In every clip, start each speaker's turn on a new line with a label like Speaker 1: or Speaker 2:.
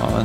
Speaker 1: Ja,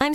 Speaker 2: I'm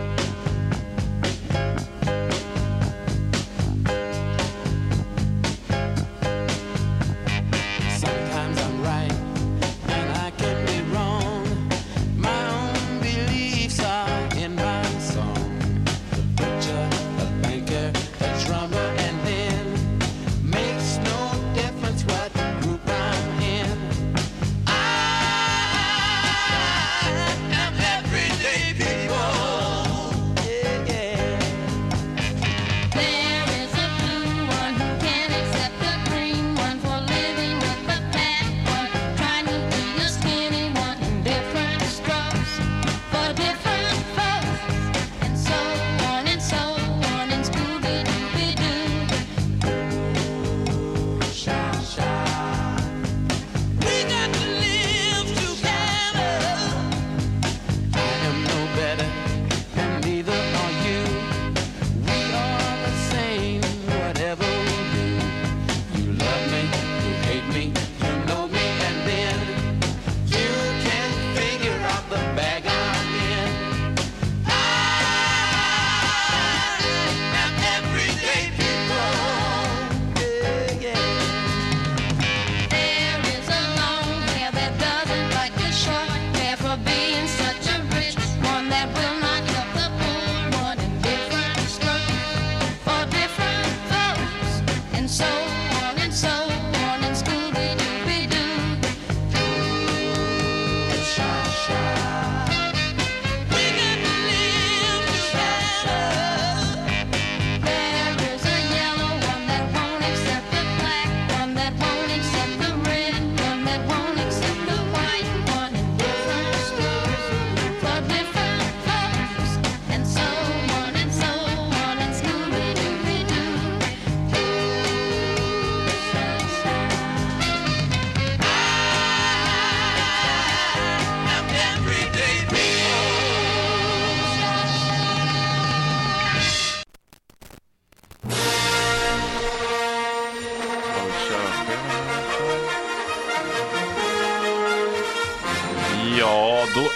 Speaker 3: Sometimes I'm right and I can be wrong. My own beliefs are in my song. The butcher, the banker, the drummer, and then makes no difference what group I'm in. I am everyday people.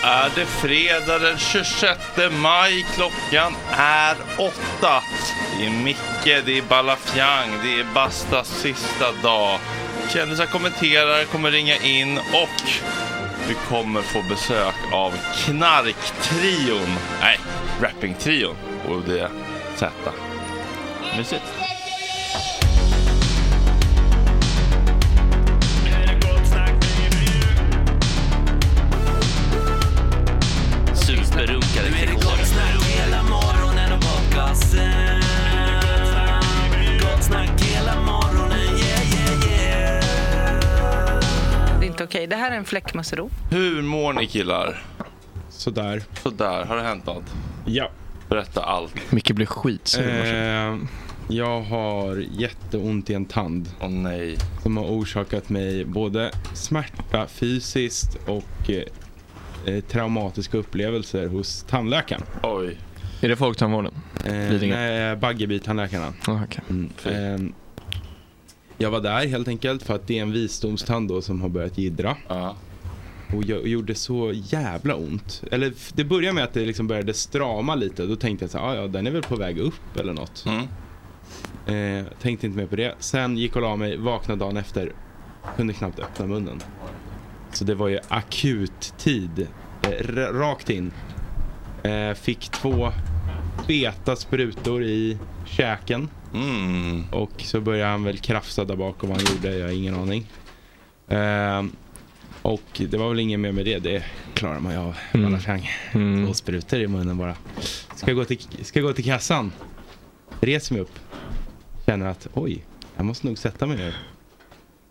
Speaker 1: är det fredag den 26 maj. Klockan är åtta. Det är Micke, det är Balafiang, det är Bastas sista dag. Kändisar kommenterar, kommer ringa in och vi kommer få besök av Knarktrion. Nej, Rappingtrion. Och det är Z. Mysigt.
Speaker 4: Superrunkade till gott snack hela morgonen och podcasten. Gott snack hela morgonen, yeah, yeah, yeah.
Speaker 5: Det är inte okej. Det här är en fläckmussero.
Speaker 1: Hur mår ni killar?
Speaker 6: Sådär.
Speaker 1: Sådär, har det hänt något?
Speaker 6: Ja.
Speaker 1: Berätta allt.
Speaker 7: Micke blir skitsur i morse.
Speaker 6: Eh, jag har jätteont i en tand.
Speaker 1: Åh nej.
Speaker 6: Som har orsakat mig både smärta fysiskt och eh, eh, traumatiska upplevelser hos tandläkaren.
Speaker 1: Oj.
Speaker 7: Är det folktandvården?
Speaker 6: Eh,
Speaker 7: Lidingö?
Speaker 6: nej, Baggebytandläkarna.
Speaker 7: Ah, okej.
Speaker 6: Mm. Eh, jag var där helt enkelt för att det är en visdomstand då som har börjat jiddra.
Speaker 1: Ja.
Speaker 6: Och jag gjorde så jävla ont. Eller f- det började med att det liksom började strama lite. Då tänkte jag så här, "Ah, ja den är väl på väg upp eller något.
Speaker 1: Mm.
Speaker 6: Eh, tänkte inte mer på det. Sen gick och la mig, vaknade dagen efter. Kunde knappt öppna munnen. Så det var ju akut tid. Eh, ra- rakt in. Eh, fick två feta sprutor i käken.
Speaker 1: Mm.
Speaker 6: Och så började han väl krafsa där bakom. Han gjorde, jag har ingen aning. Ehm, och det var väl inget mer med det. Det klarar man ju av.
Speaker 7: Mm.
Speaker 6: Alla fang.
Speaker 7: Mm.
Speaker 6: Två sprutor i munnen bara. Ska jag gå till, ska jag gå till kassan. Reser mig upp. Känner att oj, jag måste nog sätta mig ner.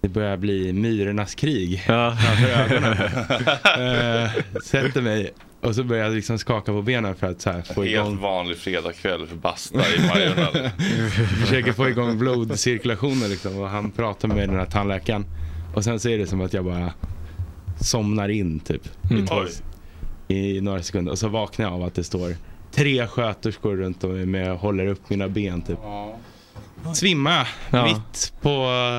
Speaker 6: Det börjar bli myrornas krig
Speaker 7: Ja.
Speaker 6: framför ögonen. Ehm, sätter mig och så börjar jag liksom skaka på benen för att så här få igång
Speaker 1: Helt vanlig fredagkväll för Basta i Majorna.
Speaker 6: försöker få igång blodcirkulationen liksom. Och han pratar med den här tandläkaren. Och sen så är det som att jag bara somnar in typ. I, två-
Speaker 1: Oj.
Speaker 6: i några sekunder. Och så vaknar jag av att det står tre sköterskor runt om mig och håller upp mina ben typ. Svimma
Speaker 7: Ja.
Speaker 6: mitt på,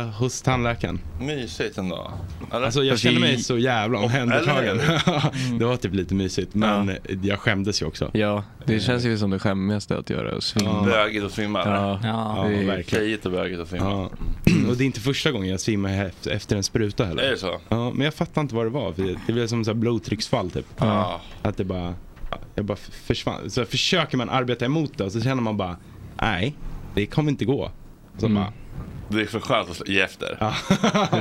Speaker 6: eh, hos tandläkaren.
Speaker 1: Mysigt ändå. Eller?
Speaker 6: Alltså jag
Speaker 7: Fast
Speaker 6: kände
Speaker 7: det-
Speaker 6: mig så jävla omhändertagen. det var typ lite mysigt men jag skämdes ju också. Eh.
Speaker 7: ja, det känns ju som det skämmigaste att göra. Att svimma.
Speaker 1: Bögigt att svimma. eller?
Speaker 7: Ja.
Speaker 8: Ja.
Speaker 6: Ja,
Speaker 7: det är-
Speaker 6: verkligen.
Speaker 1: Tjejigt och bögigt att svimma.
Speaker 6: Ja. Och det är inte första gången jag svimmar he- efter en spruta heller.
Speaker 1: Är det så?
Speaker 6: Ja, men jag fattar inte vad det var. För det, det blev som så här blodtrycksfall typ.
Speaker 1: Ja.
Speaker 6: Att det bara, jag bara f- försvann. Så försöker man arbeta emot det och så känner man bara, nej, det kommer inte gå. Så
Speaker 7: Mm.
Speaker 6: bara,
Speaker 1: Det är för skönt att ge efter.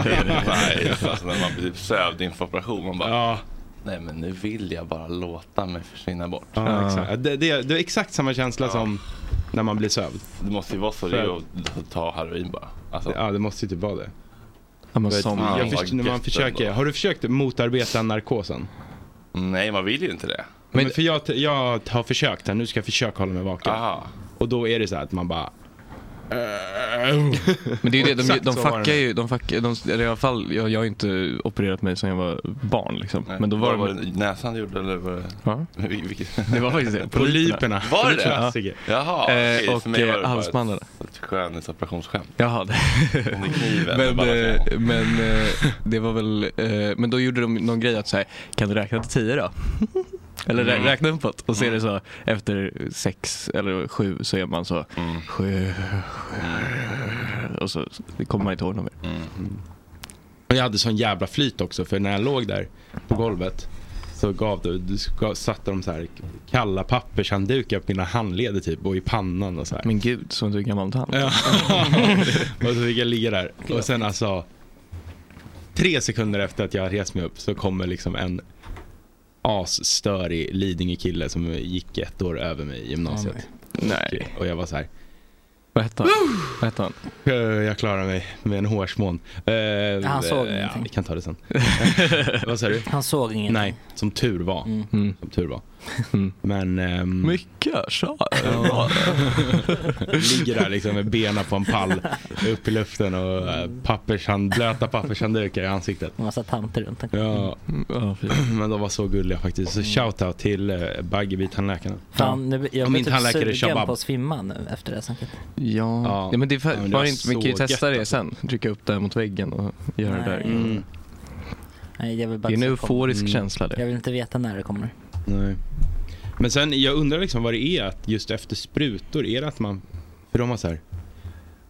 Speaker 1: Det är nice. Alltså när man blir typ sövd inför operation. Man bara,
Speaker 6: ja,
Speaker 1: nej men nu vill jag bara låta mig försvinna bort.
Speaker 6: ja, Exakt. Ja, Det, det, det är exakt samma känsla som när man blir sövd.
Speaker 1: Det måste ju vara så det är att ta heroin bara. Alltså,
Speaker 6: Ja, det måste ju typ vara det.
Speaker 7: Ja, men
Speaker 6: För att
Speaker 7: som,
Speaker 1: Ja.
Speaker 6: jag
Speaker 1: vad
Speaker 6: först, när man
Speaker 1: gött
Speaker 6: försöker,
Speaker 1: ändå.
Speaker 6: har du försökt motarbeta narkosen?
Speaker 1: Nej, man vill ju inte det.
Speaker 6: Men,
Speaker 7: Men-
Speaker 6: för jag, t- jag har försökt här, nu ska jag försöka hålla mig vaken.
Speaker 1: Aha.
Speaker 6: Och då är det så här att man bara, "Äh."
Speaker 7: men det är ju det, de,
Speaker 6: Exakt
Speaker 7: de
Speaker 6: så var det
Speaker 7: fuckar ju, de fuckar, de, eller i alla fall, jag, jag har ju inte opererat mig sedan jag var barn liksom. Men då var
Speaker 1: Vad
Speaker 7: det,
Speaker 1: var det näsan du gjorde eller var det...
Speaker 7: ja,
Speaker 1: Vil- vilket-
Speaker 7: det var faktiskt det.
Speaker 6: polyperna.
Speaker 1: Var det det?
Speaker 6: Klassiker.
Speaker 1: Jaha,
Speaker 7: Eh,
Speaker 1: okej, för
Speaker 7: och,
Speaker 1: mig var det
Speaker 7: eh,
Speaker 1: bara ett-
Speaker 7: halsbanden.
Speaker 1: Ett skönhetsooperationsskämt.
Speaker 7: Jaha, det.
Speaker 1: Under kniven.
Speaker 7: Men,
Speaker 1: bara,
Speaker 7: eh, men eh, det var väl, eh, men då gjorde de någon grej att så här, kan du räkna till tio då? Eller rä- räkna uppåt och så är det så efter sex eller sju så är man så sju, sju och så kommer man inte ihåg något mer.
Speaker 6: Mm. Och jag hade sån jävla flyt också för när jag låg där på golvet så gav du, du ska- satte de så här kalla pappershanddukar på mina handleder typ och i pannan och så här.
Speaker 7: Men gud, så du är gammal tant.
Speaker 6: Ja. och så fick jag ligga där och sen alltså tre sekunder efter att jag rest mig upp så kommer liksom en asstörig Lidingö-kille som gick ett år över mig i gymnasiet.
Speaker 7: Nej,
Speaker 6: och jag var så här,
Speaker 7: vad hette han? Vad hette han?
Speaker 6: "Eh, jag klarar mig med en hårsmån. Eh,
Speaker 8: Han såg
Speaker 6: eh, ja,
Speaker 8: ingenting.
Speaker 6: Vi kan ta det sen. Vad sa du?
Speaker 8: Han såg inget.
Speaker 6: Nej, som tur var. Som tur var.
Speaker 7: Mm.
Speaker 6: Men ehm,
Speaker 7: Mycket tja.
Speaker 6: ligger där liksom med benen på en pall upp i luften och eh, pappershand, blöta pappershanddukar i ansiktet.
Speaker 8: Och massa tanter runt omkring. Mm.
Speaker 6: Ja,
Speaker 7: Mm. Ja, fy.
Speaker 6: men de var så gulliga faktiskt. Så shoutout till eh, Baggebee-tandläkarna.
Speaker 8: Fan, nu, jag
Speaker 6: Om
Speaker 8: blir
Speaker 6: inte
Speaker 8: typ
Speaker 6: han läker det,
Speaker 8: sugen
Speaker 6: kebab.
Speaker 8: på att svimma nu efter det här snacket.
Speaker 7: ja.
Speaker 6: Ja.
Speaker 7: ja men det är
Speaker 6: Ja,
Speaker 7: för,
Speaker 6: men det
Speaker 7: bara
Speaker 6: var
Speaker 7: inte,
Speaker 6: så
Speaker 7: man kan ju
Speaker 6: gött Mm.
Speaker 7: testa det
Speaker 6: alltså.
Speaker 7: sen. Trycka upp det här mot väggen och göra det där.
Speaker 8: Nej. Nej, jag vill bara
Speaker 7: Det är en
Speaker 8: se på-
Speaker 7: euforisk känsla, det.
Speaker 8: Jag vill inte veta när det kommer.
Speaker 6: Nej. Men sen, jag undrar liksom vad det är att just efter sprutor, är det att man... För de har så här...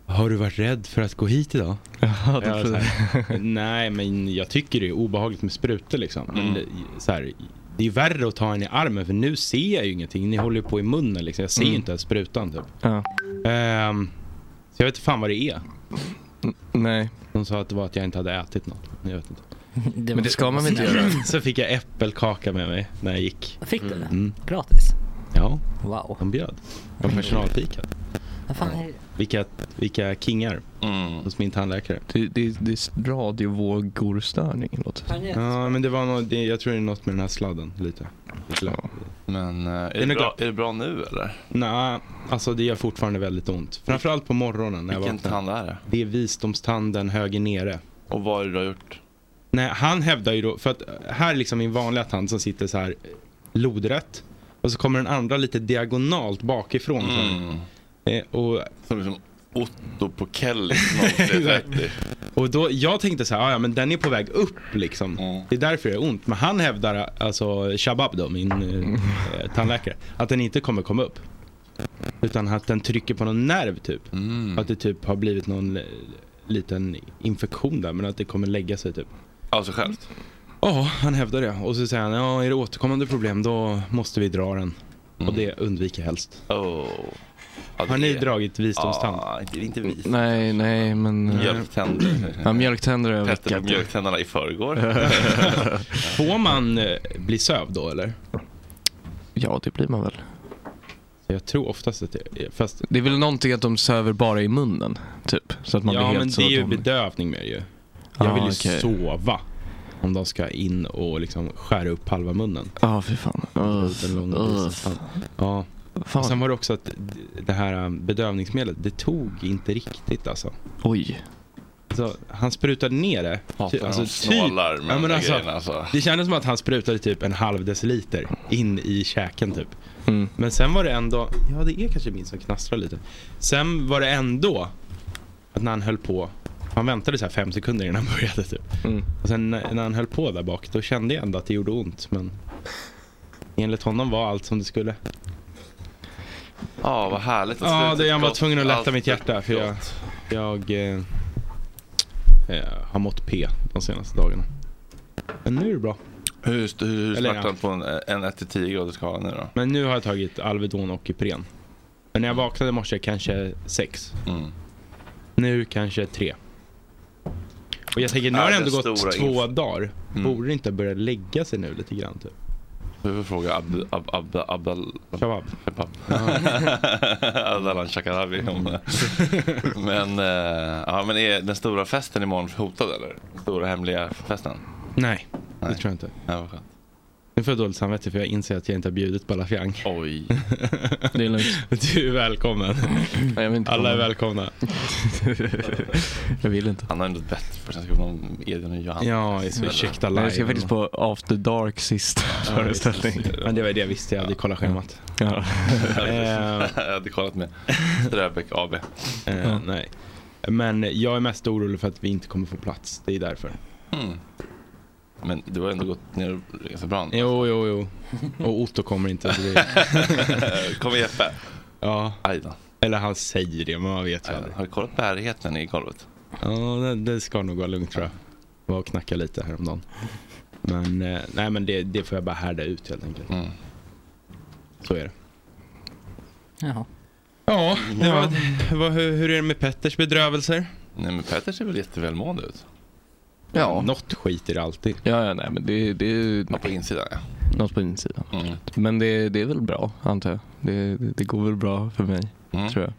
Speaker 6: Har du varit rädd för att gå hit idag?
Speaker 7: Ja,
Speaker 6: Jag var så här, Nej, men jag tycker det är obehagligt med sprutor liksom. Men det, så här, det är värre att ta en i armen för nu ser jag ju ingenting. Ni håller ju på i munnen liksom. Jag ser ju
Speaker 7: Mm.
Speaker 6: inte ens sprutan typ.
Speaker 7: Ja.
Speaker 6: Ehm, så jag vet inte fan vad det är.
Speaker 7: Nej.
Speaker 6: De sa att det var att jag inte hade ätit något. men Jag vet inte.
Speaker 8: Det Men det ska man väl inte göra?
Speaker 6: Så fick jag äppelkaka med mig när jag gick.
Speaker 8: Fick du det?
Speaker 6: Mm.
Speaker 8: Gratis?
Speaker 6: Ja.
Speaker 8: Wow.
Speaker 6: De bjöd. De personalfikade.
Speaker 8: Vad fan är det?
Speaker 6: Vilka, vilka kingar hos min tandläkare.
Speaker 7: Det, det, det är radiovågorstörning låter det som.
Speaker 6: Ja, men det var något, det, jag tror det är något med den här sladden lite. lite lätt.
Speaker 1: Men
Speaker 6: Den
Speaker 1: Är det, bra, är det bra nu eller?
Speaker 6: Nej, alltså det gör fortfarande väldigt ont. Framförallt på morgonen när jag
Speaker 1: Vilken
Speaker 6: vaknar.
Speaker 1: tandlärare?
Speaker 6: Det är visdomstanden höger nere.
Speaker 1: Och vad är det du har gjort?
Speaker 6: Nej, han hävdar ju då, för att här är liksom min vanliga tand som sitter så här eh, lodrätt. Och så kommer den andra lite diagonalt bakifrån.
Speaker 1: Mm.
Speaker 6: så här. Eh, och,
Speaker 1: Som liksom Otto på Kelly 0330.
Speaker 6: och då, jag tänkte så här, "Ah, ja men den är på väg upp liksom. Det är därför det är ont. Men han hävdar, alltså Shabab då, min
Speaker 1: Mm.
Speaker 6: eh, tandläkare, att den inte kommer komma upp. Utan att den trycker på någon nerv typ.
Speaker 1: Mm.
Speaker 6: Att det typ har blivit någon eh, liten infektion där, men att det kommer lägga sig typ.
Speaker 1: Av sig självt?
Speaker 6: Ja, han hävdar det. Och så säger han, ja är det återkommande problem då måste vi dra den.
Speaker 1: Mm.
Speaker 6: Och det undviker jag helst. Har ni dragit visdomstand?
Speaker 1: Oh. Ja, det är inte vis.
Speaker 7: Nej, nej men... eh,
Speaker 1: Mjölktänder.
Speaker 7: Ja, mjölktänder har jag
Speaker 1: Petter på
Speaker 7: veckat.
Speaker 1: mjölktänderna i förrgår.
Speaker 6: Får man eh, bli sövd då eller?
Speaker 7: Ja, det blir man väl.
Speaker 6: Jag tror oftast att det är, fast...
Speaker 7: Det är väl någonting att de söver bara i munnen, typ? Så att man blir
Speaker 6: ja
Speaker 7: helt
Speaker 6: men
Speaker 7: så
Speaker 6: det är ju
Speaker 7: att de...
Speaker 6: bedövning med det ju.
Speaker 7: Ah,
Speaker 6: Jag vill ju
Speaker 7: okej.
Speaker 6: sova. Om de ska in och liksom skära upp halva munnen.
Speaker 7: Ja, fy fan.
Speaker 6: Det är en lång
Speaker 7: Uff,
Speaker 6: visdomstand. Ja. Och sen var det också att d- det här eh, bedövningsmedlet, det tog inte riktigt alltså.
Speaker 7: Oj.
Speaker 6: Så han sprutade ner det. Ty- alltså, typ-
Speaker 1: Hatar de snålar med
Speaker 6: ja,
Speaker 1: de
Speaker 6: men
Speaker 1: där
Speaker 6: alltså,
Speaker 1: grejerna, alltså.
Speaker 6: Det kändes som att han sprutade typ en halv deciliter in i käken typ.
Speaker 1: Mm.
Speaker 6: Men sen var det ändå, ja det är kanske min som knastrar lite. Sen var det ändå att när han höll på, han väntade så här fem sekunder innan han började typ.
Speaker 1: Mm.
Speaker 6: Och sen när när han höll på där bak, då kände jag ändå att det gjorde ont. Men enligt honom var allt som det skulle.
Speaker 1: Ja, Alltså, vad härligt. att
Speaker 6: Ja,
Speaker 1: slutet
Speaker 6: det, jag var
Speaker 1: gott.
Speaker 6: tvungen att lätta
Speaker 1: Allt
Speaker 6: mitt hjärta för jag,
Speaker 1: gott.
Speaker 6: jag eh, eh, har mått P de senaste dagarna. Men nu är det bra.
Speaker 1: Hur, hur, hur
Speaker 6: Eller ja.
Speaker 1: smärtan på en, eh, en 1-10 graders skala nu då?
Speaker 6: Men nu har jag tagit Alvedon och Ipren. Men när jag vaknade i morse kanske sex.
Speaker 1: Mm.
Speaker 6: Nu kanske tre. Och jag tänker, nu
Speaker 1: Ja,
Speaker 6: har det
Speaker 1: den
Speaker 6: ändå
Speaker 1: stora
Speaker 6: gått två
Speaker 1: inf- Mm.
Speaker 6: dagar. Borde det inte börja lägga sig nu lite grann typ?
Speaker 1: Du får fråga Ab... Ab... Ab... Ab...
Speaker 6: Shabab.
Speaker 1: Shabab. Adalan Shakarabi om Men, eh, ja men är den stora festen imorgon hotad eller? Den stora hemliga festen?
Speaker 6: Nej, det tror jag inte.
Speaker 1: Ja, vad skönt.
Speaker 6: Nu får jag dåligt samvete för jag inser att jag inte har bjudit på Lafiang.
Speaker 1: Oj.
Speaker 7: Det är lugnt.
Speaker 6: Du är välkommen. Alla är välkomna.
Speaker 7: jag vill inte.
Speaker 1: Han har ändå ett bättre för sen ska vi ha någon Edvin och Johannes.
Speaker 6: Ja, så ursäkta live.
Speaker 7: Jag ska faktiskt på After Dark sista föreställning.
Speaker 6: Men det var det jag visste, jag hade kollat schemat.
Speaker 7: Ja.
Speaker 1: Jag hade kollat med Ströbeck AB.
Speaker 6: Eh, Nej. Men jag är mest orolig för att vi inte kommer få plats. Det är därför.
Speaker 1: Mm. Men du har ändå gått ner ganska bra. nu.
Speaker 6: Jo, jo, jo. Och Otto kommer inte. Så det...
Speaker 1: Kommer Jeppe?
Speaker 6: Ja.
Speaker 1: Aj då.
Speaker 6: Eller han säger det, men man vet ju
Speaker 1: Aj då.
Speaker 6: aldrig.
Speaker 1: Har du kollat bärigheten i golvet?
Speaker 6: Ja, det, det ska nog gå lugnt tror jag. Var och knacka lite häromdagen. Men, eh, nej, men det, det får jag bara härda ut helt enkelt.
Speaker 1: Mm.
Speaker 6: Så är det.
Speaker 8: Jaha.
Speaker 6: Ja, det var, det var, hur, hur är det med Petters bedrövelser?
Speaker 1: Nej men Petter ser väl jättevälmående ut?
Speaker 7: Ja.
Speaker 6: Något skit är det alltid.
Speaker 7: Ja, ja, nej men det, det är ju
Speaker 1: Ja, på insidan ja.
Speaker 7: något på insidan.
Speaker 1: Mm.
Speaker 7: Men det, det är väl bra, antar jag. Det, det, det går väl bra för mig,
Speaker 1: Mm.
Speaker 7: tror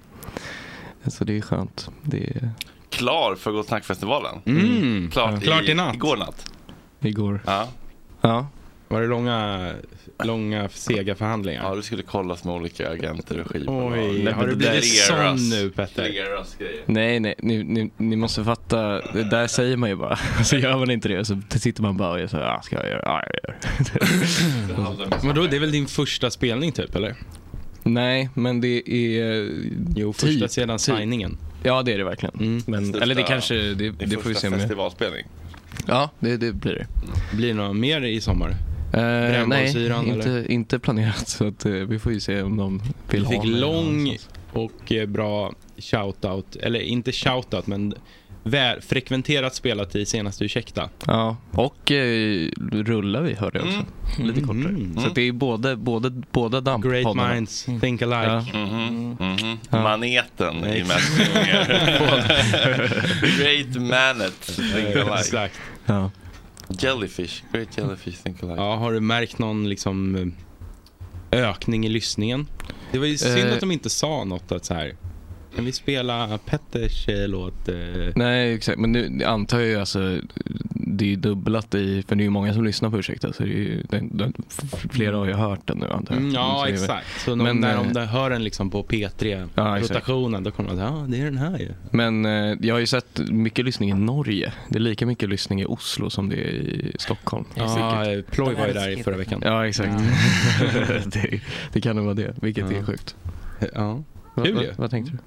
Speaker 7: jag. Så det är skönt. Det är
Speaker 1: Klar för Gott Snack-festivalen.
Speaker 6: Mm.
Speaker 1: Klart,
Speaker 6: Klart
Speaker 1: i,
Speaker 6: i natt.
Speaker 1: Igår natt.
Speaker 7: igår.
Speaker 1: Ja.
Speaker 7: Ja.
Speaker 6: Var det långa, långa sega förhandlingar?
Speaker 1: ja, du skulle kollas med olika agenter och skivbolag.
Speaker 6: Oj,
Speaker 7: Nej,
Speaker 6: har du
Speaker 7: det
Speaker 6: blivit
Speaker 1: Clearas.
Speaker 6: sån nu Petter?
Speaker 1: Clearas grejer.
Speaker 7: Nej, nej, ni, ni, ni måste fatta. Det där säger man ju bara. Så gör man inte det så sitter man bara och gör så här, ah, ska jag göra? Ja, jag gör.
Speaker 6: Men då, det är väl din första spelning typ, eller?
Speaker 7: Nej, men det är...
Speaker 6: Jo,
Speaker 7: Typ,
Speaker 6: första sedan
Speaker 7: typ.
Speaker 6: signingen.
Speaker 7: Ja, det är det verkligen.
Speaker 6: Mm.
Speaker 7: Men,
Speaker 1: Största-
Speaker 7: eller det kanske, det,
Speaker 1: Din
Speaker 7: det får vi
Speaker 1: första
Speaker 7: se. Med.
Speaker 1: festivalspelning.
Speaker 7: Ja, det, det blir det.
Speaker 6: Blir det några mer i sommar?
Speaker 7: Eh, nej,
Speaker 6: Brännbollsyran,
Speaker 7: inte,
Speaker 6: eller?
Speaker 7: inte planerat. Så att, eh, vi får ju se om de
Speaker 6: Vi
Speaker 7: vill ha
Speaker 6: fick
Speaker 7: mig
Speaker 6: lång
Speaker 7: någonstans.
Speaker 6: och eh, bra shoutout, eller inte shoutout men väl frekventerat spelat i senaste Ursäkta.
Speaker 7: Ja, och eh, rullar vi hörde jag också.
Speaker 6: Mm.
Speaker 7: Lite kortare. Så att det är både, både, båda Mm. dampoddarna.
Speaker 6: Great minds think alike.
Speaker 1: Mm-hmm. Maneten i Matt Singer. Great Manet, think alike.
Speaker 6: Exakt.
Speaker 7: Ja.
Speaker 1: Jellyfish, Great Jellyfish, think alike.
Speaker 6: Ja, har du märkt någon liksom eh, ökning i lyssningen? Det var ju synd
Speaker 7: Eh.
Speaker 6: att de inte sa något att så här. Kan vi spela Petters eh, låt? eh,
Speaker 7: Nej, exakt. Men nu antar jag ju alltså, det är ju dubblat i, för det är ju många som lyssnar på Ursäkta. Så det är ju, den, den, flera har ju hört den nu antar jag.
Speaker 6: Mm,
Speaker 7: Så
Speaker 6: ja,
Speaker 7: det är eh, väl-
Speaker 6: exakt. Så men, när de där hör den liksom på
Speaker 7: Ja, exakt.
Speaker 6: P3-rotationen, då kommer de att ja, det är den här ju.
Speaker 7: Men eh, jag har ju sett mycket lyssning i Norge. Det är lika mycket lyssning i Oslo som det är i Stockholm.
Speaker 6: Ja, Säkert. eh, Ploy var ju där i förra veckan.
Speaker 7: Ja, exakt.
Speaker 6: Ja.
Speaker 7: det, det kan nog vara det, vilket
Speaker 6: Ja.
Speaker 7: är sjukt.
Speaker 6: Ja.
Speaker 7: Va,
Speaker 6: Kul
Speaker 7: va,
Speaker 6: ju.
Speaker 7: vad tänkte du?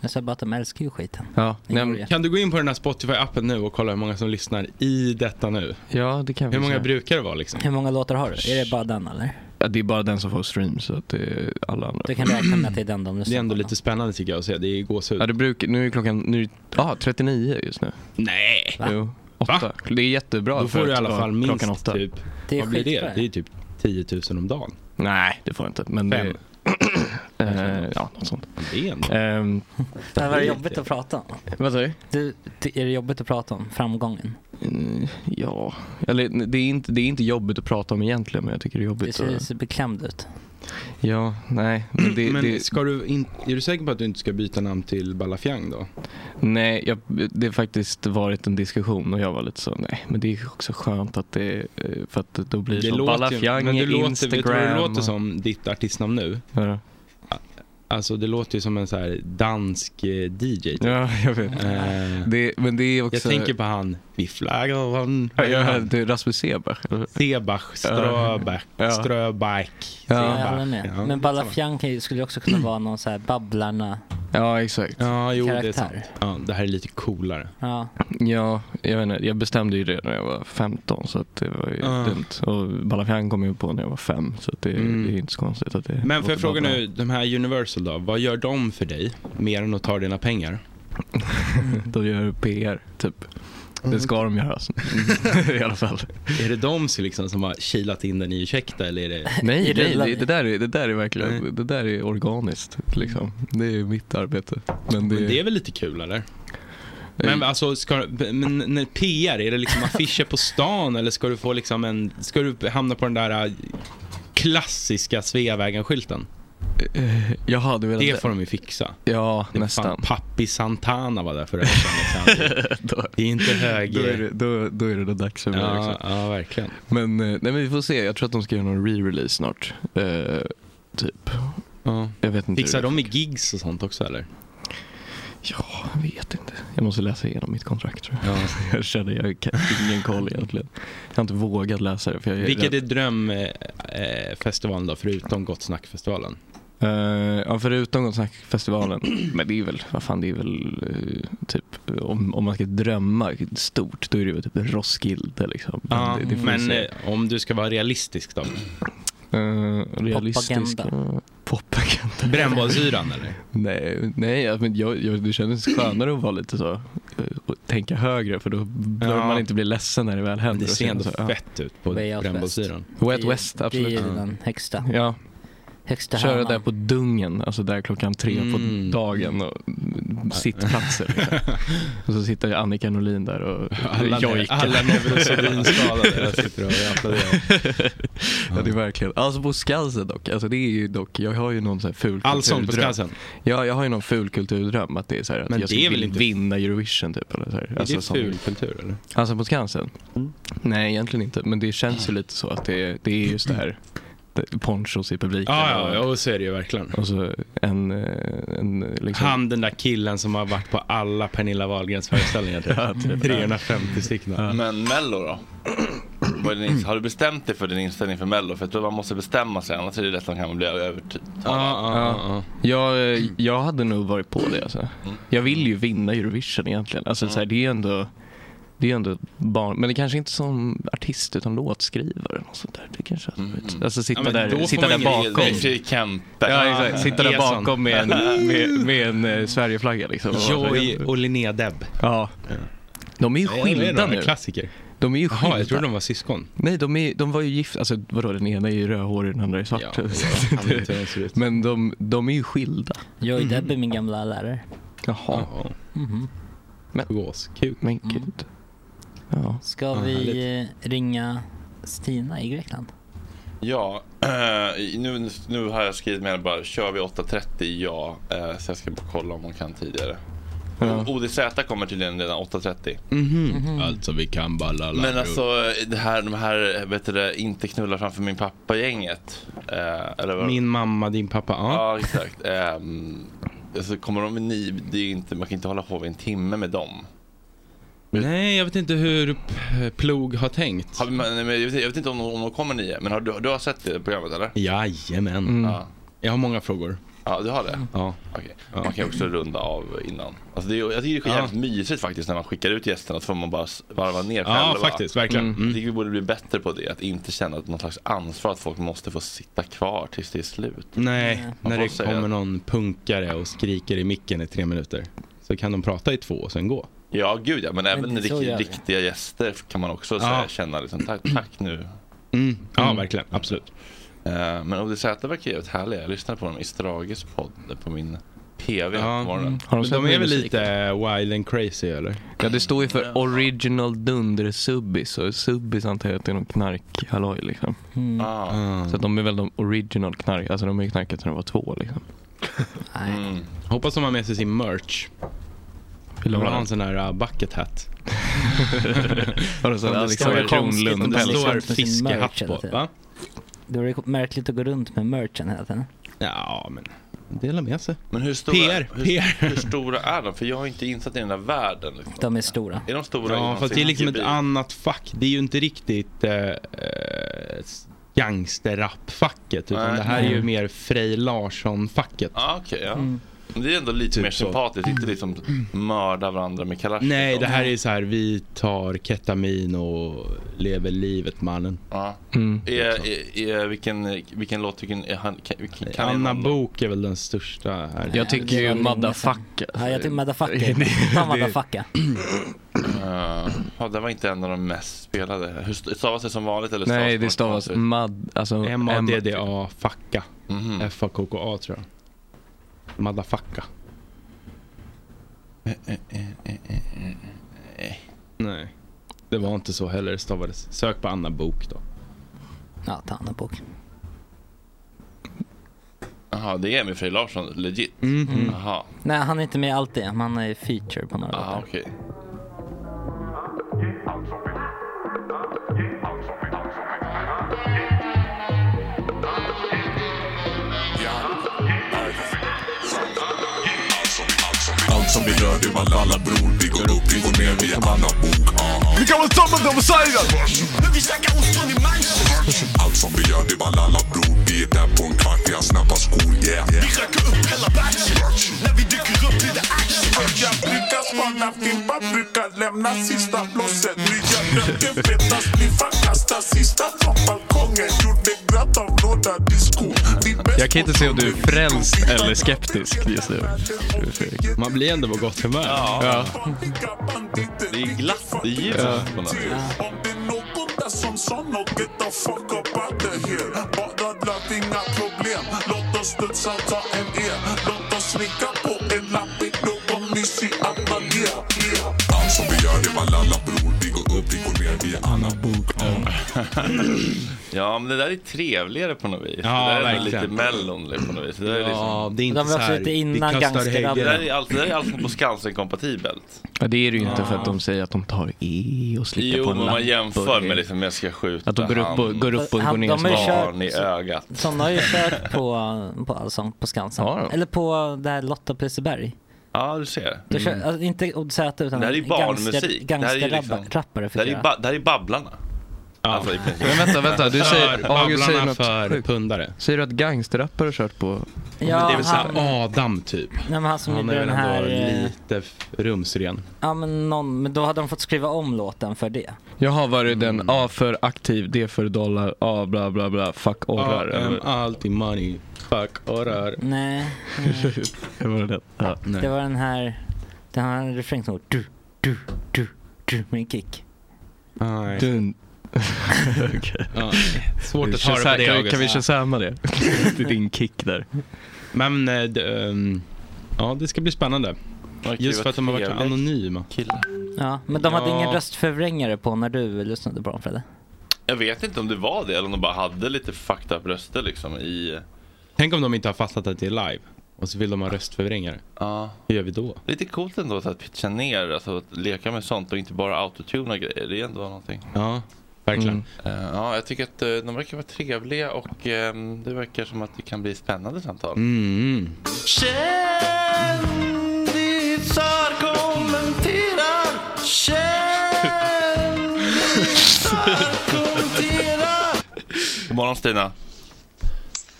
Speaker 8: Jag sa bara att de älskar ju skiten.
Speaker 7: Ja, nej, men-
Speaker 6: Kan du gå in på den här Spotify-appen nu och kolla hur många som lyssnar i detta nu?
Speaker 7: ja, det kan vi
Speaker 6: Hur många
Speaker 7: säga.
Speaker 6: brukar det vara liksom?
Speaker 8: Hur många låtar har du? Är det bara den eller?
Speaker 7: Ja, det är bara den som får stream så att det är alla andra.
Speaker 8: Du kan räkna med att det är den de
Speaker 6: Det är
Speaker 8: lyssnar
Speaker 6: ändå lite spännande tycker jag att se. Det är gåshud.
Speaker 7: Ja, det brukar, nu är klockan, nu, är- ja 39 just nu.
Speaker 6: Nej!
Speaker 7: Jo, åtta. Det är jättebra
Speaker 6: Då
Speaker 7: för
Speaker 6: får du i
Speaker 7: att
Speaker 6: alla
Speaker 7: vara
Speaker 6: fall
Speaker 7: klockan
Speaker 6: minst
Speaker 7: åtta.
Speaker 6: typ,
Speaker 7: Det är
Speaker 6: vad blir det?
Speaker 7: skitbra.
Speaker 6: Det är typ 10 000 om dagen.
Speaker 7: Nej, det får jag inte. Men
Speaker 6: Fem.
Speaker 7: Det, eh, ja, något sånt.
Speaker 6: Det är
Speaker 7: Ehm,
Speaker 8: Det här var jobbigt att prata om.
Speaker 7: Vad säger
Speaker 8: du? det- Är det jobbigt att prata om framgången?
Speaker 7: Mm, Ja, eller det är, inte, det är inte jobbigt att prata om egentligen men jag tycker det är
Speaker 8: Det
Speaker 7: jobbigt.
Speaker 8: ser,
Speaker 7: att-
Speaker 8: ser beklämd ut.
Speaker 7: Ja, nej. Men det,
Speaker 6: Men
Speaker 7: det,
Speaker 6: ska du in, är du säker på att du inte ska byta namn till Balafiang då?
Speaker 7: nej jag, det har faktiskt varit en diskussion och jag var lite så, nej men det är också skönt att det, eh, för att då blir det så Balafiang,
Speaker 6: men du
Speaker 7: Instagram.
Speaker 6: låter, vet du vad det låter som, ditt artistnamn nu?
Speaker 7: Ja.
Speaker 6: Alltså det låter ju som en så här dansk eh, DJ. typ.
Speaker 7: Ja, jag vet.
Speaker 6: Eh,
Speaker 7: Det, men det är också...
Speaker 6: Jag tänker på han, vi flaggar han.
Speaker 7: Ja, jag hörde Rasmus Seebach.
Speaker 6: Sebach, Ströbach,
Speaker 7: Ja.
Speaker 6: Ströback.
Speaker 8: Ja,
Speaker 6: Sebach.
Speaker 8: jag håller med.
Speaker 6: Ja.
Speaker 8: Men Balafianki skulle ju också kunna vara någon så här Babblarna.
Speaker 7: Ja, exakt.
Speaker 6: Ja, jo det är sant.
Speaker 8: Karaktär.
Speaker 6: Ja, det här är lite coolare.
Speaker 8: Ja.
Speaker 7: Ja, jag vet inte. Jag bestämde ju det när jag var 15 så att det var ju
Speaker 6: Ah.
Speaker 7: dumt. Och Balafian kom jag på när jag var 5 så att det,
Speaker 6: Mm.
Speaker 7: det är inte så konstigt att det
Speaker 6: Men får jag
Speaker 7: låter
Speaker 6: fråga
Speaker 7: bra.
Speaker 6: nu, de här Universal då, vad gör de för dig? Mer än att ta dina pengar?
Speaker 7: De gör PR, typ.
Speaker 6: Mm.
Speaker 7: Det ska de göra alltså. i alla fall.
Speaker 6: Är det de som, liksom, som har kilat in den i ursäkta eller är det?
Speaker 7: Nej, nej det, det, där är, det där är verkligen, det där är organiskt liksom. Det är mitt arbete. Men det,
Speaker 6: Men det är väl lite kul
Speaker 7: Eh.
Speaker 6: eller? Men alltså, ska, men när PR, är det liksom affischer på stan eller ska du få liksom en, ska du hamna på den där äh, klassiska Sveavägen-skylten?
Speaker 7: Eh, Jaha, du menar
Speaker 6: Det får de ju fixa.
Speaker 7: Ja,
Speaker 6: Det är
Speaker 7: nästan.
Speaker 6: Fan, Pappi Santana var där för övrigt. Alexander. Det är inte
Speaker 7: Då är, det,
Speaker 6: höger.
Speaker 7: då, då är det då dags för mig också.
Speaker 6: Ja, ja, verkligen.
Speaker 7: Men, eh, nej, men vi får se. Jag tror att de ska göra någon re-release snart. Eh, typ. Jag vet inte.
Speaker 6: Fixar
Speaker 7: hur det-
Speaker 6: de med gigs och sånt också eller?
Speaker 7: Ja, jag vet inte. Jag måste läsa igenom mitt kontrakt tror jag.
Speaker 6: Ja.
Speaker 7: Jag känner jag har ingen koll egentligen. Jag har inte vågat läsa det. För jag är
Speaker 6: Vilket
Speaker 7: rädd.
Speaker 6: är drömfestivalen då, förutom Gott Snack-festivalen?
Speaker 7: Eh, ja, förutom Gott Snack-festivalen. Men det är väl, vad fan det är väl eh, typ om, om man ska drömma stort då är det väl typ en Roskilde liksom. Men
Speaker 6: Ja,
Speaker 7: det, det får vi
Speaker 6: men
Speaker 7: se.
Speaker 6: eh, om du ska vara realistisk då?
Speaker 7: Eh, realistisk.
Speaker 8: Popagenda.
Speaker 7: eh, Popagenda.
Speaker 6: Brännbollsyran eller?
Speaker 7: Nej, nej ja, men jag, jag, det kändes skönare att vara lite så, eh, och tänka högre för då behöver
Speaker 6: Ja.
Speaker 7: man inte bli ledsen när det väl händer.
Speaker 6: Det
Speaker 7: Och
Speaker 6: ser
Speaker 7: sen
Speaker 6: ändå
Speaker 7: så, ja.
Speaker 6: fett ut på
Speaker 8: Way out
Speaker 6: brännbollsyran.
Speaker 7: Wet
Speaker 8: Det är-
Speaker 7: West,
Speaker 8: Det är
Speaker 7: absolut.
Speaker 8: ju den högsta,
Speaker 7: Ja,
Speaker 8: högsta
Speaker 7: köra
Speaker 8: hönan.
Speaker 7: där på Dungen, alltså där klockan tre
Speaker 6: Mm.
Speaker 7: på dagen och mm, sittplatser. liksom. och så sitter Annika Norlin där och
Speaker 6: Alla, ne-
Speaker 7: jojkar.
Speaker 6: alla neurosedynskadade där sitter och applåderar.
Speaker 7: ja, det är verkligen. Alltså på Skansen dock, alltså det är ju dock, jag har ju någon sån här ful
Speaker 6: Allsång på
Speaker 7: kulturdröm.
Speaker 6: Skansen.
Speaker 7: Ja, jag har ju någon ful kulturdröm att det är så här, att
Speaker 6: Men
Speaker 7: jag
Speaker 6: det
Speaker 7: skulle
Speaker 6: är väl
Speaker 7: vilja
Speaker 6: inte-
Speaker 7: vinna Eurovision typ. Eller så här.
Speaker 6: Är det
Speaker 7: som-
Speaker 6: ful kultur eller?
Speaker 7: Alltså på Skansen?
Speaker 8: Mm.
Speaker 7: Nej, egentligen inte. Men det känns ju lite så att det är, det är just det här det- ponchos i publiken.
Speaker 6: Ja, ja, ja, så är det ju verkligen.
Speaker 7: och- Och så Alltså, en, eh, en eh, liksom...
Speaker 6: Han den där killen som har varit på alla Pernilla Wahlgrens föreställningar.
Speaker 7: Ja,
Speaker 6: Typ.
Speaker 7: typ.
Speaker 6: 350 stycken.
Speaker 1: Men Mello då? Vad är din inst- Har du bestämt dig för din inställning för Mello? För jag tror man måste bestämma sig annars är det lätt att man kan bli övertygad.
Speaker 6: Ja, ja, ja.
Speaker 7: Jag, eh, jag hade nog varit på det alltså. Jag vill ju vinna Eurovision egentligen. Alltså, så här, det är ju ändå... Det är ju ändå barn, men det kanske inte som artist utan låtskrivare eller något sånt där. Det kanske hade varit. Alltså sitta
Speaker 1: Ja, men då
Speaker 7: där,
Speaker 1: får
Speaker 7: sitta
Speaker 1: man
Speaker 7: där
Speaker 1: grejer.
Speaker 7: bakom.
Speaker 1: Det är Kempe.
Speaker 7: Ja, exakt. Sitta där
Speaker 1: Eson.
Speaker 7: bakom med en, med, med en eh, Sverigeflagga liksom.
Speaker 6: Joy och Linnea Deb.
Speaker 7: Ja. De är ju
Speaker 6: Ja, det är
Speaker 7: skilda
Speaker 6: några
Speaker 7: nu.
Speaker 6: klassiker.
Speaker 7: De är ju skilda.
Speaker 6: Jaha, jag trodde de var syskon.
Speaker 7: Nej, de, är, de var ju gifta. Alltså vadå, den ena är ju rödhårig, den andra är svart. Men de, de är ju skilda. Mm.
Speaker 8: Joy Deb är min gamla lärare.
Speaker 7: Jaha. Mm-hmm. Men, men
Speaker 8: Mm.
Speaker 7: gud. Ja.
Speaker 8: Ska
Speaker 7: Ja, härligt.
Speaker 8: vi eh, ringa Stina i Grekland?
Speaker 1: Ja, eh, nu, nu har jag skrivit med henne bara, kör vi 8.30? Ja, eh, så jag ska bara kolla om hon kan tidigare.
Speaker 6: Ja.
Speaker 1: ODZ kommer tydligen redan 8.30.
Speaker 7: Mhm.
Speaker 6: Alltså vi kan balla
Speaker 1: Men alltså det här, de här, vet du det, inte knulla framför min pappa-gänget. Eh, eller vad?
Speaker 6: Min mamma, din pappa. Ja.
Speaker 1: Ja, exakt. Ehm, alltså, kommer de med ni, det är ju inte, man kan inte hålla på i en timme med dem.
Speaker 6: Nej, jag vet inte hur p- Plog har tänkt.
Speaker 1: Har, vi- men, men, jag, vet, jag vet inte om de, om de kommer nio, men har, du, du har sett det programmet eller?
Speaker 6: Jajamän.
Speaker 1: Ja.
Speaker 6: Jag har många frågor.
Speaker 1: Ja, du har det?
Speaker 6: Ja.
Speaker 1: Okej. Man kan ju också runda av innan. Alltså det är, ju- jag tycker det är jävligt mysigt faktiskt när man skickar ut gästerna så får man bara s- varva ner
Speaker 6: Ja, faktiskt, verkligen. Mm.
Speaker 1: Jag tycker vi borde bli bättre på det, att inte känna att något slags ansvar att folk måste få sitta kvar tills det är slut.
Speaker 6: Nej,
Speaker 1: Man
Speaker 6: när
Speaker 1: får
Speaker 6: det
Speaker 1: säga-
Speaker 6: kommer någon punkare och skriker i micken i tre minuter. Så kan de prata i två och sen gå.
Speaker 1: Ja, gud ja, men även
Speaker 6: det- så
Speaker 1: rikt-
Speaker 6: gör vi.
Speaker 1: riktiga gäster kan man också
Speaker 6: Ja.
Speaker 1: så här, känna liksom, tack, tack nu.
Speaker 6: Mm. Ja, verkligen. Absolut.
Speaker 1: Eh, men ODZ verkar jävligt härliga. Jag lyssnade på dem i Strages podd på min PV här på
Speaker 8: Mm.
Speaker 1: morgonen.
Speaker 6: Men mm. de är väl lite eh, wild and crazy eller?
Speaker 7: Ja, det står ju för original dunder subbis och subbis antar jag att det är någon knarkhalloj liksom.
Speaker 8: Mm.
Speaker 6: Ah.
Speaker 7: Så att de är väl de original knark, alltså de har ju knarkat när de var två liksom.
Speaker 6: Mm. Hoppas de har med sig sin merch. Vill de ha en sån här uh, bucket hat?
Speaker 7: Har de sån
Speaker 6: Om det liksom
Speaker 7: Alexander
Speaker 6: står-
Speaker 7: Kronlund
Speaker 6: om Det
Speaker 7: päls?
Speaker 6: står
Speaker 7: Med sin merch
Speaker 6: fiskehatt
Speaker 7: hela
Speaker 6: på.
Speaker 7: tiden.
Speaker 6: Va?
Speaker 8: Då är det märkligt att gå runt med merchen hela tiden.
Speaker 6: Ja, men dela med sig.
Speaker 1: Men hur stora,
Speaker 6: PR,
Speaker 1: hur,
Speaker 6: PR.
Speaker 1: hur stora är de? För jag har inte insatt i den där världen. Liksom.
Speaker 8: De är stora.
Speaker 1: Är de stora?
Speaker 6: Ja,
Speaker 1: inom
Speaker 6: fast
Speaker 1: sin
Speaker 6: det är liksom ett
Speaker 1: gebir?
Speaker 6: annat fack. Det är ju inte riktigt eh, eh, gangsterrap-facket. Utan
Speaker 1: Nej.
Speaker 6: det här är ju
Speaker 1: Mm.
Speaker 6: mer Frej Larsson-facket.
Speaker 1: Ja, Ah, okej. ja. Men Det är ändå lite
Speaker 6: Typ
Speaker 1: mer
Speaker 6: så.
Speaker 1: sympatiskt. Inte liksom mörda varandra med kalasjnikov.
Speaker 6: Nej, det här är ju så här. Vi tar ketamin och lever livet mannen.
Speaker 1: Ja.
Speaker 6: Mm.
Speaker 1: Är, är, är, vilken, vilken låt tycker ni? Han, kan, vilken, kan ni
Speaker 6: Anna
Speaker 1: någon-
Speaker 6: Bok är väl den största här.
Speaker 7: Jag tycker ju motherfucker.
Speaker 8: Ja, jag
Speaker 7: Det-
Speaker 8: tycker motherfucker.
Speaker 7: det-
Speaker 8: Ta motherfucker.
Speaker 1: Eh, ja, det var inte en av de mest spelade. Hur st- stavas det typ. som vanligt eller stavas
Speaker 7: Nej, det
Speaker 1: man-
Speaker 7: stavas mad, alltså
Speaker 6: M-A-D-D-A, facka.
Speaker 1: Mhm.
Speaker 6: F-A-K-K-A tror jag. Madafacka.
Speaker 1: Eh,
Speaker 6: Nej, det var inte så heller det stavades. Sök på Anna Bok då.
Speaker 8: Ja, ta annan bok.
Speaker 1: Jaha, det är Emil Frej Larsson, legit?
Speaker 7: Mm-hmm.
Speaker 8: Mm.
Speaker 1: Jaha,
Speaker 8: Nej, han är inte med i allt det, men han är feature på några
Speaker 1: ah, okej.
Speaker 9: Allt som vi rör det valhalla bror Vi går upp, vi går ner, vi är alla bok Vi kan vara samma som Siren Men vi snackar ostron i manchen Allt som vi gör det valhalla bror Vi är där på en kvart, vi har snabba skor yeah. Vi röker upp hela batchen När vi dyker upp blir det action Jag brukar spana fimpar, brukar lämna sista blåset Nya röken, feta sniffar, kasta sista från balkongen Gjorde glatt av några disco Vi
Speaker 7: Jag kan inte se om du är frälst eller skeptisk just nu.
Speaker 6: Man blir ändå på gott humör.
Speaker 7: Ja.
Speaker 1: Det är glatt i ljuset
Speaker 6: Ja.
Speaker 1: på något vis.
Speaker 9: Något som sa något, get the fuck up out of here Bara ladd, inga problem Låt oss studsa, ta en E Låt oss slicka på en lapp i någon mysig ateljé Allt som vi gör det var lalla bror Vi går upp, vi går ner, vi är Anna Book
Speaker 1: Ja, men det där är trevligare på något vis.
Speaker 6: Ja,
Speaker 1: det där är nog
Speaker 6: verkligen.
Speaker 1: lite mellon på något vis. Det där är
Speaker 6: Ja,
Speaker 1: liksom...
Speaker 6: det är inte De var så också här, lite innan vi kastar gangsterrapparna.
Speaker 1: Det
Speaker 6: häggen.
Speaker 1: där är allt- det där är allt på Skansen-kompatibelt.
Speaker 7: Ja, det är det ju inte för att de säger att de tar E och slickar
Speaker 1: Jo,
Speaker 7: på en
Speaker 1: men man
Speaker 7: lapp
Speaker 1: jämför
Speaker 7: och-
Speaker 1: med liksom, jag ska skjuta
Speaker 7: Att de går upp och- går upp och Han- går ner de
Speaker 1: Han,
Speaker 7: som har ju barn
Speaker 1: barn i
Speaker 7: kört-
Speaker 1: ögat.
Speaker 8: Sådana har ju kört på, på Allsång på Skansen.
Speaker 1: Har de?
Speaker 8: Eller på det här Lotta Puseberg.
Speaker 1: Ja, du ser.
Speaker 8: Då
Speaker 6: Mm.
Speaker 8: kör, alltså, inte OZ utan
Speaker 1: Det här är ju barnmusik. det, här
Speaker 8: gangsterrappare
Speaker 1: är ju liksom,
Speaker 8: gangsterrabba- rappare
Speaker 1: det, här
Speaker 8: fick
Speaker 1: är ju
Speaker 8: göra.
Speaker 1: ba- det här är Babblarna. Alltså, i princip.
Speaker 7: Men vänta, vänta. Du säger, August säger
Speaker 6: Babblarna
Speaker 7: något
Speaker 6: för
Speaker 7: sjukt.
Speaker 6: pundare.
Speaker 7: Säger du att gangsterrappare har kört på...
Speaker 8: Ja,
Speaker 6: det är väl såhär
Speaker 8: han-
Speaker 6: Adam typ.
Speaker 8: Nej, men han som
Speaker 6: han
Speaker 8: gjorde
Speaker 6: är väl
Speaker 8: den
Speaker 6: ändå
Speaker 8: här, eh,
Speaker 6: lite f- rumsren.
Speaker 8: Ja men någon, men då hade de fått skriva om låten för det.
Speaker 7: Jaha, var det den
Speaker 10: Mm.
Speaker 7: A för aktiv, D för dollar, A bla bla bla, fuck orrar? eller?
Speaker 6: AM, alltid money. Fuck orrar.
Speaker 8: Mm. Nej.
Speaker 7: Det var den. Ja.
Speaker 8: Det var den här, den här refrängen som går du, du, du, du med en kick.
Speaker 7: Dun. Okej.
Speaker 6: Ja, svårt att
Speaker 7: Shazam-
Speaker 6: höra på det,
Speaker 7: kan,
Speaker 6: August.
Speaker 7: kan vi shazama det? det är din kick där.
Speaker 6: Men eh, d- ehm, ja, det ska bli spännande.
Speaker 1: gud,
Speaker 6: Just för
Speaker 1: vad
Speaker 6: att de har varit så
Speaker 1: trevligt.
Speaker 6: anonyma.
Speaker 8: Ja, men de hade
Speaker 6: Ja.
Speaker 8: ingen röstförvrängare på när du lyssnade på dem Fredde.
Speaker 1: Jag vet inte om det var det eller om de bara hade lite fucked up röster liksom i...
Speaker 6: Tänk om de inte har fattat att det är live och så vill de ha röstförvrängare.
Speaker 1: Ja.
Speaker 6: Hur gör vi då?
Speaker 1: Lite coolt ändå att pitcha ner, alltså att leka med sånt och inte bara autotuna grejer. Det är ändå någonting.
Speaker 6: Ja, verkligen.
Speaker 1: Eh, ja, jag tycker att eh, de verkar vara trevliga och ehm, det verkar som att det kan bli spännande samtal.
Speaker 6: Mm.
Speaker 4: Kändisar kommenterar Kändisar kommenterar
Speaker 1: God morgon Stina.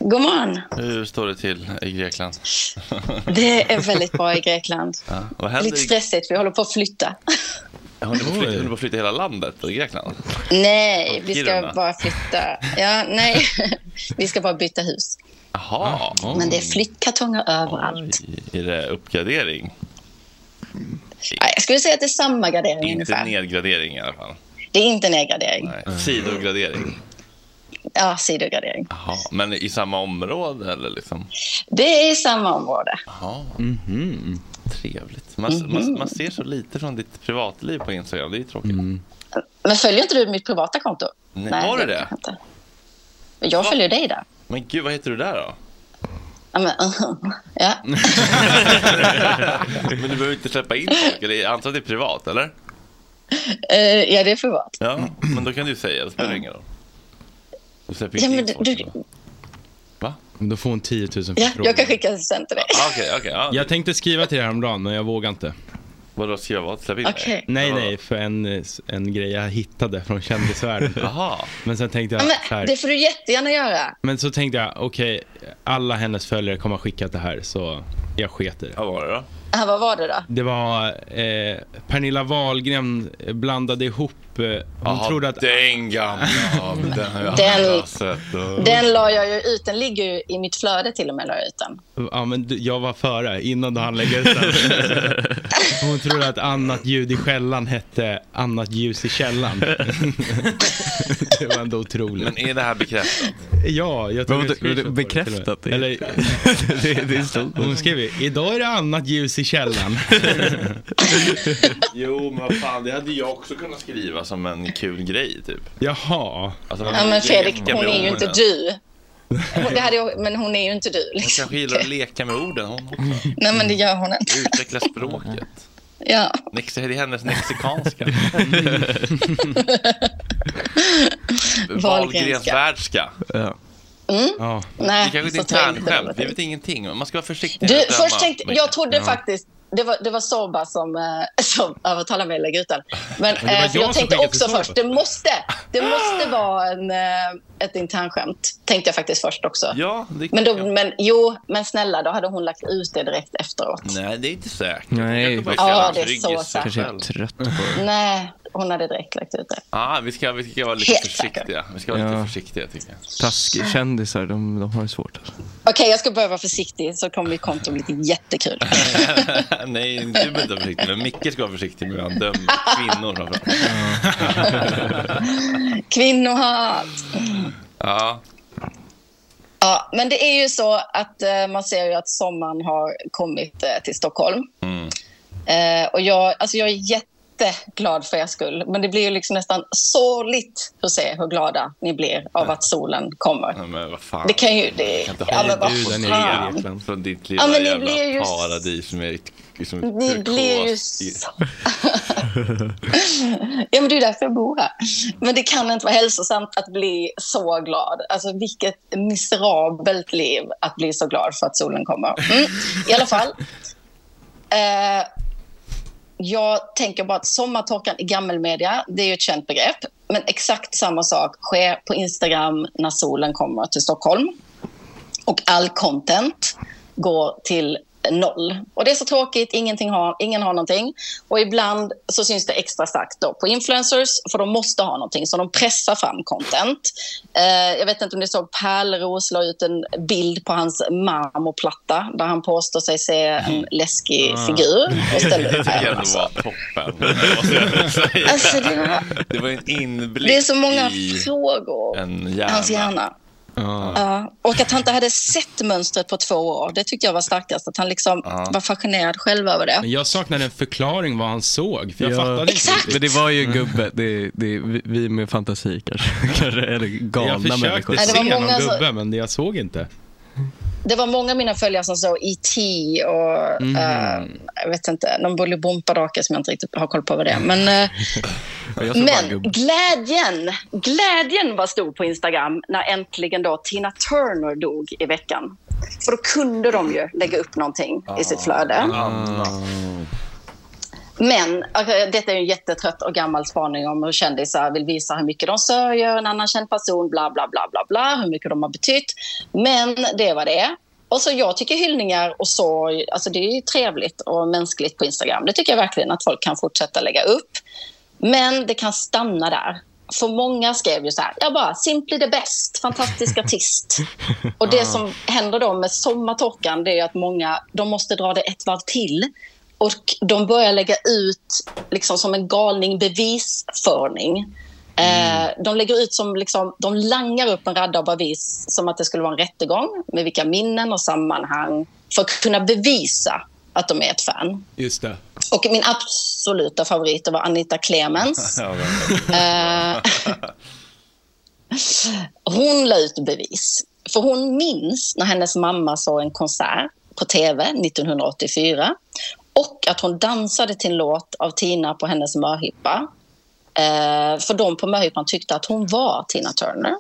Speaker 11: God morgon.
Speaker 1: Hur står det till i Grekland?
Speaker 11: Det är väldigt bra i Grekland.
Speaker 1: ja, vad händer?
Speaker 11: Lite stressigt, vi håller på att flytta.
Speaker 1: Håller ni på att flytta- håller ni på att flytta hela landet i Grekland?
Speaker 11: Nej,
Speaker 1: Och
Speaker 11: vi ska
Speaker 1: Kiruna.
Speaker 11: bara flytta. Ja, nej. Vi ska bara byta hus.
Speaker 1: Jaha.
Speaker 11: Men det är flyttkartonger överallt.
Speaker 1: Är det uppgradering?
Speaker 11: Nej, Jag skulle säga att det är samma gradering
Speaker 1: Inte
Speaker 11: ungefär.
Speaker 1: nedgradering i alla fall.
Speaker 11: Det är inte nedgradering.
Speaker 1: Nej. Sidogradering.
Speaker 11: Ja, sidogradering.
Speaker 1: Jaha. Men i samma område eller liksom?
Speaker 11: Det är i samma område.
Speaker 1: Jaha. Trevligt. Man, man, man ser så lite från ditt privatliv på Instagram. Det är ju tråkigt.
Speaker 11: Men följer inte du mitt privata konto?
Speaker 1: Nej, har du det?
Speaker 11: Jag följer dig där.
Speaker 1: Men gud, vad heter du där då?
Speaker 11: Ja, men, ja.
Speaker 1: Men du behöver inte släppa in folk. Eller, jag antar att det är privat, eller?
Speaker 11: Eh, ja, det är privat.
Speaker 1: Ja, men då kan du säga. Det spelar ingen roll. Du släpper
Speaker 11: Ja,
Speaker 1: inte
Speaker 11: men
Speaker 1: in
Speaker 11: du,
Speaker 1: folk.
Speaker 11: du,
Speaker 6: Men då får hon 10 000
Speaker 11: ja,
Speaker 6: förfrågningar.
Speaker 11: jag kan skicka sen till dig.
Speaker 1: Okej, okej.
Speaker 6: Jag tänkte skriva till dig häromdagen men jag vågar inte.
Speaker 1: Vadå skriva vad? Släpp in
Speaker 11: Okej.
Speaker 6: Nej nej, för en, en grej jag hittade från kändisvärlden.
Speaker 1: Jaha.
Speaker 6: Men sen tänkte jag
Speaker 11: Ja,
Speaker 6: så
Speaker 11: men,
Speaker 6: här.
Speaker 11: det får du jättegärna göra.
Speaker 6: Men så tänkte jag, okej, alla hennes följare kommer ha skickat det här så jag sket i det.
Speaker 1: Vad var det då?
Speaker 11: Ah, vad var det då?
Speaker 6: Det var eh, Pernilla Wahlgren blandade ihop, eh, hon
Speaker 1: Jaha,
Speaker 6: trodde att...
Speaker 1: den gamla. den har jag
Speaker 11: Den-
Speaker 1: aldrig sett.
Speaker 11: Den la jag ju ut. Den ligger ju i mitt flöde till och med. La jag ut den.
Speaker 6: Ja, men du, jag var före, innan du hann lägga ut den. Hon trodde att annat ljud i skällan hette annat ljus i källan. det var ändå otroligt.
Speaker 1: Men är det här bekräftat?
Speaker 6: Ja, jag tog
Speaker 7: Men
Speaker 6: ett screenshot
Speaker 7: vänta,
Speaker 6: på det till och med.
Speaker 7: bekräftat?
Speaker 6: Eller,
Speaker 7: det, det är så.
Speaker 6: hon skrev ju, idag är det annat ljus i källan.
Speaker 1: Jo, men vad fan, det hade jag också kunnat skriva som en kul grej typ.
Speaker 6: Jaha.
Speaker 1: Alltså, man
Speaker 11: Ja, men
Speaker 1: vill
Speaker 11: Fredrik,
Speaker 1: leka
Speaker 11: hon
Speaker 1: med
Speaker 11: är ju inte
Speaker 1: orden.
Speaker 11: du. Hon- Det hade jag, men hon är ju inte du.
Speaker 1: Hon
Speaker 11: Liksom.
Speaker 1: kanske gillar att leka med orden, hon också.
Speaker 11: Nej, men det gör hon inte.
Speaker 1: Utveckla språket.
Speaker 11: Ja.
Speaker 1: Nex- Det är hennes mexikanska. Mm. Wahlgrens världska.
Speaker 7: Ja.
Speaker 11: Mm.
Speaker 6: Ja.
Speaker 1: Det
Speaker 11: Nej,
Speaker 1: är kanske ett
Speaker 11: så tror jag inte det
Speaker 1: internskämt,
Speaker 11: var
Speaker 1: vi
Speaker 11: tänkt.
Speaker 1: vet ingenting. Man ska vara försiktig. med
Speaker 11: Du,
Speaker 1: att döma.
Speaker 11: först tänkte, jag trodde
Speaker 1: Ja.
Speaker 11: faktiskt... Det var, det var Sorba som, eh, som övertalade mig att lägga ut den.
Speaker 1: Men
Speaker 11: Men,
Speaker 1: det var
Speaker 11: eh, för
Speaker 1: jag som
Speaker 11: jag, tänkte
Speaker 1: skickade till
Speaker 11: också
Speaker 1: Sorba.
Speaker 11: först, det måste, det måste vara en, eh, ett internskämt. Tänkte jag faktiskt först också.
Speaker 1: Ja, det
Speaker 11: men, då, men jo, men snälla, då hade hon lagt ut det direkt efteråt.
Speaker 1: Nej, det är inte säkert.
Speaker 7: Nej,
Speaker 1: Jag kan
Speaker 11: Ja,
Speaker 1: bara känna
Speaker 11: det är
Speaker 1: rygg
Speaker 11: så
Speaker 1: i sig
Speaker 11: sant.
Speaker 7: Kanske är
Speaker 1: själv.
Speaker 7: jag trött på det.
Speaker 11: Nej, hon hade direkt lagt ut det.
Speaker 1: Ja, vi ska, vi ska vara lite
Speaker 11: Helt
Speaker 1: försiktiga. Vi ska vara lite
Speaker 7: Ja.
Speaker 1: försiktiga tycker jag.
Speaker 7: Taskkändisar, de, de har det svårt. Alltså.
Speaker 11: Okej, jag ska börja vara försiktig så kommer mitt konto bli jättekul.
Speaker 1: Nej, du behöver inte vara försiktig. Men Micke ska vara försiktig med hur han dömer kvinnor framförallt.
Speaker 11: Kvinnohat!
Speaker 1: Ja.
Speaker 11: Ja, men det är ju så att eh, man ser ju att sommaren har kommit eh, till Stockholm.
Speaker 1: Mm.
Speaker 11: Eh, och jag, alltså jag är jätteglad för er skull, men det blir ju liksom nästan sorgligt att se hur glada ni blir av att solen kommer.
Speaker 1: Ja, Men vad fan.
Speaker 11: Det kan ju... Det,
Speaker 1: Jag kan inte
Speaker 11: ja,
Speaker 1: ha
Speaker 11: men vad
Speaker 1: ljuden i
Speaker 11: fan.
Speaker 1: Grekland från ditt lilla
Speaker 11: Ja, men ni
Speaker 1: jävla
Speaker 11: blir ju-
Speaker 1: paradis som är liksom
Speaker 11: Ni blir ju
Speaker 1: turkos.
Speaker 11: så- Ja, men det är därför jag bor här. Men det kan inte vara hälsosamt att bli så glad. Alltså vilket miserabelt liv att bli så glad för att solen kommer. Mm. I alla fall. Eh, jag tänker bara att sommartorkan i gammelmedia, det är ju ett känt begrepp. Men exakt samma sak sker på Instagram när solen kommer till Stockholm. Och all content går till noll. Och det är så tråkigt, ingenting har, ingen har någonting. Och ibland så syns det extra starkt då på influencers, för de måste ha någonting, så de pressar fram content. Eh, jag vet inte om ni såg Pärleros la ut en bild på hans marmorplatta där han påstår sig se en läskig
Speaker 1: Ah.
Speaker 11: figur och ställde
Speaker 1: Det
Speaker 11: ut här.
Speaker 1: tycker jag ändå var toppen. det måste jag säga.
Speaker 11: Alltså, det var-
Speaker 1: Det var en inblick
Speaker 11: Det är så många
Speaker 1: i
Speaker 11: frågor.
Speaker 1: en hjärna.
Speaker 11: Hans hjärna. Ja, och att han inte hade sett mönstret på två år, det tyckte jag var starkast. Att han liksom
Speaker 6: Ja.
Speaker 11: var fascinerad själv över det.
Speaker 6: Men jag saknar en förklaring vad han såg, för jag fattade inte.
Speaker 11: Exakt.
Speaker 6: riktigt.
Speaker 7: Men det var ju en gubbe, det, det, vi- vi med fantasi kanske, kanske eller galna
Speaker 6: Jag försökte
Speaker 7: människor.
Speaker 11: Nej, det var
Speaker 6: se någon
Speaker 11: många som-
Speaker 6: gubbe, men jag såg inte.
Speaker 11: Det var många av mina följare som såg E.T. och
Speaker 6: Mm.
Speaker 11: eh, jag vet inte, någon bullybompa-drake som jag inte riktigt har koll på vad det är. Men, eh,
Speaker 7: Jag såg bara en
Speaker 11: men
Speaker 7: gubbe.
Speaker 11: glädjen, glädjen var stor på Instagram när äntligen då Tina Turner dog i veckan. För då kunde de ju lägga upp någonting i sitt flöde. Men okej, detta är ju en jättetrött och gammal spaning om hur kändisar vill visa hur mycket de sörjer en annan känd person, bla, bla, bla, bla, bla, hur mycket de har betytt. Men det var det är. Och så jag tycker hyllningar och sorg, alltså det är ju trevligt och mänskligt på Instagram. Det tycker jag verkligen att folk kan fortsätta lägga upp. Men det kan stanna där. För många skrev ju så här, jag bara, simply the best, fantastisk artist. Och det som händer då med sommartorkan, det är ju att många, de måste dra det ett varv till. Och de börjar lägga ut, liksom som en galning, bevisföring. Eh, de lägger ut som, liksom, de langar upp en radda av bevis som att det skulle vara en rättegång med vilka minnen och sammanhang för att kunna bevisa att de är ett fan.
Speaker 6: Just det.
Speaker 11: Och min absoluta favorit var Anita Clemens. Eh, hon la ut bevis. För hon minns när hennes mamma såg en konsert på tv 1984 och att hon dansade till en låt av Tina på hennes möhippa. Eh, för de på möhippan tyckte att hon var Tina Turner.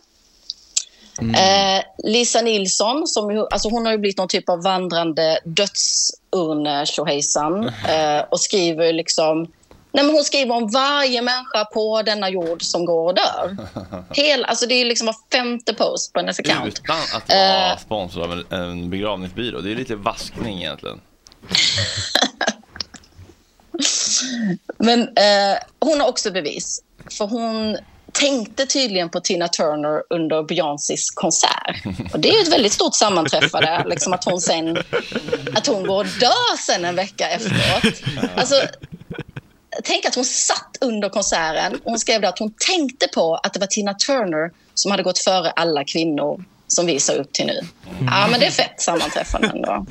Speaker 11: Eh, Lisa Nilsson, som ju, alltså hon har ju blivit någon typ av vandrande dödsurne tjohejsan eh, och skriver ju liksom... Nej, men hon skriver om varje människa på denna jord som går och dör. Hel, alltså det är ju liksom var femte post på hennes account. Eh.
Speaker 1: Utan att vara sponsrad av en, en begravningsbyrå. Det är lite vaskning egentligen.
Speaker 11: Men eh, hon har också bevis. För hon tänkte tydligen på Tina Turner under Beyoncés konsert. Och det är ju ett väldigt stort sammanträffande, liksom att hon sen... Att hon går och dör sen en vecka efteråt. Alltså, tänk att hon satt under konserten och hon skrev där att hon tänkte på att det var Tina Turner som hade gått före alla kvinnor som vi ser upp till nu. Ja, men det är fett sammanträffande ändå.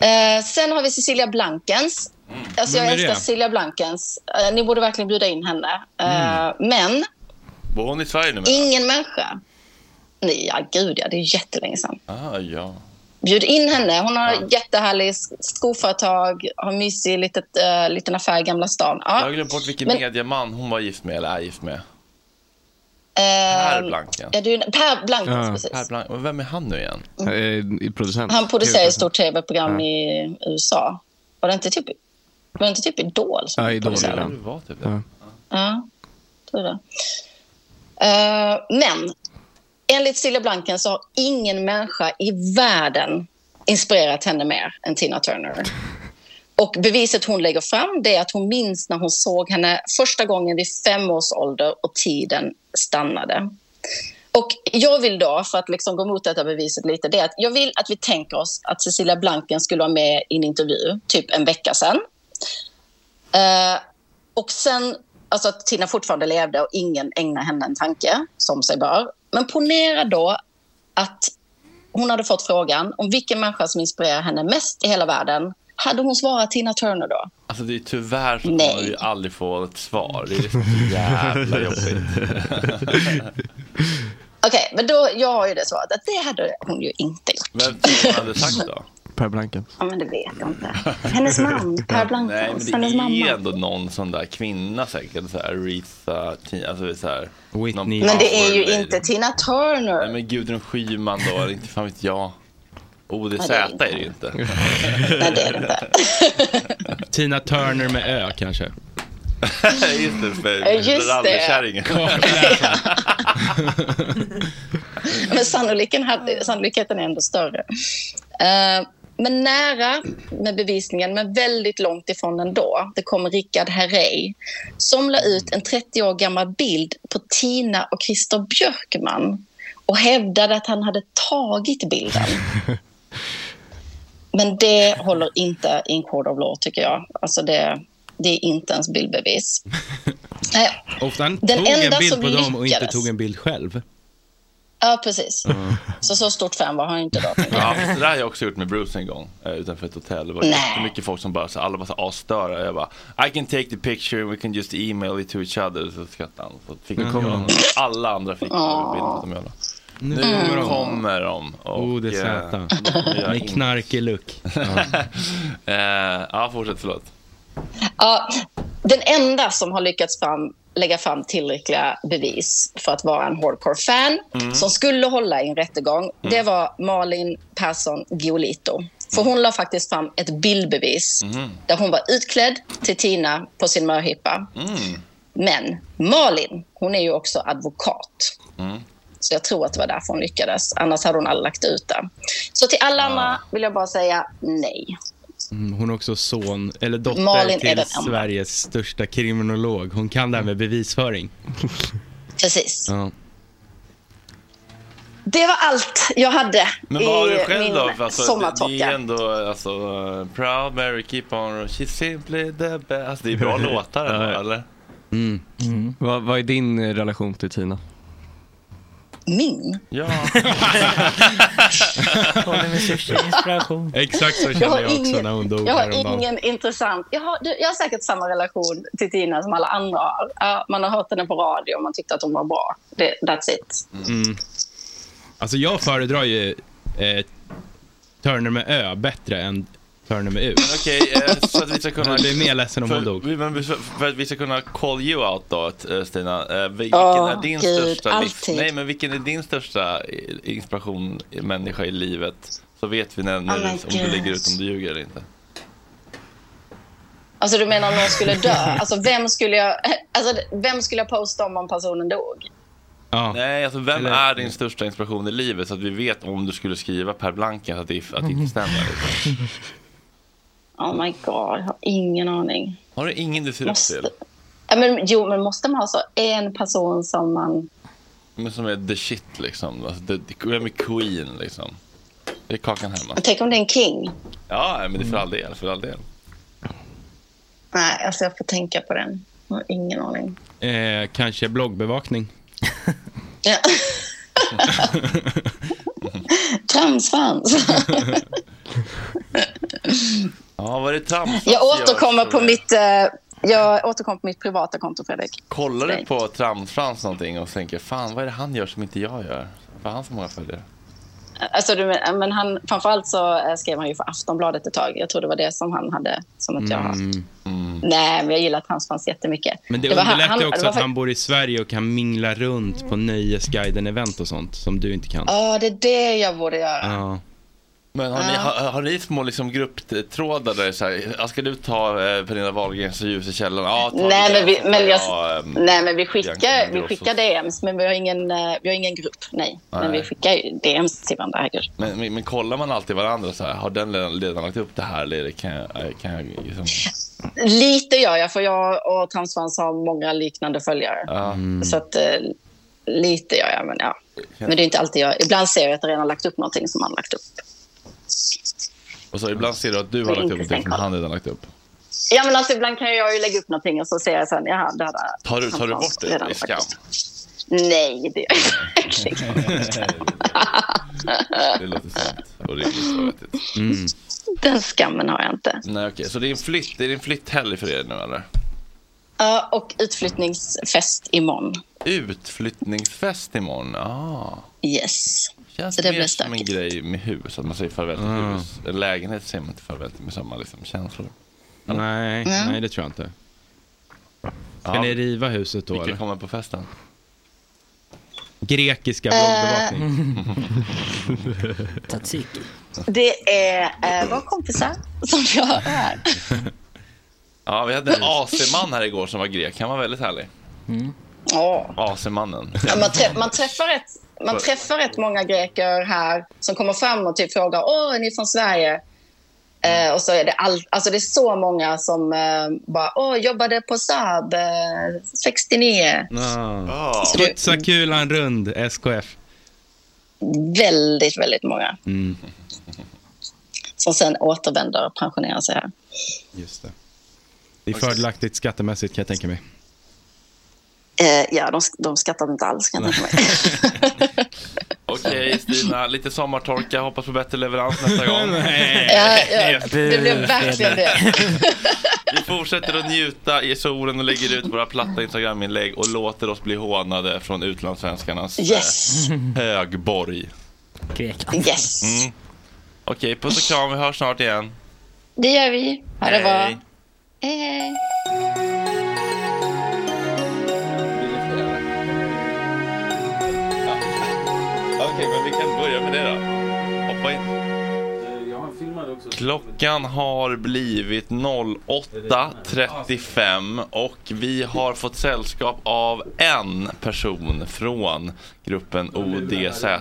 Speaker 11: Eh, sen har vi Cecilia Blankens. Alltså, jag
Speaker 1: Vem är det?
Speaker 11: älskar Cecilia Blankens. Eh, ni borde verkligen bjuda in henne. Eh,
Speaker 1: Mm.
Speaker 11: Men
Speaker 1: Bor hon i Sverige nu?
Speaker 11: ingen människa... Nej, ja, gud ja, det är jättelänge sedan.
Speaker 1: Ah, ja.
Speaker 11: Bjud in henne. Hon har jättehärlig sk- skoföretag, har mysig litet, eh, liten affär i Gamla stan.
Speaker 1: Jag
Speaker 11: Ja.
Speaker 1: har glömt bort vilken
Speaker 11: Men-
Speaker 1: medieman hon var gift med eller är gift med.
Speaker 11: Per
Speaker 1: Per Blanken.
Speaker 11: Är eh, du, per Blankens, precis.
Speaker 1: Per Blank. Men Vem är han nu igen?
Speaker 7: Eh, producent.
Speaker 11: Han producerar ett stort tv-program
Speaker 7: Ja.
Speaker 11: i USA. Var det inte typ, var det inte typ Idol som
Speaker 7: Ja, Idol,
Speaker 11: producerade?
Speaker 7: ja.
Speaker 1: Det var typ
Speaker 7: Ja.
Speaker 11: Ja, tror det. Eh, men enligt Cecilia Blanken så har ingen människa i världen inspirerat henne mer än Tina Turner. Och beviset hon lägger fram det är att hon minns när hon såg henne första gången vid fem års ålder och tiden stannade. Och jag vill då, för att liksom gå emot detta beviset lite, det är att jag vill att vi tänker oss att Cecilia Blanken skulle vara med i en intervju, typ en vecka sedan. Eh, och sen, alltså att Tina fortfarande levde och ingen ägnade henne en tanke, som sig bör. Men ponera då att hon hade fått frågan om vilken människa som inspirerar henne mest i hela världen. Hade hon svarat Tina Turner då?
Speaker 1: Alltså det är tyvärr så kommer vi aldrig få ett svar. Det är så jävla jobbigt.
Speaker 11: Okej, men då, jag har ju det svaret att det hade hon ju inte gjort.
Speaker 1: Vem tror du hade sagt då?
Speaker 7: Per Blanken.
Speaker 11: Ja, men det vet jag inte. Hennes man, Per
Speaker 1: Nej, men
Speaker 11: Blankens,
Speaker 1: det
Speaker 11: hennes
Speaker 1: är
Speaker 11: mamma.
Speaker 1: ändå någon sån där kvinna säkert. Så här, Aretha, Tina, alltså så här, Whitney.
Speaker 11: Men det är ju inte Tina Turner.
Speaker 1: Nej, men Gudrun Schyman då, eller inte fan vet jag. ODZ
Speaker 11: Nej,
Speaker 1: är det ju inte.
Speaker 11: Nej, det är det inte.
Speaker 6: Tina Turner med Ö kanske.
Speaker 1: Just det,
Speaker 11: Eh,
Speaker 1: för
Speaker 11: just det.
Speaker 1: rallerkärringen.
Speaker 11: Men sannolikheten, hade, sannolikheten är ändå större. Eh, men nära med bevisningen, men väldigt långt ifrån ändå. Det kom Rickard Herrey som la ut en 30 år gammal bild på Tina och Christer Björkman och hävdade att han hade tagit bilden. Men det håller inte i en Court of Law, tycker jag. Alltså det, det är inte ens bildbevis. Eh,
Speaker 6: Ofta han
Speaker 11: Den
Speaker 6: tog en
Speaker 11: enda
Speaker 6: bild
Speaker 11: som
Speaker 6: på dem och inte
Speaker 11: lyckades.
Speaker 6: tog en bild själv.
Speaker 11: Ja, precis. Så så stort fan var han inte då.
Speaker 1: Ja, det där har jag också gjort med Bruce en gång eh, utanför ett hotell. Det var
Speaker 11: Nej.
Speaker 1: jättemycket folk som bara, så, alla var så asstöra. Jag bara, I can take the picture, we can just email it to each other. Så skrattade han. Så fick
Speaker 6: Nu
Speaker 1: mm.
Speaker 6: kommer de.
Speaker 1: Alla andra fick
Speaker 11: Åh.
Speaker 1: bilden på dem alla.
Speaker 6: Nu
Speaker 1: Nu
Speaker 6: kommer de.
Speaker 1: kommer de. Och,
Speaker 6: Oh, det är
Speaker 1: eh,
Speaker 6: söta.
Speaker 1: då kommer jag
Speaker 6: Med
Speaker 1: in.
Speaker 6: knarkig look.
Speaker 1: Eh, Ja, fortsätt, förlåt.
Speaker 11: Ja, den enda som har lyckats fram, lägga fram tillräckliga bevis för att vara en hardcore-fan
Speaker 10: Mm.
Speaker 11: som skulle hålla i en rättegång, det var Malin Persson Giolito. För hon la faktiskt fram ett bildbevis
Speaker 4: Mm.
Speaker 11: där hon var utklädd till Tina på sin möhippa.
Speaker 4: Mm.
Speaker 11: Men Malin, hon är ju också advokat.
Speaker 4: Mm.
Speaker 11: Så jag tror att det var därför hon lyckades. Annars hade hon aldrig lagt ut det. Så till alla andra vill jag bara säga nej.
Speaker 6: Mm, Hon är också son, eller dotter
Speaker 11: Malin är
Speaker 6: till
Speaker 11: den enda.
Speaker 6: Sveriges största kriminolog. Hon kan det här med bevisföring.
Speaker 11: Precis.
Speaker 6: Ja.
Speaker 11: Det var allt jag hade
Speaker 1: Men vad har
Speaker 11: i
Speaker 1: du själv
Speaker 11: min
Speaker 1: då? För Alltså, det,
Speaker 11: sommartorka.
Speaker 1: det är ändå alltså, eh, Proud Mary Keep On She's Simply the Best. Alltså, det är bra låtar ändå, eller?
Speaker 7: Mm. Vad, vad är din eh, relation till Tina?
Speaker 11: Min?
Speaker 1: Ja.
Speaker 8: Kolla med sushi, inspiration.
Speaker 6: Exakt så kände jag, också när hon dog
Speaker 11: jag har
Speaker 6: häromdagen.
Speaker 11: ingen intressant... Jag har, du, jag har säkert samma relation till Tina som alla andra har. Ja, man har hört henne på radio och man tyckte att hon var bra. Det, that's it.
Speaker 6: Mm. Alltså jag föredrar ju eh, Turner med Ö bättre än Turner med U.
Speaker 1: Okej, eh, så att vi ska kunna...
Speaker 6: Jag blir mer ledsen om
Speaker 1: för,
Speaker 6: hon dog.
Speaker 1: vi- Men vi- för att vi ska kunna call you out då, t- eh, Stina. Eh, Vilken
Speaker 11: Åh,
Speaker 1: är din
Speaker 11: Gud,
Speaker 1: största... livs-
Speaker 11: alltid.
Speaker 1: Nej, men vilken är din största i- inspiration, i- människa i livet? Så vet vi när, när
Speaker 11: Oh my
Speaker 1: du, om du
Speaker 11: God.
Speaker 1: lägger ut om du ljuger eller inte.
Speaker 11: Alltså, du menar om någon skulle dö? Alltså, vem skulle jag, alltså, vem skulle jag posta om om personen dog?
Speaker 1: Nej, alltså vem är din största inspiration i livet? Så att vi vet om du skulle skriva Per Blanken att det, att det inte stämmer. Liksom.
Speaker 11: Oh my god, jag har ingen aning.
Speaker 1: Har du ingen du ser upp
Speaker 11: Måste-
Speaker 1: till?
Speaker 11: Ja, men, jo, men måste man ha så en person som man...
Speaker 1: Men som är the shit liksom. Alltså, the, the, vem är Queen liksom? Det är Kakan Hemma.
Speaker 11: Tänk om det är en king?
Speaker 1: Ja, men det är för all del. För all del.
Speaker 11: Nej, alltså jag får tänka på den. Jag har ingen aning.
Speaker 6: Eh, kanske bloggbevakning.
Speaker 11: Ja. Tramsvans.
Speaker 1: Ja, var det trams?
Speaker 11: Jag återkommer på mitt... eh, Jag återkommer på mitt privata konto, Fredrik.
Speaker 1: Kollar du på Tramsfrans någonting och tänker fan vad är det han gör som inte jag gör? Vad har han så många följare?
Speaker 11: Alltså, du, men- men han, framförallt så eh, skrev han ju för Aftonbladet ett tag. Jag tror det var det som han hade som att jag har.
Speaker 6: Mm.
Speaker 11: Nej, men jag gillar Tramsvans jättemycket.
Speaker 6: Men det,
Speaker 11: var han-
Speaker 6: underlättar
Speaker 11: han-
Speaker 6: också
Speaker 11: det var
Speaker 6: att han bor i Sverige och kan mingla runt på Nöjesguiden-event och sånt som du inte kan.
Speaker 11: Ja, det är det jag borde göra.
Speaker 6: Ja.
Speaker 1: Men har ni,
Speaker 11: Ja.
Speaker 1: har, har ni små liksom, grupptrådar där det är så här, "Ja, ska du ta eh, Pernilla Wahlgrens ljus i källaren? Ja, ta
Speaker 11: Nej,
Speaker 1: det.
Speaker 11: men vi,
Speaker 1: Så tar
Speaker 11: men jag,
Speaker 1: ehm,
Speaker 6: Mm.
Speaker 11: nej, men vi
Speaker 1: Bianca
Speaker 11: skickar, vi
Speaker 1: Ingrosso.
Speaker 11: skickar DMs, men vi har ingen, eh, vi har ingen grupp. Nej, men
Speaker 1: Nej.
Speaker 11: vi skickar ju DMs till varandra. herregud.
Speaker 1: Men, men, men kollar man alltid varandra så här, har den redan, redan lagt upp det här eller är det- kan jag, eh, kan jag liksom...
Speaker 11: Lite gör jag, för jag och Transfans har många liknande följare.
Speaker 1: Ja.
Speaker 11: Så att, eh, lite gör jag, men ja. Men det är inte alltid jag. Ibland ser jag att jag redan har lagt upp någonting som han har lagt upp.
Speaker 1: Och så ibland ser du att du har lagt upp någonting som han redan lagt upp.
Speaker 11: Ja, men alltså, ibland kan jag ju lägga upp någonting och så ser jag sen, jaha, det hade
Speaker 1: Tar du, tar du
Speaker 11: Transfans
Speaker 1: bort det i
Speaker 11: redan lagt
Speaker 1: skam?
Speaker 11: upp. Nej, det gör jag verkligen
Speaker 1: Det låter sant och rimligt och vettigt.
Speaker 11: Den skammen har jag inte.
Speaker 1: Nej, okej. Så det är en flytt, det är en flytthelg för er nu eller?
Speaker 11: Ja, och utflyttningsfest imorgon.
Speaker 1: Utflyttningsfest imorgon. Ah.
Speaker 11: Yes.
Speaker 1: Känns
Speaker 11: så det
Speaker 1: mer
Speaker 11: blir
Speaker 1: som en
Speaker 11: stökigt.
Speaker 1: grej med hus, att man säger farväl till hus. En lägenhet säger man inte farväl till med samma liksom, känslor.
Speaker 6: Nej,
Speaker 1: Mm.
Speaker 6: nej, det tror jag inte. Ska
Speaker 1: Ja.
Speaker 6: ni riva huset då?
Speaker 1: Vilka
Speaker 6: eller?
Speaker 1: kommer på festen?
Speaker 6: Grekiska
Speaker 11: Eh.
Speaker 6: bloggbevakning.
Speaker 8: Tzatziki.
Speaker 11: Det är eh, våra kompisar som jag är.
Speaker 1: Ja, vi hade en AC-man här igår som var grek. Han var väldigt härlig.
Speaker 11: Ja.
Speaker 1: AC-mannen.
Speaker 11: Ja, man, träff, man, träffar rätt, man
Speaker 1: Vad-
Speaker 11: träffar rätt många greker här som kommer fram och typ frågar Åh, är ni från Sverige? Eh, och så är det, all, alltså det är så många som eh, bara Åh, jobbade på Saab eh, 69.
Speaker 6: Ja.
Speaker 11: Så det-
Speaker 6: Studsa kulan rund, SKF.
Speaker 11: Väldigt, väldigt många
Speaker 6: Mm,
Speaker 11: som sen återvänder och pensionerar sig här.
Speaker 6: just det. Det är fördelaktigt skattemässigt kan jag tänka mig.
Speaker 11: Eh, ja, de, de skattar inte alls kan jag tänka mig.
Speaker 1: Okej, Stina. Lite sommartorka. Hoppas på bättre leverans nästa gång.
Speaker 11: ja, ja, det blev verkligen det.
Speaker 1: Vi fortsätter att njuta i solen och lägger ut våra platta Instagram-inlägg och låter oss bli hånade från utlandssvenskarnas eh,
Speaker 11: Yes.
Speaker 1: högborg.
Speaker 8: Grekland.
Speaker 11: Yes.
Speaker 1: Mm. Okej, puss och kram. Vi hörs snart igen.
Speaker 11: Det gör vi. Ha det bra.
Speaker 1: Hej.
Speaker 11: Hej, hej.
Speaker 1: Okej, men vi kan börja med det då. Hoppa in.
Speaker 10: Jag har en filmare också.
Speaker 1: Klockan har blivit 08.35 och vi har fått sällskap av en person från gruppen ODZ. Är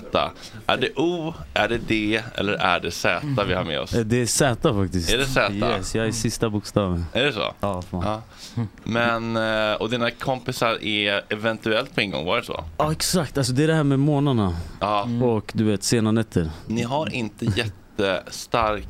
Speaker 1: det O, är det D eller är det Z vi har med oss?
Speaker 10: Eh, Det är Z faktiskt.
Speaker 1: Är det Z?
Speaker 10: Yes, jag är sista bokstaven.
Speaker 1: Är det så?
Speaker 10: Ja, fan.
Speaker 1: Ja. Men, eh, och dina kompisar är eventuellt på ingång, var det så?
Speaker 10: Ja exakt, alltså det är det här med månaderna. Mm. Och du vet sena nätter.
Speaker 1: Ni har inte jättestark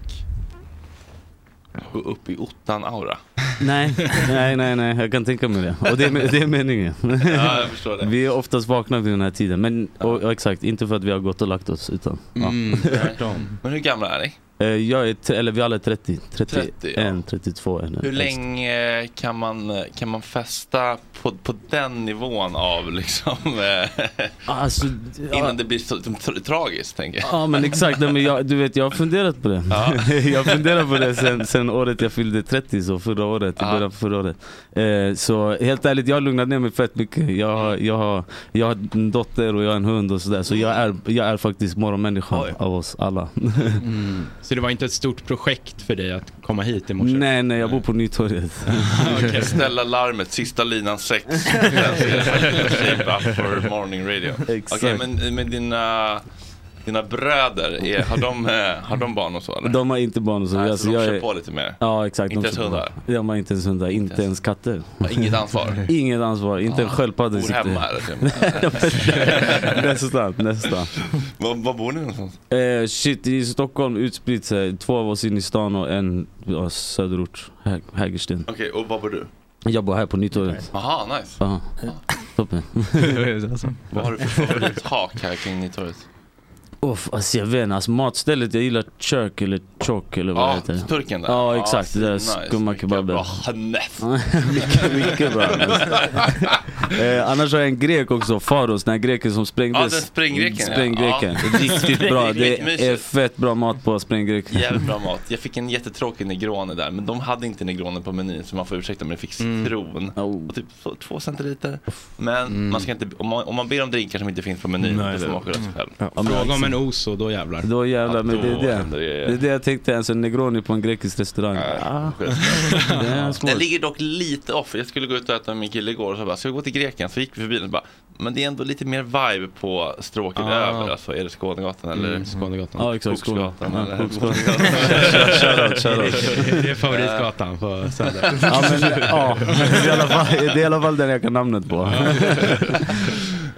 Speaker 1: gå upp i ottan-aura.
Speaker 10: Nej, nej, nej, nej, jag kan tänka mig det. Och det är, me- det är meningen.
Speaker 1: Ja, jag förstår det.
Speaker 10: Vi är oftast vakna vid den här tiden. Men och, ja, exakt, inte för att vi har gått och lagt oss utan. Ja.
Speaker 1: Mm. Tvärtom. Men hur gamla är ni?
Speaker 10: Eh, Jag är, tre- eller vi alla är 30.
Speaker 1: 30,
Speaker 10: 31, 32 är den
Speaker 1: Hur
Speaker 10: äldsta.
Speaker 1: länge kan man, kan man festa på, på den nivån av liksom eh,
Speaker 10: Alltså,
Speaker 1: innan det blir så, tra- tragiskt tänker jag.
Speaker 10: Ja men liksom- exakt, Nej, men jag, du vet jag har funderat på det. jag har funderat på det sen, sen året jag fyllde 30, så förra året, i början på förra året. Eh, så helt ärligt, jag har lugnat ner mig fett mycket. Jag har, jag har, jag har en dotter och jag har en hund och sådär. Så jag är, jag är faktiskt morgonmänniska av oss alla. Mm.
Speaker 6: Så det var inte ett stort projekt för dig att komma hit i morse?
Speaker 10: nej nej, jag bor på Nytorget.
Speaker 1: Okej, ställa larmet, sista linan sex. Sen ska det faktiskt shape up for morning radio.
Speaker 10: Exakt.
Speaker 1: Okej, men, men dina, dina bröder, är, har, de, eh, har de barn och så eller?
Speaker 10: De har inte barn och så.
Speaker 1: Nej,
Speaker 10: Alltså,
Speaker 1: så de
Speaker 10: jag
Speaker 1: kör
Speaker 10: är-
Speaker 1: på lite mer?
Speaker 10: Ja exakt.
Speaker 1: Inte
Speaker 10: de
Speaker 1: ens
Speaker 10: kör på.
Speaker 1: hundar?
Speaker 10: De har inte ens hundar, inte, ens katter.
Speaker 1: Inget ansvar?
Speaker 10: Inget ansvar, inte en sköldpadda i
Speaker 1: Bor
Speaker 10: sikte.
Speaker 1: hemma typ. eller?
Speaker 10: nästan, nästan.
Speaker 1: Var, var bor ni någonstans?
Speaker 10: Eh, shit, i Stockholm utspritt sig. Två av oss in i stan och en ja, söderort, Hä- Hägersten.
Speaker 1: Okej, och var bor du?
Speaker 10: Jag bor här på Nytorget.
Speaker 1: Aha, nice.
Speaker 10: Ja, toppen.
Speaker 1: Vad har du för favorittak här kring Nytorget?
Speaker 10: Uff, alltså jag vet inte, alltså matstället jag gillar Chirk eller Chok eller vad
Speaker 1: Ja,
Speaker 10: det heter.
Speaker 1: turken där.
Speaker 10: Ja
Speaker 1: Ja,
Speaker 10: exakt, det där
Speaker 1: nice.
Speaker 10: skumma kebaben.
Speaker 1: Hanef.
Speaker 10: mycket, mycket bra. eh, annars har jag en grek också, Faros, den här greken som sprängdes.
Speaker 1: Ja, den spränggreken, ja.
Speaker 10: Spränggreken.
Speaker 1: Ja.
Speaker 10: Riktigt bra, det är
Speaker 1: Skitmysigt.
Speaker 10: fett bra mat på spränggrek.
Speaker 1: Jävligt bra mat. Jag fick en jättetråkig negrone där, men de hade inte negronen på menyn så man får ursäkta men jag fick
Speaker 6: Mm.
Speaker 1: citron.
Speaker 10: Oh.
Speaker 1: Och typ så, två centiliter. Men
Speaker 10: Mm.
Speaker 1: man ska inte, om, man, om man ber om drinkar som inte finns på menyn,
Speaker 6: Nej,
Speaker 1: då får
Speaker 6: det- Mm.
Speaker 1: man skylla sig själv.
Speaker 10: Ja, men
Speaker 6: Fråga om
Speaker 10: exakt.
Speaker 6: en oso, då jävlar.
Speaker 10: Då jävlar, men det är
Speaker 1: då händer
Speaker 10: det.
Speaker 1: det.
Speaker 10: Det är det jag tänkte, alltså en negroni på en grekisk restaurang. Ah. Det är smart.
Speaker 1: Den ligger dock lite off. Jag skulle gå ut och äta med min kille igår och så bara, ska vi gå till Grekland? Så gick vi förbi den och bara, men det är ändå lite mer vibe på stråket
Speaker 6: Ah.
Speaker 1: över. Alltså, är det Skånegatan eller?
Speaker 6: Mm, Skånegatan.
Speaker 10: Ja, exakt,
Speaker 1: Skogsgatan
Speaker 10: Skåne.
Speaker 1: eller?
Speaker 10: Ja, Skogsgatan. Shoutout, shoutout.
Speaker 6: Det är favoritgatan på Söder.
Speaker 10: Ja, men, ja. Det, är i alla fall, det är i alla fall den jag kan namnet på.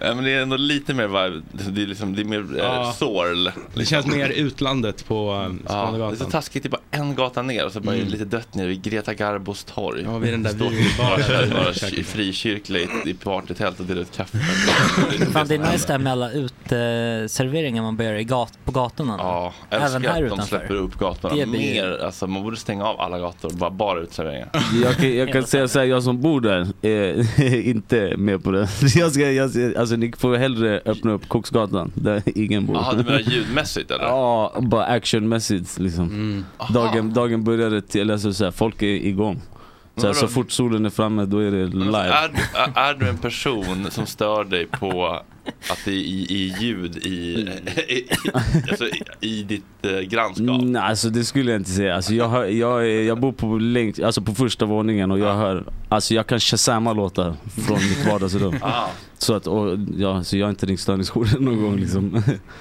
Speaker 1: Ja, men det är ändå lite mer vibe, det är, liksom, det är mer eh,
Speaker 6: Ja.
Speaker 1: sorl.
Speaker 6: Det känns mer utlandet på eh,
Speaker 1: Ja, det
Speaker 6: Skånegatan.
Speaker 1: är så taskigt, det är Typ bara en gata ner och så bara är det lite dött nere vid Greta Garbos torg.
Speaker 6: Mm. Ja, vid den där
Speaker 1: Står typ
Speaker 6: vinbaren.
Speaker 1: där några ky- frikyrkliga i- i partytält och delar ut kaffe.
Speaker 8: Fan det är nice det här med alla uteserveringar man börjar i gat på gatorna.
Speaker 1: Ja,
Speaker 8: Även
Speaker 1: älskar
Speaker 8: här
Speaker 1: att de
Speaker 8: utanför.
Speaker 1: släpper upp
Speaker 8: Det
Speaker 1: gatorna
Speaker 8: blir-
Speaker 1: mer. Alltså, man borde stänga av alla gator och bara, bara uteserveringar.
Speaker 10: Jag kan, jag kan säga såhär, jag som bor där är inte med på det. Jag ska, jag, ska- alltså, ni får hellre öppna upp Koksgatan, där ingen bor.
Speaker 1: Jaha, du menar ljudmässigt eller?
Speaker 10: Ja, bara actionmässigt liksom. Dagen, dagen började, till, eller alltså, så här, folk är igång. Så, här,
Speaker 1: Vadå? alltså,
Speaker 10: så fort solen är framme, då är det live.
Speaker 1: Är, är du en person som stör dig på Att det är i, i ljud i, i, i, alltså, i, i ditt eh, grannskap?
Speaker 10: Mm, alltså det skulle jag inte säga. Alltså, jag, hör, jag, är- jag bor på, längt, alltså, på första våningen och jag hör, alltså jag kan shazama låtar från mitt vardagsrum.
Speaker 1: Ah.
Speaker 10: Så att, och, ja, så jag har inte ringt störningsjouren någon gång liksom.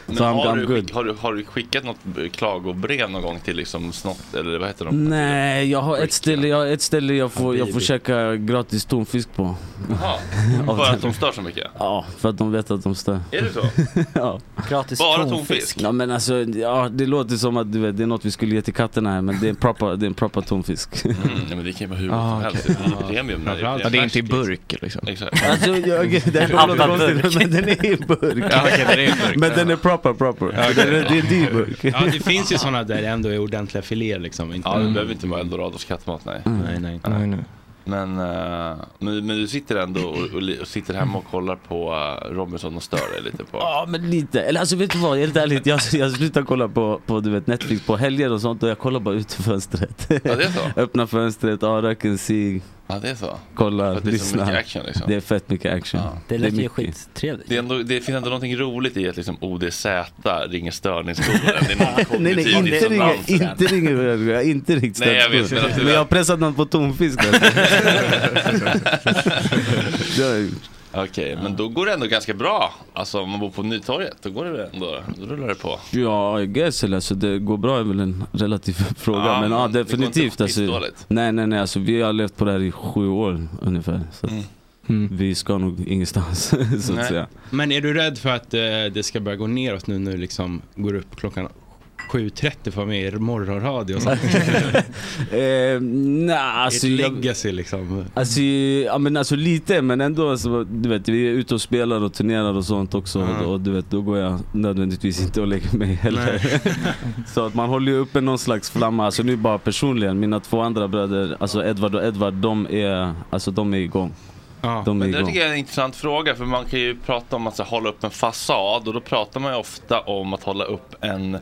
Speaker 1: Men
Speaker 10: Så I'm,
Speaker 1: har,
Speaker 10: I'm
Speaker 1: du,
Speaker 10: good.
Speaker 1: skick- har, du, har du skickat något b- klagobrev någon gång till liksom snott, eller vad heter de?
Speaker 10: Nej, jag har ett ställe jag, har ett ställe jag, får, jag får
Speaker 1: Habibi.
Speaker 10: käka gratis tonfisk på.
Speaker 1: Jaha,
Speaker 10: Av
Speaker 1: för att
Speaker 10: den-
Speaker 1: de stör så mycket?
Speaker 10: Ja, för att de vet att de stör.
Speaker 1: Är det så?
Speaker 10: ja.
Speaker 8: Gratis
Speaker 1: Bara tonfisk?
Speaker 10: Ja men alltså, ja, det låter som att du vet, det är något vi skulle ge till katterna här men det är en proper, det är en proper tonfisk.
Speaker 1: Mm, nej, men det kan ju vara hur
Speaker 10: Ah,
Speaker 1: ah, som helst.
Speaker 10: okej.
Speaker 1: Det är ju premium. när
Speaker 10: Framförallt.
Speaker 7: Ja, det är inte i
Speaker 1: färskt,
Speaker 7: burk, liksom.
Speaker 1: Exakt.
Speaker 10: Alltså, jag, det här kommer låta konstigt men den är i burk.
Speaker 7: Ja, okej, den är i burk.
Speaker 10: Men den är proper proper.
Speaker 6: Ja, okej.
Speaker 10: Den är, det är en dyr burk.
Speaker 6: Ja, det finns ju sådana där det ändå är ordentliga filéer liksom. Inte
Speaker 1: Ja,
Speaker 10: Mm.
Speaker 1: det behöver inte vara Eldorados kattmat, nej.
Speaker 6: Mm. Nej, nej.
Speaker 1: nej, Men, eh, men, men du sitter ändå och, och, li- och sitter hemma och kollar på eh, Robinson och stör dig lite på...
Speaker 10: Ja men lite, eller alltså vet du vad, helt ärligt jag, jag slutar kolla på, på du vet, Netflix på helger och sånt och jag kollar bara ut ur fönstret.
Speaker 1: Ja, det är så?
Speaker 10: Öppna fönstret, ja, röker en cigg.
Speaker 1: Ja det är så?
Speaker 10: Kollar,
Speaker 1: För att det är så
Speaker 10: lyssnar.
Speaker 1: mycket action, liksom.
Speaker 10: Det är fett mycket action.
Speaker 8: Det låter ju
Speaker 10: mycket.
Speaker 8: skittrevligt.
Speaker 1: Det, är ändå, det finns ändå någonting roligt i att liksom ODZ ringer störningsjouren. Det är någon
Speaker 10: Nej nej,
Speaker 1: kognitiv
Speaker 10: inte ringa,
Speaker 1: dissonans där.
Speaker 10: inte ringa jag har inte ringt
Speaker 1: Nej, jag vet, men
Speaker 10: statsråd.
Speaker 1: att du-
Speaker 10: Men jag har pressat någon på tonfisk alltså. Det har jag gjort.
Speaker 1: Okej, men då går det ändå ganska bra. Alltså om man bor på Nytorget, då går det väl ändå, då rullar det på.
Speaker 10: Ja, I guess eller alltså, det går bra är väl en relativ fråga.
Speaker 1: Ja,
Speaker 10: men ja,
Speaker 1: men det går inte
Speaker 10: definitivt alltså.
Speaker 1: pissdåligt.
Speaker 10: Nej nej nej, alltså, vi har levt på det här i sju år ungefär. Så
Speaker 1: Mm.
Speaker 10: att Vi ska nog ingenstans så att säga.
Speaker 6: Men är du rädd för att eh, det ska börja gå neråt nu när du liksom går upp klockan 7.30 för mig i morgonradio och sånt?
Speaker 10: eh, nej, alltså,
Speaker 6: Ett
Speaker 10: jag-
Speaker 6: legacy liksom.
Speaker 10: Alltså, ja, men alltså lite, men ändå. Alltså, du vet, vi är ute och spelar och turnerar och sånt också.
Speaker 6: Ja.
Speaker 10: Och, och du vet, då går jag nödvändigtvis inte och lägger mig heller. så att man håller ju uppe någon slags flamma. Alltså nu bara personligen, mina två andra bröder, alltså Edvard och Edvard, de är, alltså, de är igång. De är
Speaker 1: Men det
Speaker 10: igång.
Speaker 1: tycker jag är en intressant fråga för man kan ju prata om att så, här, hålla upp en fasad och då pratar man ju ofta om att hålla upp en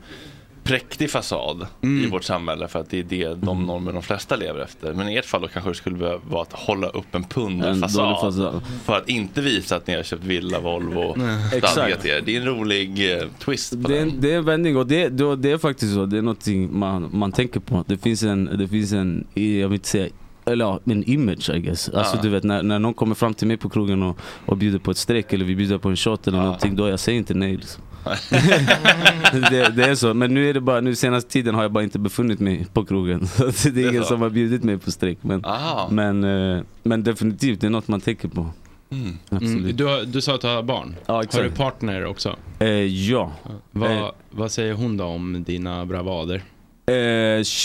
Speaker 1: präktig fasad
Speaker 6: Mm.
Speaker 1: i vårt samhälle för att det är det
Speaker 10: Mm.
Speaker 1: de normer de flesta lever efter. Men i ert fall då kanske det skulle behöva vara att hålla upp en
Speaker 10: En dålig
Speaker 1: punderfasad
Speaker 10: fasad.
Speaker 1: för att inte visa att ni har köpt villa, Volvo och
Speaker 10: Nej.
Speaker 1: stadgat
Speaker 10: Exakt.
Speaker 1: er. Det är en rolig eh, twist på
Speaker 10: Det är,
Speaker 1: den.
Speaker 10: en- det är en vändning och det, det, det är faktiskt så. Det är någonting man, man tänker på. Det finns en, det finns en jag vill inte säga, eller ja, en image I guess. Alltså
Speaker 7: Ja.
Speaker 10: du vet när, när någon kommer fram till mig på krogen och, och bjuder på ett streck eller vi bjuder på en shot eller någonting, då jag säger inte nej liksom. det, det är så, men nu är det bara, nu senaste tiden har jag bara inte befunnit mig på krogen. Så att det är ingen
Speaker 1: så.
Speaker 10: som har bjudit mig på streck. Men,
Speaker 1: Aha.
Speaker 10: men, eh, men definitivt, det är något man tänker på.
Speaker 6: Mm.
Speaker 10: Absolut.
Speaker 6: Mm. Du, har- du sa att du har barn. har
Speaker 10: exakt.
Speaker 6: du partner också?
Speaker 10: Eh, ja.
Speaker 6: Vad,
Speaker 10: Eh.
Speaker 6: vad säger hon då om dina bravader?
Speaker 10: Eh,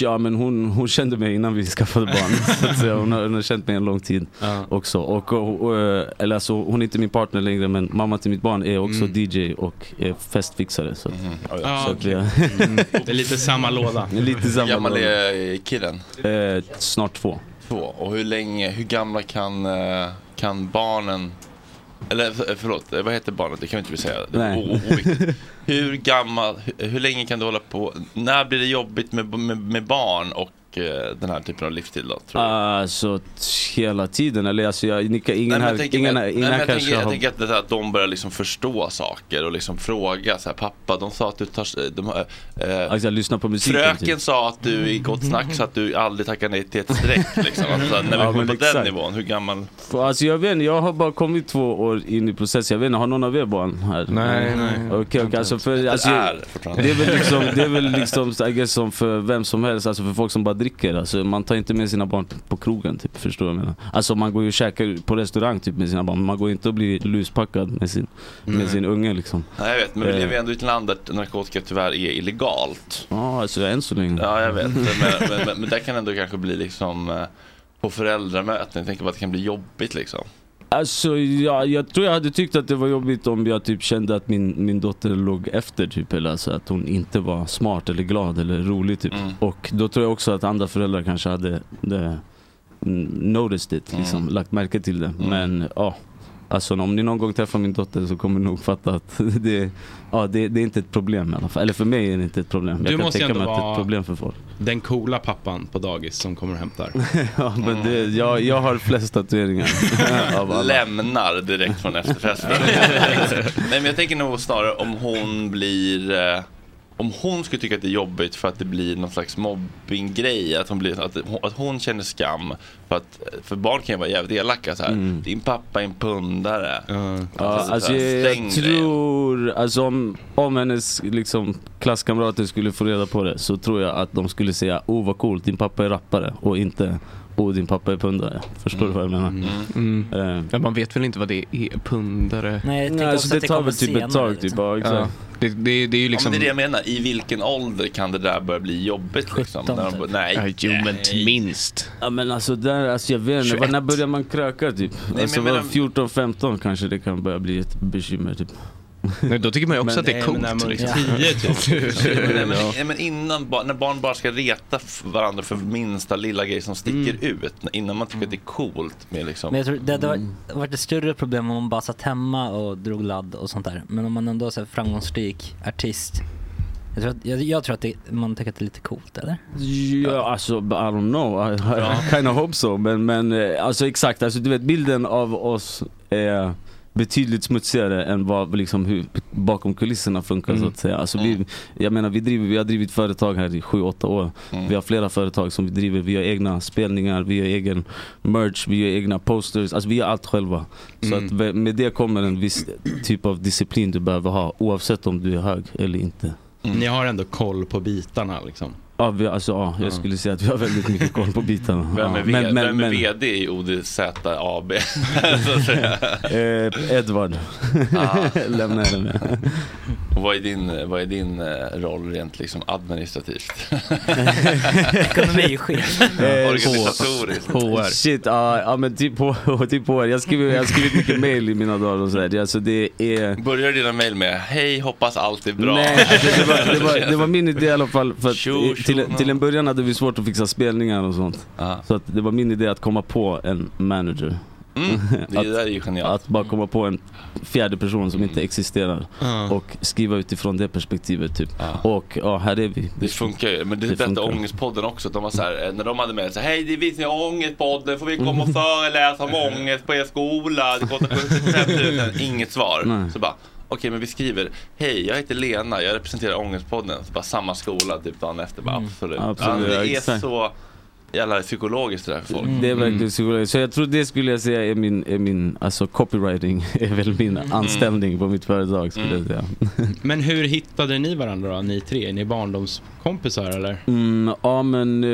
Speaker 10: ja men hon, hon kände mig innan vi skaffade barn. så att säga. Hon, har, hon har känt mig en lång tid också. Och, och, och, eh, eller alltså, hon är inte min partner längre men mamma till mitt barn är också
Speaker 6: Mm.
Speaker 10: DJ och är festfixare. Så,
Speaker 1: Mm.
Speaker 6: Ah,
Speaker 10: så
Speaker 6: okej.
Speaker 10: att vi,
Speaker 6: Mm. Det är lite samma låda.
Speaker 10: lite samma
Speaker 1: Hur gammal
Speaker 10: låda.
Speaker 1: är killen?
Speaker 6: Mm.
Speaker 10: Eh, snart två.
Speaker 1: Två. Och hur länge, hur gamla kan, eh, kan barnen eller för- förlåt, eh, vad heter barnet? Det kan vi inte säga. Det är
Speaker 10: Nej.
Speaker 1: o- o- oviktigt. Hur gammal, hur, hur länge kan du hålla på? När blir det jobbigt med, med, med barn och eh, den här typen av livsstil då? Tror
Speaker 10: Alltså t- hela tiden. Eller alltså, jag, nika, ingen
Speaker 1: men jag
Speaker 10: här,
Speaker 1: tänker
Speaker 10: ingen,
Speaker 1: mig-
Speaker 10: här-
Speaker 1: nej,
Speaker 10: ingen
Speaker 1: men
Speaker 10: här
Speaker 1: jag
Speaker 10: kanske
Speaker 1: tänker, jag
Speaker 10: har...
Speaker 1: tänker att, det här, att de börjar liksom förstå saker och liksom fråga så här, pappa de sa att du tar, s- de, har- eh,
Speaker 10: Alltså, jag lyssnar på musiken.
Speaker 1: Fröken sa att du i Gott Snack sa att du aldrig tackar nej till ett streck liksom. Alltså, när vi
Speaker 10: Ja,
Speaker 1: kommer
Speaker 10: men
Speaker 1: på den
Speaker 10: exakt.
Speaker 1: nivån, hur gammal?
Speaker 10: För Alltså jag vet inte, jag har bara kommit två år in i processen. Jag vet inte, har någon av er barn här?
Speaker 6: Nej, nej.
Speaker 10: Okej, okej. Alltså för, alltså,
Speaker 1: är fortfarande.
Speaker 10: det är väl liksom, det är väl liksom I guess, som för vem som helst, alltså för folk som bara dricker. Alltså, man tar inte med sina barn på krogen, typ, förstår du vad jag menar? Alltså man går ju och käkar på restaurang typ, med sina barn, men man går inte och blir luspackad med sin,
Speaker 1: Nej.
Speaker 10: med sin unge liksom.
Speaker 1: Nej jag vet, men vi
Speaker 10: Eh.
Speaker 1: lever ju ändå i ett land där narkotika tyvärr är illegalt.
Speaker 10: Ja, alltså än så länge.
Speaker 1: Ja, jag vet. Men, men, men, men där kan det ändå kanske bli liksom eh, på föräldramöten. Jag tänker på att det kan bli jobbigt liksom.
Speaker 10: Alltså jag, jag tror jag hade tyckt att det var jobbigt om jag typ kände att min, min dotter låg efter typ eller alltså att hon inte var smart eller glad eller rolig typ.
Speaker 6: Mm.
Speaker 10: Och då tror jag också att andra föräldrar kanske
Speaker 6: Mm.
Speaker 10: hade det, mm, noticed it, liksom, lagt märke till det. Men ja, Alltså om ni någon gång träffar min dotter så kommer ni nog fatta att det, ja, det, det är inte ett problem i alla fall. Eller för mig är det inte ett problem.
Speaker 6: Du
Speaker 10: Jag kan
Speaker 6: måste ju
Speaker 10: tänka mig
Speaker 6: ändå
Speaker 10: att det är
Speaker 6: vara-
Speaker 10: ett problem för folk.
Speaker 6: Den coola pappan på dagis som kommer och hämtar. Mm.
Speaker 10: ja, men det, jag, jag har flest tatueringar. av alla.
Speaker 1: Lämnar direkt från efterfesten. Nej men jag tänker nog snarare om hon blir eh, om hon skulle tycka att det är jobbigt för att det blir någon slags mobbinggrej, att hon, blir, att, hon- att hon känner skam. För, att, för barn kan ju vara jävligt elaka så här. Din pappa är en pundare.
Speaker 10: Mm. Ja,
Speaker 1: Alltså,
Speaker 10: alltså,
Speaker 1: så här,
Speaker 10: jag,
Speaker 1: stäng
Speaker 10: jag
Speaker 1: dig.
Speaker 10: tror, alltså om, om hennes liksom, klasskamrater skulle få reda på det så tror jag att de skulle säga oh vad coolt, din pappa är rappare och inte oh din pappa är pundare. Förstår du vad jag menar?
Speaker 1: Mm.
Speaker 10: Eh,
Speaker 7: Mm. Ja, man vet väl inte vad det är, pundare?
Speaker 8: Nej, jag tänker
Speaker 10: alltså,
Speaker 8: också
Speaker 10: det
Speaker 8: att det
Speaker 10: tar
Speaker 8: kommer
Speaker 10: väl typ ett
Speaker 8: senare,
Speaker 10: tag. Typ.
Speaker 8: liksom.
Speaker 10: Ja, exakt.
Speaker 7: Ja. Det, det, det är ju liksom...
Speaker 1: Ja, men det är det jag menar. I vilken ålder kan det där börja bli jobbigt? Liksom? När de,
Speaker 8: typ.
Speaker 1: nej.
Speaker 7: Ja, jo, men minst.
Speaker 10: Ja men alltså, där, alltså jag vet inte,
Speaker 1: 21.
Speaker 10: när börjar man kröka typ?
Speaker 1: men
Speaker 10: alltså,
Speaker 1: jag menar-
Speaker 10: vadå, 14-15 kanske det kan börja bli ett bekymmer typ.
Speaker 7: Nej, då tycker man ju också
Speaker 10: Men-
Speaker 7: att det är
Speaker 10: nej, men
Speaker 7: coolt.
Speaker 10: när man är
Speaker 7: liksom.
Speaker 10: tio, typ.
Speaker 1: Nej, men,
Speaker 10: Ja.
Speaker 1: nej, men innan, ba- när barn bara ska reta f- varandra för minsta lilla grej som sticker ut. Innan man tycker att det är coolt med liksom.
Speaker 8: Mm. Men jag tror det hade
Speaker 7: Mm.
Speaker 10: Mm.
Speaker 8: varit, varit ett större problem om man bara satt hemma och drog ladd och sånt där. Men om man ändå är så här framgångsrik artist. Jag tror att, jag, jag tror att det, man tycker att det är lite coolt, eller?
Speaker 10: Ja, alltså I don't know, I, I kind of hope so. Men, men eh, alltså exakt, alltså, du vet bilden av oss är betydligt smutsigare än vad liksom, hur bakom kulisserna funkar så att säga. Alltså, vi, jag menar vi, driver, vi har drivit företag här i 7-8 år. Vi har flera företag som vi driver, vi har egna spelningar, vi har egen merch, vi har egna posters, alltså vi gör allt själva. Så
Speaker 7: Mm.
Speaker 10: att ve- med det kommer en viss typ av disciplin du behöver ha oavsett om du är hög eller inte.
Speaker 6: Mm. Ni har ändå koll på bitarna liksom.
Speaker 10: Ja, vi, alltså, ja, jag
Speaker 6: Ja.
Speaker 10: skulle säga att vi har väldigt mycket koll på bitarna.
Speaker 1: Vem är,
Speaker 10: ja.
Speaker 1: v- vem är vd i ODZ AB? så att säga.
Speaker 10: eh, Edvard.
Speaker 1: Ah.
Speaker 10: Lämna henne med.
Speaker 1: Och vad är din, vad är din eh, roll rent liksom administrativt?
Speaker 8: Ekonomichef.
Speaker 10: Eh,
Speaker 1: Organisatoriskt.
Speaker 10: Shit, ja ja, men typ HR. Typ HR. Jag har skrivit- jag har skrivit mycket mail i mina dagar och sådär. Alltså det är...
Speaker 1: Börjar dina mejl med Hej, hoppas allt är bra.
Speaker 10: Nej, alltså, det, det, var, det, var, det var min idé i alla fall. För att, i- till, till en början hade vi svårt att fixa spelningar och sånt. Så att det var min idé att komma på en manager.
Speaker 1: Mm, det
Speaker 10: att,
Speaker 1: där är ju genialt. Mm.
Speaker 10: att bara komma på en fjärde person som inte existerar
Speaker 1: Ja.
Speaker 10: och skriva utifrån det perspektivet typ. Och ja, här är vi.
Speaker 1: Det funkar ju, men det,
Speaker 10: Det
Speaker 1: det detta
Speaker 10: funkar.
Speaker 1: ångestpodden också. att De var så här, eh, när de hade med sig, hej det är vi som har ångestpodden, får vi komma och föreläsa om ångest på er skola? Det kostar 75 000. Inget svar.
Speaker 10: Nej.
Speaker 1: Så bara, okej men vi skriver, hej jag heter Lena, jag representerar ångestpodden. Så bara samma skola typ dagen efter. Bara,
Speaker 10: Mm.
Speaker 1: absolut.
Speaker 10: Absolut,
Speaker 1: Ja,
Speaker 10: ja,
Speaker 1: det är
Speaker 10: exakt. Mm.
Speaker 1: så jävla psykologiskt det där för folk.
Speaker 10: Det är verkligen psykologiskt. Så jag tror det skulle jag säga är min, är min alltså copywriting är väl min anställning på mitt företag skulle jag säga.
Speaker 6: Men hur hittade ni varandra då, ni tre? Är ni barndomskompisar eller?
Speaker 10: Mm, ja men, eh,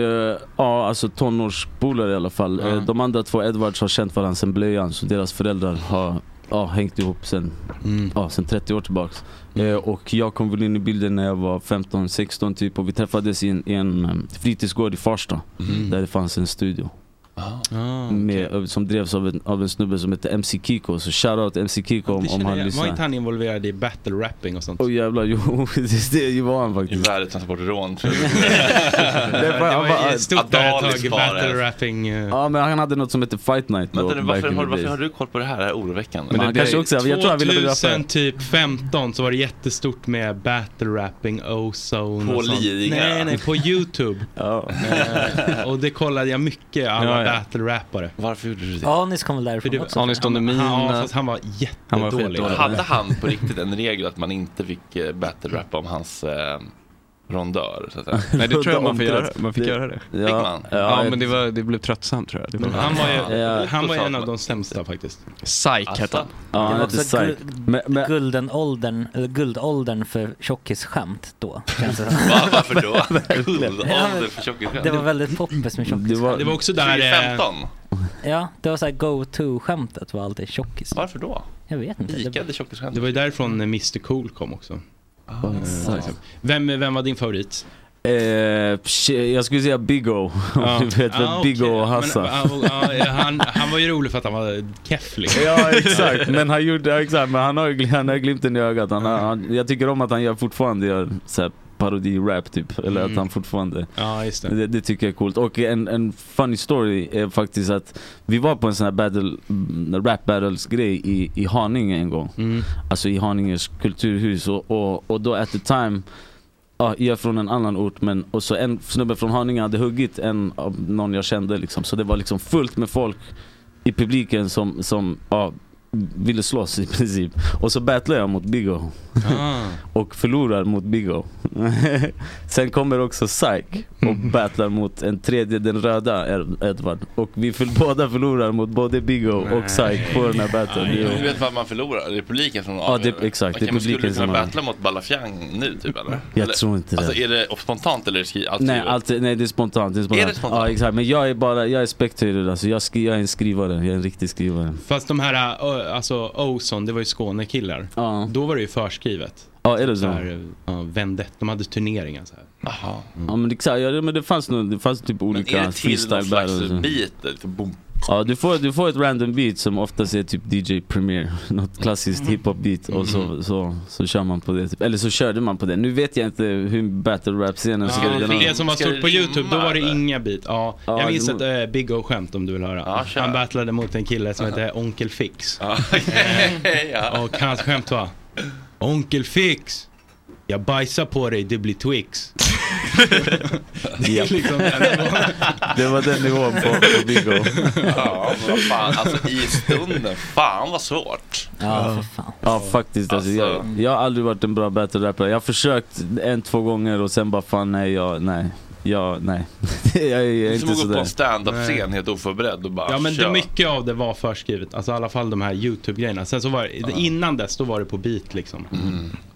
Speaker 10: ja alltså tonårspolare i alla fall. Eh, De andra två, Edwards, har känt varandra sedan blöjan så deras föräldrar har ja, hängt ihop sen, ja, sen 30 år tillbaks. Eh, och jag kom väl in i bilden när jag var 15-16 typ och vi träffades i en, i en eh, fritidsgård i Farsta där det fanns en studio.
Speaker 6: Ah,
Speaker 10: Mm. med, som drevs av en, av en snubbe som hette MC Kiko, så shoutout MC Kiko om,
Speaker 6: Det
Speaker 10: om
Speaker 6: känner
Speaker 10: han
Speaker 6: jag-
Speaker 10: lyssnar.
Speaker 6: Var inte han involverad i battle rapping och sånt?
Speaker 10: Åh jävlar, jo det, det var han faktiskt.
Speaker 1: Värdetransportrån tror jag.
Speaker 6: det var ju ett stort
Speaker 1: Adalis
Speaker 6: företag,
Speaker 1: bara.
Speaker 6: battle rapping. eh.
Speaker 10: Ja men han hade något som hette Fight Night då.
Speaker 1: Vänta nu,
Speaker 10: back
Speaker 1: varför,
Speaker 10: in the
Speaker 1: har, varför
Speaker 10: days.
Speaker 1: har du koll på det här? Det här är oroväckande.
Speaker 10: Men han
Speaker 6: det-
Speaker 10: kanske också, jag tror han ville bli rappare.
Speaker 6: 2000 typ 15 så var det jättestort med battle rapping, ozone
Speaker 1: På
Speaker 6: och sånt.
Speaker 1: Lidingö?
Speaker 6: Nej, nej, på youtube. Eh, och det kollade jag mycket, alla
Speaker 7: Ja, ja.
Speaker 6: battle rappare.
Speaker 1: Varför gjorde du
Speaker 8: Anis kom väl därifrån
Speaker 6: du-
Speaker 8: också?
Speaker 7: Anis Don Demina.
Speaker 6: Ja, fast han var
Speaker 7: Han var
Speaker 6: jättedålig.
Speaker 7: skitdålig.
Speaker 1: Hade han på riktigt en regel att man inte fick eh, battle-rappa om hans eh, rondör? Så att säga?
Speaker 7: Nej, det tror jag
Speaker 10: Runda
Speaker 7: man får göra.
Speaker 10: omkrets.
Speaker 7: Man fick
Speaker 10: Det-
Speaker 7: göra det.
Speaker 10: Ja,
Speaker 1: Fick man?
Speaker 7: Ja,
Speaker 10: jag-
Speaker 7: men det, var, det blev tröttsamt tror jag. Det
Speaker 6: Men
Speaker 7: var-
Speaker 6: han var ju,
Speaker 10: Ja.
Speaker 6: han var ju en av de sämsta faktiskt.
Speaker 7: Psych hette
Speaker 1: Alltså,
Speaker 7: han.
Speaker 8: det
Speaker 10: Ja, han
Speaker 8: var
Speaker 10: hette
Speaker 8: också
Speaker 10: Psych.
Speaker 8: guld,
Speaker 10: Men, men,
Speaker 8: guldenåldern, eller guldåldern för tjockisskämt då. känns det som.
Speaker 1: Va, varför då? Guldålder för tjockisskämt.
Speaker 8: Det var väldigt poppis med tjockisskämt.
Speaker 10: det var,
Speaker 6: Det var också där... eh,
Speaker 1: 2015?
Speaker 8: Ja, det var såhär go-to-skämtet var alltid tjockis.
Speaker 1: Varför då?
Speaker 8: Jag vet inte. Det
Speaker 1: Vikade
Speaker 6: Det eh,
Speaker 1: tjockisskämt?
Speaker 10: Ah,
Speaker 6: var ju därifrån Mr Cool kom också.
Speaker 10: Psych.
Speaker 6: Vem, vem liksom. var din favorit?
Speaker 10: Eh, psh, jag skulle säga Big O. Om du vet
Speaker 6: Ah,
Speaker 10: vem Big O
Speaker 6: okej.
Speaker 10: och Hassa.
Speaker 6: Men, ah, ah, han, han var ju rolig för att han var keff liksom.
Speaker 10: Ja exakt, men han, gjorde, ja, exakt. Men han, har, ju gl- han har ju glimten i ögat. Han, har- han, jag tycker om att han gör, fortfarande gör så här parodi-rap typ. Eller
Speaker 6: Mm.
Speaker 10: att han fortfarande...
Speaker 6: Ja, just det.
Speaker 10: Det, tycker jag är coolt. Och en, en funny story är faktiskt att vi var på en sån här battle, mm, rap battles grej i, i Haninge en gång.
Speaker 6: Mm.
Speaker 10: Alltså i Haninges kulturhus. Och, och, och då at the time Ja, jag är från en annan ort men, och så en snubbe från Haninge hade huggit en av någon jag kände liksom. Så det var liksom fullt med folk i publiken som, som ja, ville slåss i princip. Och så battlade jag mot Big O.
Speaker 4: Ah.
Speaker 10: och förlorar mot Big O. Sen kommer också Psych och
Speaker 1: Mm.
Speaker 10: battlar mot en tredje, den röda Ed- Edward. Och vi för, båda förlorar mot både Big O och Psych på den här battlen. Det är-
Speaker 1: Du vet vad man förlorar? Det är publiken som
Speaker 10: Ja, det- exakt,
Speaker 1: Okej,
Speaker 10: det är
Speaker 1: men Skulle
Speaker 10: publiken
Speaker 1: du
Speaker 10: som
Speaker 1: kunna
Speaker 10: har-
Speaker 1: battla mot Balafiang nu typ eller?
Speaker 10: Jag
Speaker 1: eller,
Speaker 10: tror inte det.
Speaker 1: Alltså är det spontant eller är det skri- allt
Speaker 10: Nej,
Speaker 1: skrivet?
Speaker 10: allt, nej det är spontant. Det är spontant.
Speaker 1: Är det spontant?
Speaker 10: Ja, exakt. Men jag är bara, jag är spectator alltså. Jag, skri, jag är en skrivare, jag är en riktig skrivare.
Speaker 6: Fast de här, ö, alltså Ozon, det var ju Skånekillar. Då var det ju förskrivet. Typ
Speaker 10: Ja, är det så?
Speaker 6: Här, eh, ja, vendett, de hade turneringar så här.
Speaker 1: Jaha.
Speaker 10: Ja men exakt, ja, men det fanns nog, det fanns typ olika
Speaker 1: Är det till någon slags
Speaker 10: freestyle-battles.
Speaker 1: beat? Liksom, boom.
Speaker 10: Ja, du får, du får ett random beat som oftast är typ DJ Premier, något klassiskt hiphop-beat och så, så, så kör man på det. Typ. Eller så körde man på det. Nu vet jag inte hur battle rap-scenen
Speaker 6: Ja, det som var stort på youtube, då var det inga beat. Ja,
Speaker 10: Ja,
Speaker 6: jag minns
Speaker 10: det
Speaker 6: ett äh, Big O-skämt om du vill höra. han battlade mot en kille som hette Onkel Fix. Eh, Och hans skämt var Onkel Fix, jag bajsar på dig, det blir Twix. det är liksom den nivån.
Speaker 10: Det var den nivån på, på Big O.
Speaker 1: Ja, men vad fan. Alltså i stunden, fan vad svårt.
Speaker 10: Ja faktiskt alltså, jag, jag har aldrig varit en bra battle rapper. Jag har försökt en, två gånger och sen bara fan nej, jag, nej. Jag, nej. jag, är- jag
Speaker 1: Det
Speaker 10: är
Speaker 1: är som
Speaker 10: inte
Speaker 1: att gå på
Speaker 10: sådär.
Speaker 1: en stand-up-scen helt oförberedd och bara
Speaker 6: Ja men det,
Speaker 1: kör.
Speaker 6: mycket av det var förskrivet, alltså i alla fall de här YouTube-grejerna. Sen så var det, innan dess då var det på beat liksom.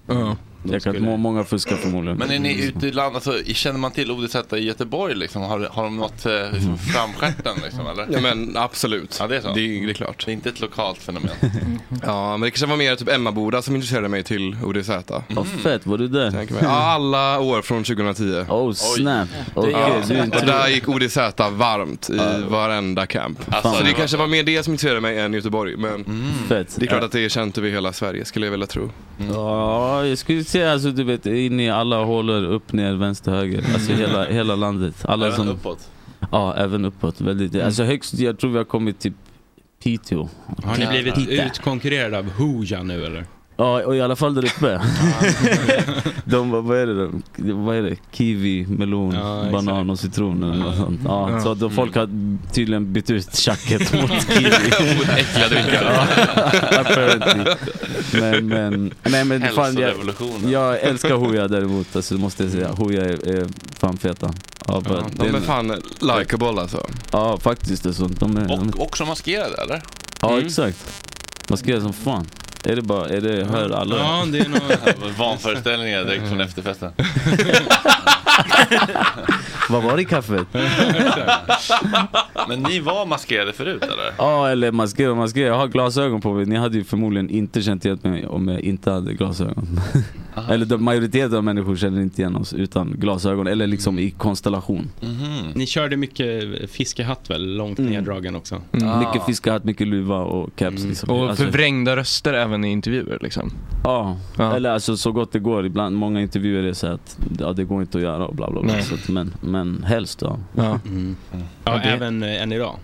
Speaker 1: Mm.
Speaker 10: Jag kan, må- många fuskar förmodligen.
Speaker 1: Men är ni ute i landet, alltså, känner man till ODZ i Göteborg liksom? Har, har de något eh, liksom, framstjärten liksom eller?
Speaker 12: Ja men absolut.
Speaker 1: Ja, det är så.
Speaker 12: Det, är klart.
Speaker 1: Det är inte ett lokalt fenomen.
Speaker 12: Ja, men det kanske var mer typ Emmaboda som introducerade mig till ODZ.
Speaker 10: Vad fett, var du där?
Speaker 12: Mm. Tänker mig. Ja, alla år från 2010.
Speaker 10: Oh snap. Okej,
Speaker 12: ja.
Speaker 10: du är
Speaker 12: Och där
Speaker 10: inte...
Speaker 12: gick ODZ varmt i varenda camp.
Speaker 10: Alltså,
Speaker 12: så det
Speaker 10: det var-
Speaker 12: kanske var mer det som intresserade mig än Göteborg. Men
Speaker 10: Mm. Fett.
Speaker 12: det är klart att det är känt över hela Sverige skulle jag vilja tro.
Speaker 10: Ja, jag skulle säga alltså du vet in i alla hålor, upp, ner, vänster, höger. Alltså
Speaker 12: Mm.
Speaker 10: hela, hela landet. Alla
Speaker 12: Även
Speaker 10: som,
Speaker 12: uppåt?
Speaker 10: Ja, även uppåt. Väldigt, Alltså högst, jag tror vi har kommit till Piteå.
Speaker 6: Har ni blivit
Speaker 10: Piteå.
Speaker 6: utkonkurrerade av Hooja nu eller?
Speaker 10: Ja, och i alla fall där uppe. de, var- vad är det? de- Vad är det? Kiwi, melon, banan och citron eller något sånt. Ja,
Speaker 12: Ja.
Speaker 10: Så att då folk har
Speaker 12: Mm.
Speaker 10: tydligen bytt ut tjacket mot kiwi.
Speaker 12: Mot äckliga drinkar.
Speaker 10: Ja, Apparently. Men, men, nej, men fan, jag,
Speaker 1: Hälsorevolutionen.
Speaker 10: jag älskar Hooja däremot. Alltså, det måste jag säga. Hooja är, är fan feta. Ja,
Speaker 12: Ja,
Speaker 10: det
Speaker 12: de
Speaker 10: en-
Speaker 12: är fan likeable alltså.
Speaker 10: Ja, faktiskt. Alltså, de är, de är,
Speaker 1: Och, också maskerade eller?
Speaker 10: ja,
Speaker 1: Mm.
Speaker 10: exakt. Man ska göra som fan. Är det bara, är det, hör alla?
Speaker 6: Ja, det är nog...
Speaker 1: Vanföreställningar direkt från efterfesten.
Speaker 10: Vad var det i kaffet?
Speaker 1: Men ni var maskerade förut eller?
Speaker 10: Ja, eller maskera, maskera. Jag har glasögon på mig. Ni hade ju förmodligen inte känt igen mig om jag inte hade glasögon. eller de, majoriteten av människor känner inte igen oss utan glasögon, eller liksom i konstellation. Mhm.
Speaker 6: Ni körde mycket fiskehatt väl, långt neddragen också?
Speaker 10: Mm. Mycket fiskehatt, mycket luva och caps. Liksom.
Speaker 7: Och
Speaker 10: Alltså-
Speaker 7: förvrängda röster även i intervjuer liksom.
Speaker 10: Ja, eller alltså så gott det går. Ibland, många intervjuer är så att ja, det går inte att göra och bla bla bla.
Speaker 7: Nej.
Speaker 10: Så att, men, men helst ja.
Speaker 7: Ja.
Speaker 6: Ja,
Speaker 10: Ja, det-
Speaker 6: även eh, än idag.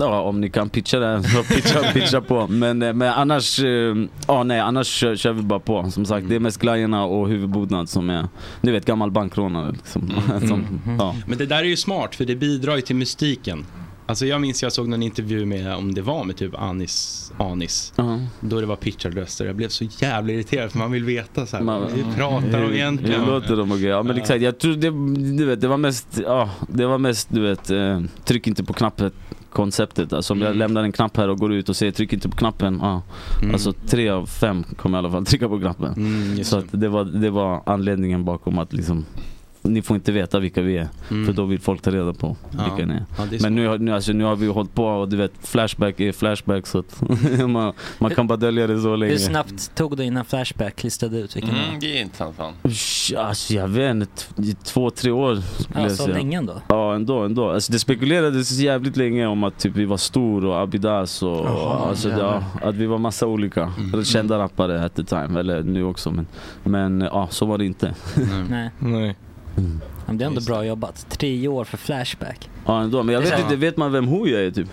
Speaker 10: Ja, om ni kan pitcha det så pitcha, pitcha på. Men, eh, men annars, eh, ja nej, annars kör, kör vi bara på. Som sagt, det är mest glajjorna och huvudbonad som är, ni vet gammal bankrånare liksom.
Speaker 6: Mm.
Speaker 10: som, ja.
Speaker 6: Men det där är ju smart för det bidrar ju till mystiken. Alltså jag minns jag såg någon intervju med, om det var med typ Anis, Anis. Då det var pitchade röster. Jag blev så jävla irriterad för man vill veta så här,
Speaker 10: Man-
Speaker 6: hur pratar de
Speaker 10: Hur-
Speaker 6: egentligen?
Speaker 10: Hur låter de och grejer? Ja men
Speaker 6: Ja.
Speaker 10: exakt, jag tror det, du vet, det var mest, ja, det var mest du vet, eh, tryck inte på knappen konceptet. Alltså om jag
Speaker 6: Mm.
Speaker 10: lämnar en knapp här och går ut och säger tryck inte på knappen. Ja. Alltså tre av fem kommer i alla fall trycka på knappen.
Speaker 6: Mm, just
Speaker 10: så att det, var, det var anledningen bakom att liksom ni får inte veta vilka vi är.
Speaker 6: Mm.
Speaker 10: För då vill folk ta reda på
Speaker 6: Ja.
Speaker 10: vilka ni är.
Speaker 6: Ja, det är
Speaker 10: Men nu, har- nu, alltså, nu har vi ju hållit på och du vet, flashback är flashback så att man, man kan bara dölja det så länge.
Speaker 8: Hur snabbt tog det innan Flashback listade ut vilken det
Speaker 1: Mm,
Speaker 8: var?
Speaker 1: det är intressant fan.
Speaker 10: Usch, Alltså jag vet inte, t- i två, tre år skulle
Speaker 8: Ja,
Speaker 10: jag
Speaker 8: så
Speaker 10: säga.
Speaker 8: länge ändå?
Speaker 10: Ja, ändå. ändå. Alltså, det spekulerades jävligt länge om att typ, vi var Stor och Abidas och
Speaker 6: Jaha,
Speaker 10: alltså,
Speaker 6: jävlar.
Speaker 10: ja, att vi var massa olika.
Speaker 1: Mm.
Speaker 10: Eller Kända rappare at the time, eller nu också. Men, men ja, så var det inte.
Speaker 8: Nej. Ja, men Det är ändå bra jobbat. Tre år för Flashback.
Speaker 10: ja, ändå. Men jag vet
Speaker 8: Ja.
Speaker 10: inte, vet man vem Hooja är typ?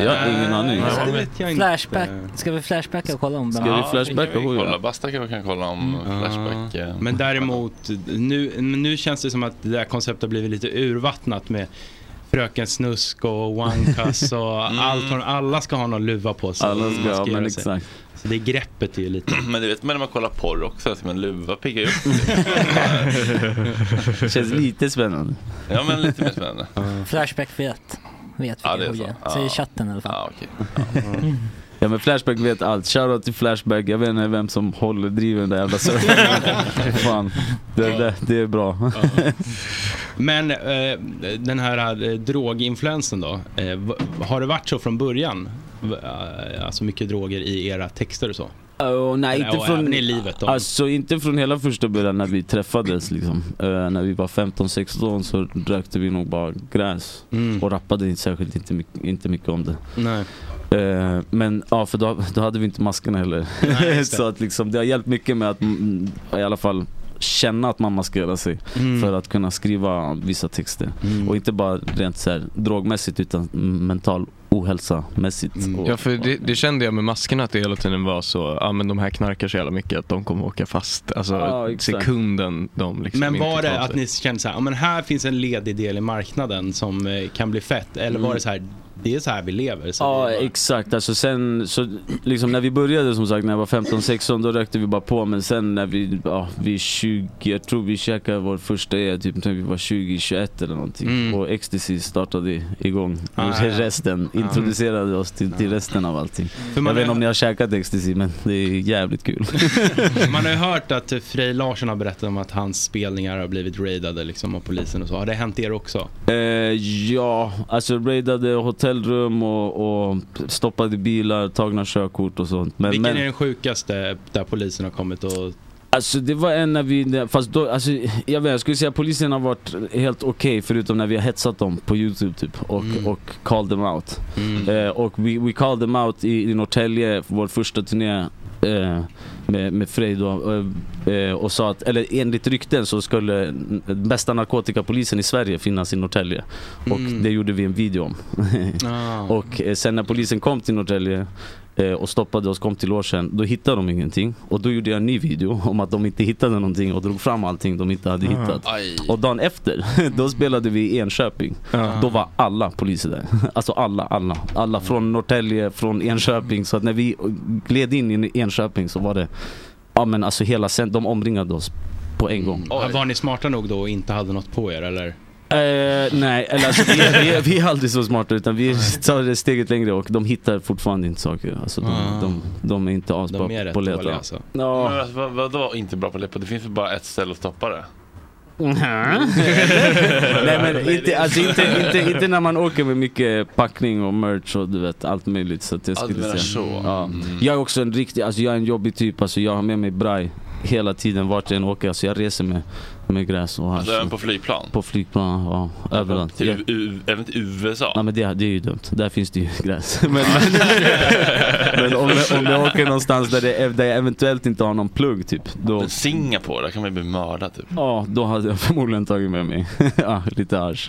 Speaker 10: Jag har ingen aning.
Speaker 1: Ja, det vet jag inte.
Speaker 8: flashback. Ska vi Flashbacka och kolla om
Speaker 10: Ska vi flashbacka
Speaker 1: det kan eh, vi
Speaker 10: Hooja?
Speaker 1: kolla. Basta kan vi kan kolla om Flashback. eh,
Speaker 6: Men däremot, nu, men nu känns det som att det där konceptet har blivit lite urvattnat med Fröken Snusk och Wankas och allt. vad- Alla ska ha någon luva på sig.
Speaker 10: Mm. Alla ska,
Speaker 6: Man
Speaker 10: ja, men
Speaker 6: göra sig.
Speaker 10: exakt.
Speaker 6: Så det greppet är ju lite...
Speaker 1: Mm, Men du vet, men när man kollar porr också, att en luva piggar ju upp.
Speaker 10: Känns lite spännande.
Speaker 1: Ja, men lite mer spännande.
Speaker 8: Flashback vet. Vet
Speaker 1: Ja,
Speaker 8: vilken
Speaker 1: det är
Speaker 8: Hooja
Speaker 1: så.
Speaker 8: är. Säger chatten i alla fall. Ja,
Speaker 1: okej.
Speaker 10: Ja men Flashback vet allt, shoutout till Flashback, jag vet inte vem som håller driver den där jävla servern. Fan, det, det, det är bra.
Speaker 6: Men eh, den här eh, droginfluensen då. Eh, v- har det varit så från början? V- eh, Alltså mycket droger i era texter och så?
Speaker 10: Oh, nej,
Speaker 6: Eller,
Speaker 10: inte
Speaker 6: och
Speaker 10: från,
Speaker 6: även i livet då.
Speaker 10: alltså, inte från hela första början när vi träffades. Liksom. Eh, när vi var 15-16 så rökte vi nog bara gräs
Speaker 1: Mm.
Speaker 10: och rappade inte särskilt inte, mycket- inte mycket om det.
Speaker 6: Nej.
Speaker 10: Eh, men ja, för då, då hade vi inte maskerna heller.
Speaker 6: Nej, just det.
Speaker 10: så att, liksom, det har hjälpt mycket med att mm, i alla fall känna att man maskerar sig
Speaker 6: Mm.
Speaker 10: för att kunna skriva vissa texter. Och inte bara rent så här, drogmässigt utan mental ohälsa mässigt.
Speaker 6: Mm.
Speaker 10: Och,
Speaker 7: Ja, för det, det kände jag med maskerna att det hela tiden var så, ja men de här knarkar så jävla mycket att de kommer åka fast. Alltså
Speaker 6: Ja, exakt.
Speaker 7: sekunden de liksom
Speaker 6: men var
Speaker 7: inte
Speaker 6: det
Speaker 7: tar
Speaker 6: att
Speaker 7: sig.
Speaker 6: ni kände så här, "Ja, men här finns en ledig del i marknaden som eh, kan bli fett? Eller var
Speaker 10: Mm.
Speaker 6: det så här, det är så här vi lever? Så
Speaker 10: Ja exakt, alltså sen så, liksom när vi började som sagt när jag var 15-16 då rökte vi bara på men sen när vi, ja vi är 20, jag tror vi käkade vår första E typ när vi var 20-21 eller någonting. Och ecstasy startade igång
Speaker 6: Mm. Ah, ja.
Speaker 10: resten,
Speaker 6: Ja.
Speaker 10: introducerade oss till, till resten av allting.
Speaker 6: För man
Speaker 10: jag vet inte
Speaker 6: är-
Speaker 10: om ni har käkat ecstasy men det är jävligt kul.
Speaker 6: Man har ju hört att eh, Frej Larsson har berättat om att hans spelningar har blivit raidade liksom, av polisen och så. Har det hänt er också?
Speaker 10: Eh, ja, alltså raidade hotellrum och, och stoppade bilar, tagna körkort och sånt. Men,
Speaker 6: Vilken
Speaker 10: men,
Speaker 6: är den sjukaste där polisen har kommit och...
Speaker 10: Alltså det var en när vi, fast då, alltså, jag, vet, jag skulle säga att polisen har varit helt okej förutom när vi har hetsat dem på youtube typ och, och called them out. Eh, och we, we called them out i, i Norrtälje, vår första turné eh, med, med Frej då, eh, eh, och sa att, eller enligt rykten så skulle n- bästa narkotikapolisen i Sverige finnas i Norrtälje. Och
Speaker 6: Mm.
Speaker 10: det gjorde vi en video om.
Speaker 6: Ah.
Speaker 10: Och eh, sen när polisen kom till Norrtälje eh, och stoppade oss, kom till logen, då hittade de ingenting. Och då gjorde jag en ny video om att de inte hittade någonting och drog fram allting de inte hade
Speaker 6: Ah.
Speaker 10: hittat.
Speaker 6: Aj.
Speaker 10: Och dagen efter, då spelade vi i Enköping.
Speaker 6: Ah.
Speaker 10: Då var alla poliser där. Alltså alla, alla. Alla från Norrtälje, från Enköping. Så att när vi eh, gled in i Enköping så var det, ja men alltså hela cent- de omringade oss på en gång.
Speaker 6: Var ni smarta nog då och inte hade något på er eller?
Speaker 10: Eh, nej, eller alltså, vi, är, vi, är, vi är aldrig så smarta utan vi tar det steget längre och de hittar fortfarande inte saker. Alltså, de,
Speaker 1: Ah.
Speaker 10: de, de är inte asbra
Speaker 6: De är rätt
Speaker 10: på att leta.
Speaker 6: dåliga, alltså.
Speaker 1: Men alltså, vad, vadå inte bra på läppar? Det finns väl bara ett ställe att stoppa det? Mm.
Speaker 10: nej men inte, alltså, inte, inte, inte när man åker med mycket packning och merch och du vet allt möjligt. Så att jag,
Speaker 1: Ja, du
Speaker 10: skulle
Speaker 1: menar
Speaker 10: säga.
Speaker 1: så. Mm.
Speaker 10: Ja. jag är också en riktig, alltså, jag är en jobbig typ. Alltså, jag har med mig braj hela tiden vart jag än åker. Alltså, jag reser med, med gräs och hasch.
Speaker 1: Alltså, även på flygplan?
Speaker 10: På flygplan, ja. Överallt.
Speaker 1: Till,
Speaker 10: Jag-
Speaker 1: U- U- även till USA?
Speaker 10: Nej men det, det är ju dumt, där finns det ju gräs. Men, men, men om, jag, om jag åker någonstans där, det, där jag eventuellt inte har någon plugg typ. Då,
Speaker 1: Men Singapore, där kan man ju bli mördad typ.
Speaker 10: ja, då hade jag förmodligen tagit med mig ja, lite arsch.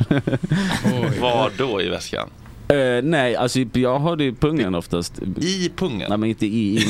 Speaker 1: Var då i väskan?
Speaker 10: Eh, nej, alltså jag har det i pungen oftast.
Speaker 1: I pungen?
Speaker 10: Nej men inte i. i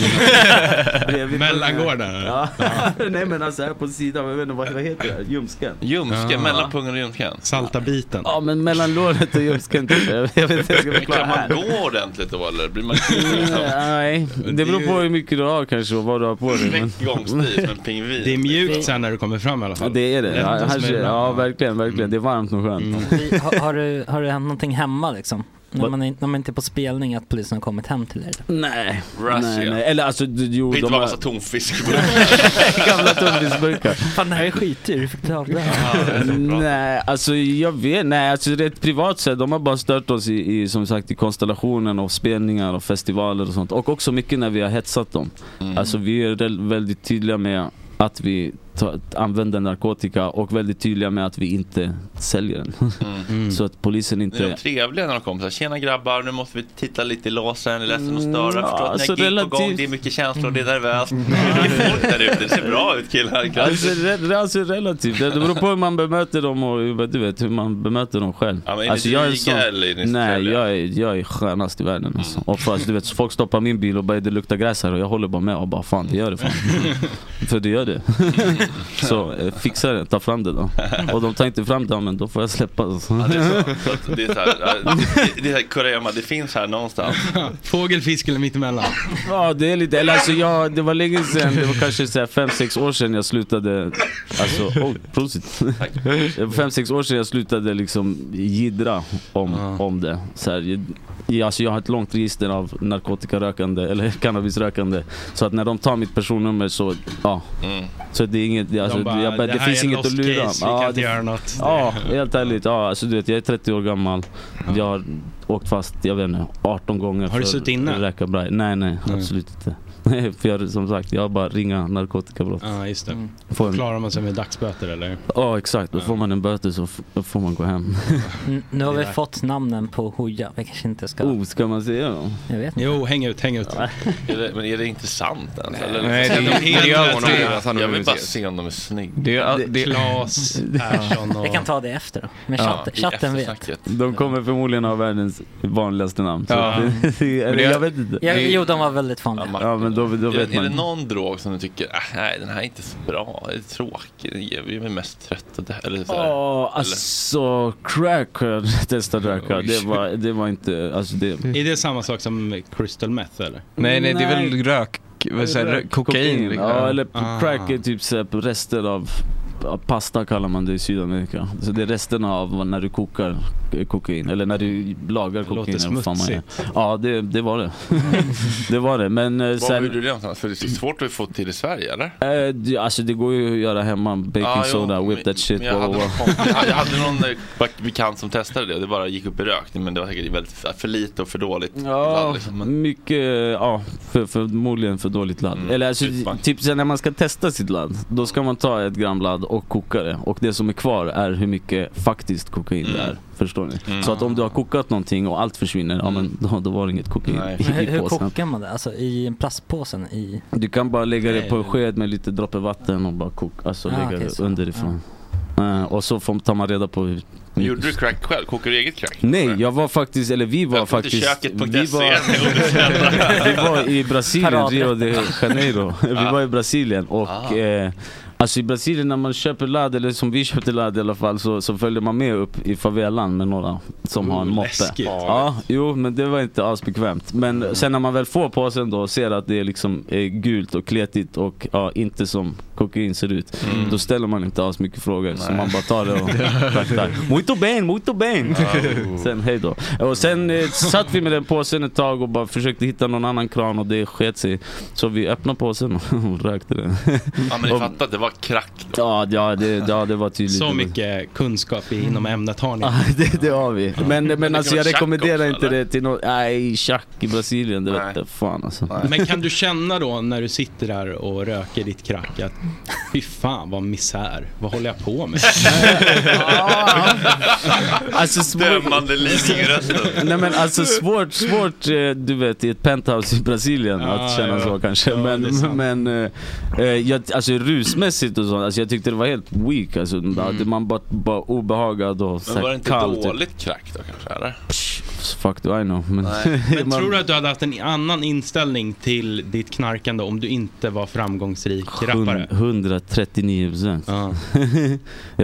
Speaker 10: men...
Speaker 6: Mellangården?
Speaker 10: Ja. nej men alltså här på sidan, jag vet inte vad, vad heter det? Ljumsken?
Speaker 1: Ljumsken,
Speaker 10: Ja.
Speaker 1: mellan pungen och ljumsken?
Speaker 6: Salta biten?
Speaker 10: Ja men mellan låret och ljumsken typ. Jag, jag vet inte hur jag ska
Speaker 1: Men
Speaker 10: förklara
Speaker 1: kan man
Speaker 10: här.
Speaker 1: gå ordentligt då eller? Blir man liksom.
Speaker 10: Mm, Nej, det beror på hur mycket du har kanske och vad du har på dig. men-
Speaker 1: Räckgångsstil som en pingvin?
Speaker 6: Det är mjukt sen när du kommer fram i alla
Speaker 10: Ja,
Speaker 6: fall.
Speaker 10: det är det.
Speaker 6: Rätt
Speaker 10: Ja,
Speaker 6: och
Speaker 10: här,
Speaker 6: smälla.
Speaker 1: Mm.
Speaker 10: ja verkligen, verkligen. Det är varmt och skönt.
Speaker 8: Vi- Har, har, du, har du hänt någonting hemma liksom? När man, är, när man inte är på spelning att polisen har kommit hem till er.
Speaker 10: Nej. Nej, nej. Eller alltså, du- jo,
Speaker 1: Det
Speaker 10: de
Speaker 1: inte vara
Speaker 10: har-
Speaker 1: massa tonfisk.
Speaker 10: Gamla tonfiskburkar.
Speaker 8: Fan det här är skitdyr, hur fick du tag i det här?
Speaker 10: Nej, alltså jag vet Nej, alltså rent privat så här, de har bara stört oss i, i, som sagt, i konstellationen av spelningar och festivaler och sånt. Och också mycket när vi har hetsat dem.
Speaker 1: Mm.
Speaker 10: Alltså vi är rel- väldigt tydliga med att vi ta, använder narkotika och väldigt tydliga med att vi inte säljer den. så att polisen
Speaker 1: Nu Mm. är de
Speaker 10: inte...
Speaker 1: trevliga när de kommer. Så här, Tjena grabbar, nu måste vi titta lite i låsen. Jag är ledsen att
Speaker 10: Mm,
Speaker 1: störa. Jag förstår att
Speaker 10: ja,
Speaker 1: ni
Speaker 10: alltså,
Speaker 1: har gig på gång.
Speaker 10: relativt- Mm.
Speaker 1: Det är mycket känslor, det är nervöst. Det är mycket folk där ute. Det ser bra ut killar.
Speaker 10: Alltså, re, alltså relativt, det beror på hur man bemöter dem och hur- du vet, hur man bemöter dem själv.
Speaker 1: Ja, men är ni
Speaker 10: alltså, jag en
Speaker 1: dryga
Speaker 10: sån-
Speaker 1: eller är ni Mm. så
Speaker 10: Nej,
Speaker 1: trevliga?
Speaker 10: jag är, jag är skönast i världen alltså. Och fast, du vet, så folk stoppar min bil och bara det luktar gräs här och jag håller bara med och bara fan det gör det fan. För det gör det. så eh, fixa det, ta fram det då. Och de tar inte fram det, ja, men då får jag släppa. Alltså.
Speaker 1: Ja, det är så. så att det är så här, ja, det- det är så här kurragömma, det finns här någonstans.
Speaker 6: Fågel, fisk eller mittemellan?
Speaker 10: Ja det är lite, eller alltså jag, det var länge sedan, det var kanske 5-6 år sedan jag slutade, alltså, oh, prosit. 5-6 år sedan jag slutade liksom jiddra om, om det. Så här, jag- jag, alltså jag har ett långt register av narkotikarökande, eller cannabisrökande. Så att när de tar mitt personnummer så, ja. Så det är inget, det-
Speaker 6: Mm.
Speaker 10: alltså,
Speaker 6: De bara,
Speaker 10: jag bara,
Speaker 6: "Det
Speaker 10: det,
Speaker 6: här
Speaker 10: finns
Speaker 6: är en
Speaker 10: inget att
Speaker 6: lost
Speaker 10: lura.
Speaker 6: case, vi kan inte göra något.
Speaker 10: Ja, helt ärligt. Ja, alltså, du vet, jag är 30 år gammal. Jag har åkt fast, jag vet inte, 18 gånger
Speaker 6: Har du
Speaker 10: för
Speaker 6: suttit inne?
Speaker 10: Räcka bra. Nej, nej, absolut inte. Nej, för jag, som sagt, jag har bara ringa narkotikabrott.
Speaker 6: Ja, just det.
Speaker 10: Mm. Får en-
Speaker 6: Klarar man sig med dagsböter eller?
Speaker 10: Ja, exakt. Då får man en böter så f- då får man gå hem.
Speaker 8: N- Nu har
Speaker 6: Det
Speaker 8: vi
Speaker 6: där.
Speaker 8: fått namnen på hoja, vi kanske inte ska...
Speaker 10: Oh, ska man säga dem?
Speaker 8: Jag vet inte.
Speaker 6: Jo, häng ut, häng ut.
Speaker 1: Är det, men är det intressant ens? Eller?
Speaker 6: Nej,
Speaker 1: Ser
Speaker 6: det-
Speaker 1: de
Speaker 6: det
Speaker 1: helt
Speaker 6: gör
Speaker 1: rätt
Speaker 6: honom
Speaker 1: ut?
Speaker 6: ju, att
Speaker 10: Alltså,
Speaker 6: han
Speaker 1: Jag vill bara
Speaker 6: anonymiseras.
Speaker 1: se om de är snygga.
Speaker 6: Det är- Det- det- Claes Persson och-
Speaker 8: Jag kan ta det efter då. Men
Speaker 10: Ja,
Speaker 8: chatten,
Speaker 10: i
Speaker 8: chatten vet.
Speaker 1: eftersnacket.
Speaker 10: De kommer förmodligen ha världens vanligaste namn. Så
Speaker 1: Ja.
Speaker 10: det, eller, jag vet inte.
Speaker 8: Ja, jo, de var väldigt vanliga.
Speaker 10: Ja, men då, då vet
Speaker 1: är, är det
Speaker 10: man.
Speaker 1: någon drog som du tycker, "Ah, nej den här är inte så bra, det är tråkig, den ger vi mig mest trött och det här, eller sådär.
Speaker 10: Ja, alltså crack har jag testat röka. Det var, det var inte, alltså det...
Speaker 6: Är det samma sak som crystal meth eller?
Speaker 10: Nej, nej, det är väl Nej.
Speaker 6: rök,
Speaker 10: Ja, eller crack är typ så här, på rester av ja, pasta kallar man det i Sydamerika. Så det är resterna av när du kokar eh, kokain, eller när du lagar kokain.
Speaker 1: låter
Speaker 10: eller vad fan man gör.
Speaker 1: smutsigt.
Speaker 10: Ja, det, det var det. det var det. Men eh,
Speaker 1: Var
Speaker 10: sen...
Speaker 1: gjorde du det någonstans? För det är svårt att få till i Sverige eller?
Speaker 10: Eh, det- alltså det går ju att göra hemma, baking
Speaker 1: Ja, jo,
Speaker 10: soda, whip
Speaker 1: men-
Speaker 10: that shit.
Speaker 1: men Jag
Speaker 10: blah,
Speaker 1: hade,
Speaker 10: blah,
Speaker 1: någon
Speaker 10: blah.
Speaker 1: kompis- jag hade- jag hade någon eh, bak- bekant som testade det och det bara gick upp i rök. Men det var säkert väldigt för för lite och för dåligt.
Speaker 10: Ja, mycket, ja, för, förmodligen för dåligt ladd. Eller alltså, typ så här, när man ska testa sitt ladd, då ska man ta ett gram ladd och koka det. Och det som är kvar är hur mycket faktiskt kokain det är. Förstår ni? Så att om du har kokat någonting och allt försvinner, ja men då, då var det inget kokain i,
Speaker 8: Hur,
Speaker 10: i
Speaker 8: hur
Speaker 10: påsen.
Speaker 8: kokar man det? Alltså i en plastpåsen i...
Speaker 10: Du kan bara lägga det på en
Speaker 8: Nej.
Speaker 10: sked med lite droppe vatten och bara koka, alltså
Speaker 8: Ah,
Speaker 10: lägga
Speaker 8: okej,
Speaker 10: det
Speaker 8: så.
Speaker 10: underifrån. Eh, och så får, tar man reda på hur
Speaker 1: Gjorde du crack själv? Kokade du eget crack?
Speaker 10: Nej, jag var faktiskt, eller vi var
Speaker 1: Välkommen till
Speaker 10: faktiskt,
Speaker 1: köket.se.
Speaker 10: vi var, vi var i Brasilien,
Speaker 1: Paradrätt.
Speaker 10: Rio de Janeiro. Vi
Speaker 7: Ah.
Speaker 10: var i Brasilien och
Speaker 1: Ah.
Speaker 10: eh, Alltså i Brasilien när man köper ladd, eller som vi köpte ladd i alla fall, så, så följer man med upp i favelan med några som har en
Speaker 7: Ooh,
Speaker 10: moppe.
Speaker 7: läskigt. Mm.
Speaker 10: Ja, jo men det var inte alls bekvämt. Men sen när man väl får påsen då och ser att det är liksom eh, gult och kletigt och ja, inte som kokain ser ut. Då ställer man inte alls mycket frågor. Så
Speaker 7: Mm. Nej.
Speaker 10: man bara tar det och tack, tack. Muito bem, muito bem!
Speaker 6: Ah, uh.
Speaker 7: Oh.
Speaker 10: sen hej då. Och sen eh, satt vi med den påsen ett tag och bara försökte hitta någon annan kran och det sket sig. Så vi öppnade påsen och rökte den.
Speaker 1: Ja men ni
Speaker 10: Och-
Speaker 1: fattar, det var crack.
Speaker 10: Ja, ja, det, ja, det var tydligt.
Speaker 6: Så mycket kunskap i- inom ämnet har ni.
Speaker 10: Ja, Ah, det, det har vi. Men, men
Speaker 6: kan
Speaker 10: alltså
Speaker 6: vara
Speaker 10: jag
Speaker 6: tjack
Speaker 10: rekommenderar
Speaker 6: också,
Speaker 10: inte det till någon. Nej, tjack i Brasilien, det vete fan alltså.
Speaker 6: Men kan du känna då när du sitter där och röker ditt crack att fy fan vad misär, vad håller jag på med?
Speaker 10: alltså,
Speaker 1: Dömande leasing i rösten.
Speaker 10: Nej men alltså svårt, svårt eh, du vet i ett penthouse i Brasilien att
Speaker 7: Ja,
Speaker 10: känna
Speaker 7: ja.
Speaker 10: så kanske. men men eh, eh, jag, alltså rusmässigt och sånt, alltså, jag tyckte det var helt weak. Alltså,
Speaker 7: Mm.
Speaker 10: att Man bara, bara obehagad och så
Speaker 1: Men
Speaker 10: här
Speaker 1: var det inte
Speaker 10: kall, typ.
Speaker 1: dåligt crack då kanske? Eller?
Speaker 10: Fuck do I know. Men,
Speaker 6: Men
Speaker 10: man-
Speaker 6: tror du att du hade haft en annan inställning till ditt knarkande om du inte var framgångsrik rappare?
Speaker 10: Hund- 139 procent.
Speaker 6: Ja,
Speaker 10: ja,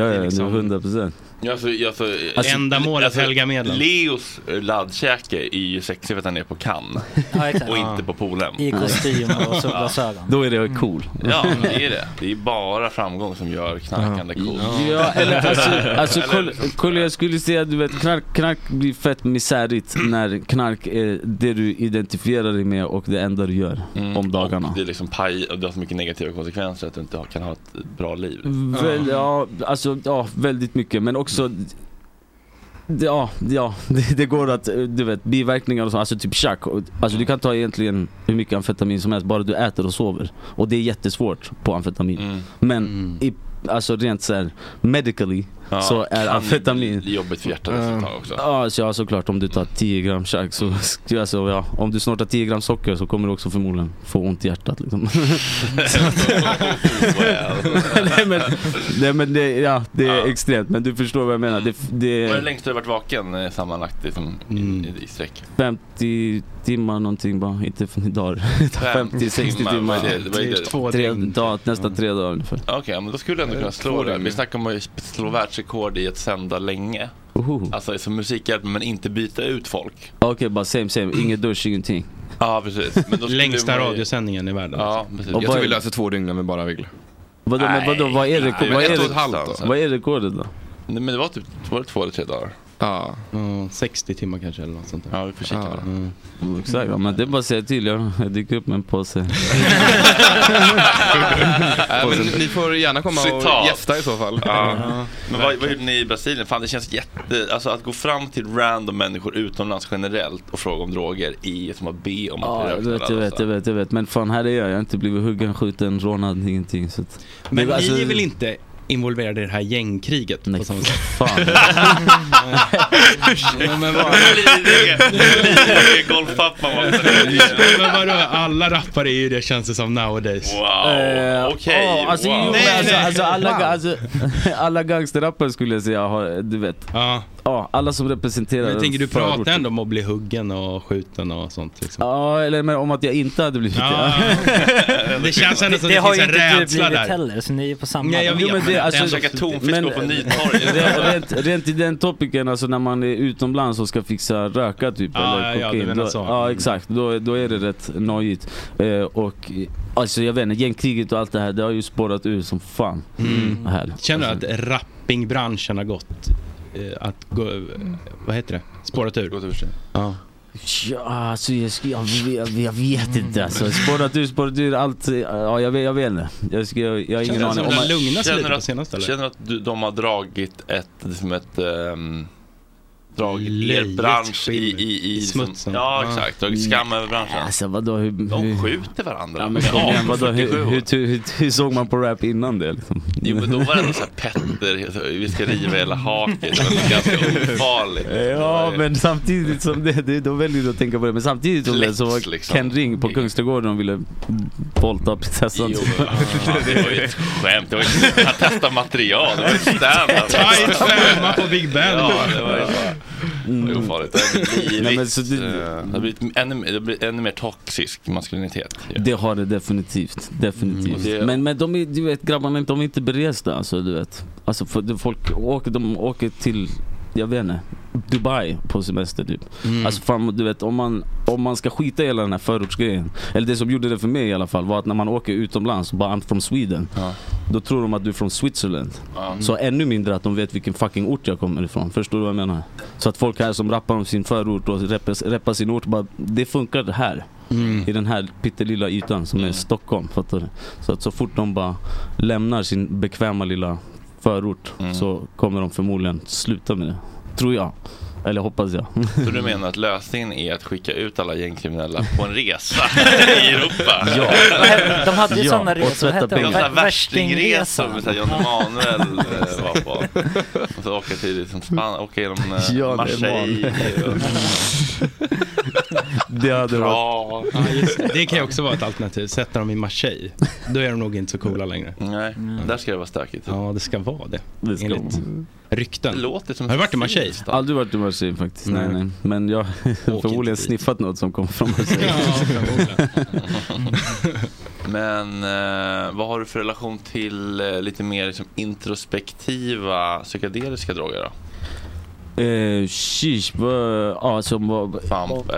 Speaker 10: ja,
Speaker 6: liksom-
Speaker 10: det var 100 procent.
Speaker 1: Alltså, alltså,
Speaker 6: Alltså, Ändamålet helgar medlen.
Speaker 1: Leos eh, laddkäke är ju sexig för att han är på Cannes
Speaker 8: Ja, exakt.
Speaker 1: och
Speaker 8: Ja.
Speaker 1: inte på Polhem.
Speaker 8: I kostym och solglasögon.
Speaker 10: Då är det cool.
Speaker 1: Ja, men det är det. Det är bara framgång som gör knarkande coolt.
Speaker 10: Ja, eller alltså, alltså
Speaker 1: Eller-
Speaker 10: kolla, kolla jag skulle säga att du vet, knark, knark blir fett misärigt farligt när knark är det du identifierar dig med och det enda du gör om dagarna.
Speaker 1: Det är liksom paj och det har så mycket negativa konsekvenser att du inte har- kan ha ett bra liv.
Speaker 10: Väl, ja, alltså, ja, väldigt mycket men också det- Ja, ja det, det går att, eh, du vet, biverkningar och så, alltså typ tjack. Och- Alltså du kan ta egentligen hur mycket amfetamin som helst bara du äter och sover. Och det är jättesvårt på amfetamin.
Speaker 1: Mm.
Speaker 10: Men i, alltså rent såhär medically
Speaker 1: Ja,
Speaker 10: så är
Speaker 1: kan
Speaker 10: amfetamin
Speaker 1: bli jobbigt för hjärtat efter ett tag också.
Speaker 10: Ehm, Ja, så, ja såklart om du tar 10 gram tjack så, alltså, ja, om du snortar 10 gram socker så kommer du också förmodligen få ont i hjärtat liksom. Så att- nej men, nej, men det, ja, det är extremt men du förstår vad jag menar. Det, det
Speaker 1: Vad är det
Speaker 10: är
Speaker 1: längst du har varit vaken eh, sammanlagt liksom, i,
Speaker 10: Mm.
Speaker 1: i, i sträck?
Speaker 10: 50 timmar någonting bara, inte för dagar. 50-60
Speaker 1: timmar,
Speaker 10: timmar.
Speaker 1: vad är det? Vad är det? Två
Speaker 10: Tre, dag, nästan tre dagar ungefär.
Speaker 1: Okej, men då skulle du ändå kunna slå
Speaker 10: Två
Speaker 1: det. Vi
Speaker 10: dygn.
Speaker 1: snackar om att slå världsrekord i att sända länge.
Speaker 10: Oho.
Speaker 1: Alltså som musikhjälp men inte byta ut folk.
Speaker 10: Okej bara same same, ingen dusch, ingenting.
Speaker 1: Ja, precis. Men då skulle
Speaker 6: Längsta
Speaker 1: man ju-
Speaker 6: radiosändningen i världen.
Speaker 1: Ja, precis.
Speaker 12: Jag
Speaker 10: Och
Speaker 12: tror
Speaker 10: vad-
Speaker 12: vi löser två dygn med bara vill.
Speaker 10: Vadå, men vadå, vad är,
Speaker 1: Nej,
Speaker 10: rekord,
Speaker 1: det
Speaker 10: vad,
Speaker 1: var ett
Speaker 10: är
Speaker 1: och ett
Speaker 10: rekord-
Speaker 1: halvt, alltså.
Speaker 10: vad är rekordet då?
Speaker 1: Nej, men det var typ var det två eller tre dagar.
Speaker 12: Ja.
Speaker 6: 60 timmar kanske eller något sånt där.
Speaker 1: Ja, vi får kika bara.
Speaker 10: Mm, Exakt, ja, men det är bara att säga till. Jag, jag dyker upp med en påse.
Speaker 12: Nej, men ni får gärna komma och
Speaker 1: Citat.
Speaker 12: gästa i så fall.
Speaker 1: Ja. Men vad, vad gjorde ni i Brasilien? Fan det känns jätte, alltså att gå fram till random människor utomlands generellt och fråga om droger är som att be om att
Speaker 10: Ja,
Speaker 1: bli röknällad,
Speaker 10: jag vet, jag vet,
Speaker 1: alltså.
Speaker 10: jag vet, jag vet. Men fan här är jag. Jag har inte blivit huggen, skjuten, rånad, ingenting. Så att...
Speaker 6: Men
Speaker 10: Det- alltså-
Speaker 6: ni är väl inte involverade i det här gängkriget på samma sätt?
Speaker 10: Fan.
Speaker 6: Nej, men vad-
Speaker 1: Lidingö golfpappan var
Speaker 6: Nej, men vadå, alla rappare är ju det känns det som nowadays.
Speaker 10: Eh, ja, alltså, jo, men alltså, alltså, alla,
Speaker 6: Wow.
Speaker 10: alltså, alla gangsterrappare skulle jag säga har, du vet.
Speaker 6: Ja.
Speaker 10: alla som representerar
Speaker 6: Men tänker du
Speaker 10: förorten.
Speaker 6: prata ändå om att bli huggen och skjuten och sånt liksom?
Speaker 10: Ja, eller men om att jag inte hade blivit
Speaker 6: Ja, Det känns ändå som det,
Speaker 8: har ju
Speaker 6: finns en
Speaker 8: inte du
Speaker 6: rädsla
Speaker 8: blivit
Speaker 6: där.
Speaker 8: heller, så ni är på samma.
Speaker 6: Nej, jag
Speaker 10: Jo,
Speaker 6: vet,
Speaker 10: men det- alltså-
Speaker 6: den käkar tonfisk
Speaker 10: men-
Speaker 6: går på
Speaker 1: Nytorget.
Speaker 10: Re- rent, rent i den topiken, alltså när man är utomlands och ska fixa röka typ
Speaker 6: Ja, ja,
Speaker 10: eller
Speaker 6: ja,
Speaker 10: kokain.
Speaker 6: du menar
Speaker 10: då,
Speaker 6: så.
Speaker 10: ja exakt, då, då är det rätt nojigt. Eh, och eh, alltså jag vet inte, gängkriget och allt det här, det har ju spårat ur som fan.
Speaker 6: Mm.
Speaker 10: Här. Alltså-
Speaker 6: Känner du att rappingbranschen har gått, eh, att gå,
Speaker 1: Mm.
Speaker 6: vad heter det, spårat ur? Ja.
Speaker 10: Ja, alltså jag, sk- jag, vet, jag vet inte alltså. Spårat ur, spårat ur, allt. eh, Ja, jag vet, jag vet inte. Jag, ska, jag, jag har ingen aning. Om man-
Speaker 1: Känner du att- Känner du att du, de har dragit ett, liksom ett ehm, dragit er
Speaker 10: Löjligt
Speaker 1: bransch i, i, i, smutsen? Ja,
Speaker 10: Ja.
Speaker 1: exakt. Dragit skam över branschen.
Speaker 10: Alltså vadå hur...
Speaker 1: De skjuter varandra.
Speaker 10: Ja, men kom igen, vadå, hur,
Speaker 1: 47 år.
Speaker 10: hur, hur, hur, hur såg man på rap innan det? Liksom?
Speaker 1: Jo men då var det ändå såhär Petter, så vi ska riva hela haket. Det var ganska ofarligt.
Speaker 10: Ja men samtidigt som det, det då väljer du att tänka på det. Men samtidigt som det så var
Speaker 1: Flex, liksom.
Speaker 10: Ken Ring på Kungsträdgården och ville volta prinsessan.
Speaker 1: Jo, men, fan, det var ju ett skämt. Det var ju, han testade material. Det var ju stand-up.
Speaker 6: Tight femma på Big Ben.
Speaker 1: Ja, det var ju bara... Det var ofarligt. Det har
Speaker 10: Nej,
Speaker 1: blivit,
Speaker 10: men så det-
Speaker 1: eh, det har blivit ännu, mer- det har blivit ännu mer toxisk maskulinitet. ju.
Speaker 10: Det har det definitivt.
Speaker 1: Och
Speaker 10: definitivt.
Speaker 1: det-
Speaker 10: Men, men de är, du vet, grabbarna de är inte beresta alltså, du vet. Alltså, för, det- folk åker, de åker till, jag vet inte, Dubai på semester typ.
Speaker 7: Mm.
Speaker 10: Alltså fan, du vet, om man, om man ska skita i hela den här förortsgrejen. Eller det som gjorde det för mig i alla fall var att när man åker utomlands och bara I'm from Sweden. Då tror de att du är från Switzerland.
Speaker 1: Ja. Mm.
Speaker 10: Så ännu mindre att de vet vilken fucking ort jag kommer ifrån. Förstår du vad jag menar? Så att folk här som rappar om sin förort och reppar, reppar sin ort bara, det funkar här. I den här pyttelilla ytan som är Stockholm. Fattar du? Så att så fort de bara lämnar sin bekväma lilla förort så kommer de förmodligen sluta med det. Tror jag. Eller hoppas jag.
Speaker 1: Så du menar att lösningen är att skicka ut alla gängkriminella på en resa i Europa?
Speaker 10: Ja.
Speaker 8: De hade ju
Speaker 1: Ja,
Speaker 8: sådana
Speaker 1: och
Speaker 8: resor,
Speaker 1: tvätta
Speaker 8: vad hette de?
Speaker 1: pengar. Det var sådana värstingresor
Speaker 8: Värstingresan.
Speaker 1: med såhär Jan Emanuel eh, var på. Och så åka till liksom Spanien, åka genom eh,
Speaker 10: Jan
Speaker 1: Marseille.
Speaker 10: Emanuel.
Speaker 1: och-
Speaker 10: Det hade varit...
Speaker 1: Ja,
Speaker 6: just det. det kan ju också vara ett alternativ. Sätter dem i Marseille, då är de nog inte så coola längre.
Speaker 1: Mm. Nej,
Speaker 10: Mm.
Speaker 1: där ska det vara stökigt.
Speaker 6: Ja, det ska vara det.
Speaker 10: Det ska
Speaker 6: enligt rykten.
Speaker 1: Det låter som
Speaker 6: Har du varit i
Speaker 1: ett
Speaker 6: Marseille?
Speaker 1: fint ställe.
Speaker 10: Aldrig varit i Marseille faktiskt. Nej,
Speaker 6: Nej.
Speaker 10: nej. Men jag har förmodligen sniffat något som kom från Marseille.
Speaker 1: Men eh, vad har du för relation till eh, lite mer liksom, introspektiva psykedeliska droger då?
Speaker 10: Eh, sheesh, vad, ja, som vad,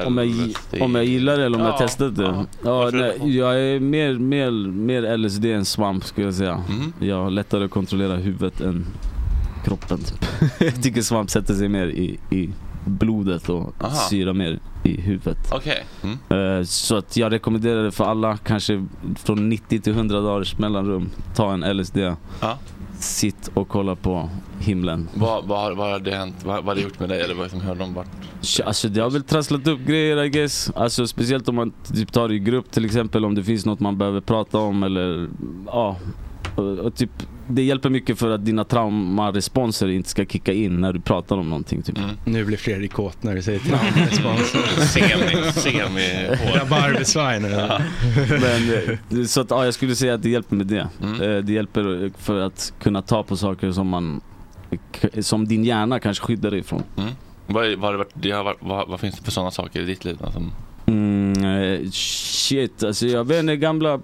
Speaker 10: om, jag,
Speaker 1: LSD.
Speaker 10: om jag gillar det eller om
Speaker 1: Ja,
Speaker 10: jag testat det? Ja, nej, jag är mer, mer, mer LSD än svamp skulle jag säga.
Speaker 1: Mm.
Speaker 10: Jag har lättare att kontrollera huvudet än kroppen. Typ. jag tycker svamp sätter sig mer i, i blodet och
Speaker 1: Aha.
Speaker 10: syra mer i huvudet.
Speaker 1: Okej. Mm.
Speaker 10: Eh, Så att jag rekommenderar det för alla, kanske från 90 till 100 dagars mellanrum. Ta en LSD. Sitt och kolla på himlen.
Speaker 1: Vad, vad, har- vad har det hänt? Vad, vad har det gjort med dig? Eller vad liksom, hur har de varit?
Speaker 10: Tja, Alltså det har väl trasslat upp grejer I guess. Alltså speciellt om man typ tar det i grupp till exempel om det finns något man behöver prata om eller ja. Och, och typ, det hjälper mycket för att dina traumaresponser inte ska kicka in när du pratar om någonting. Typ.
Speaker 1: Mm.
Speaker 6: Nu blir Fredrik kåt när du säger traumarespons.
Speaker 1: Semi, semi hård.
Speaker 6: Rabarbersvaj nu.
Speaker 10: Men, eh, så att, ja, jag skulle säga att det hjälper med det. Eh, Det hjälper för att kunna ta på saker som, man, som din hjärna kanske skyddar dig ifrån.
Speaker 1: Mm. Vad, är- vad, har det varit, det har varit, vad, vad finns det för sådana saker i ditt liv? då som-
Speaker 10: Mm, eh, shit, alltså jag vet inte, gamla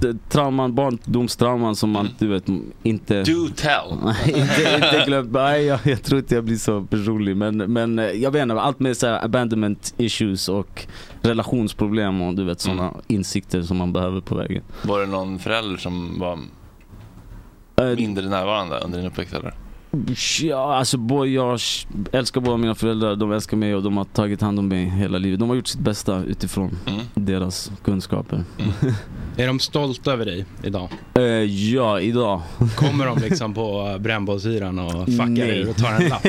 Speaker 10: d- trauman, barndomstrauman som man du vet inte...
Speaker 1: Do tell!
Speaker 10: Eh. inte, inte glömt, nej jag, jag tror inte jag blir så personlig men, men eh, jag vet inte, allt med så här abandonment issues och relationsproblem och du vet sådana insikter som man behöver på vägen.
Speaker 1: Var det någon förälder som var
Speaker 10: Eh,
Speaker 1: mindre närvarande under din uppväxt? Eller?
Speaker 10: Ja, alltså bo, jag älskar båda mina föräldrar, de älskar mig och de har tagit hand om mig hela livet. De har gjort sitt bästa utifrån
Speaker 6: Mm.
Speaker 10: deras kunskaper.
Speaker 6: Är de stolta över dig idag?
Speaker 10: Eh, ja, idag.
Speaker 6: Kommer de liksom på brännbollsyran och fuckar
Speaker 10: Nej.
Speaker 6: ur och tar en lapp?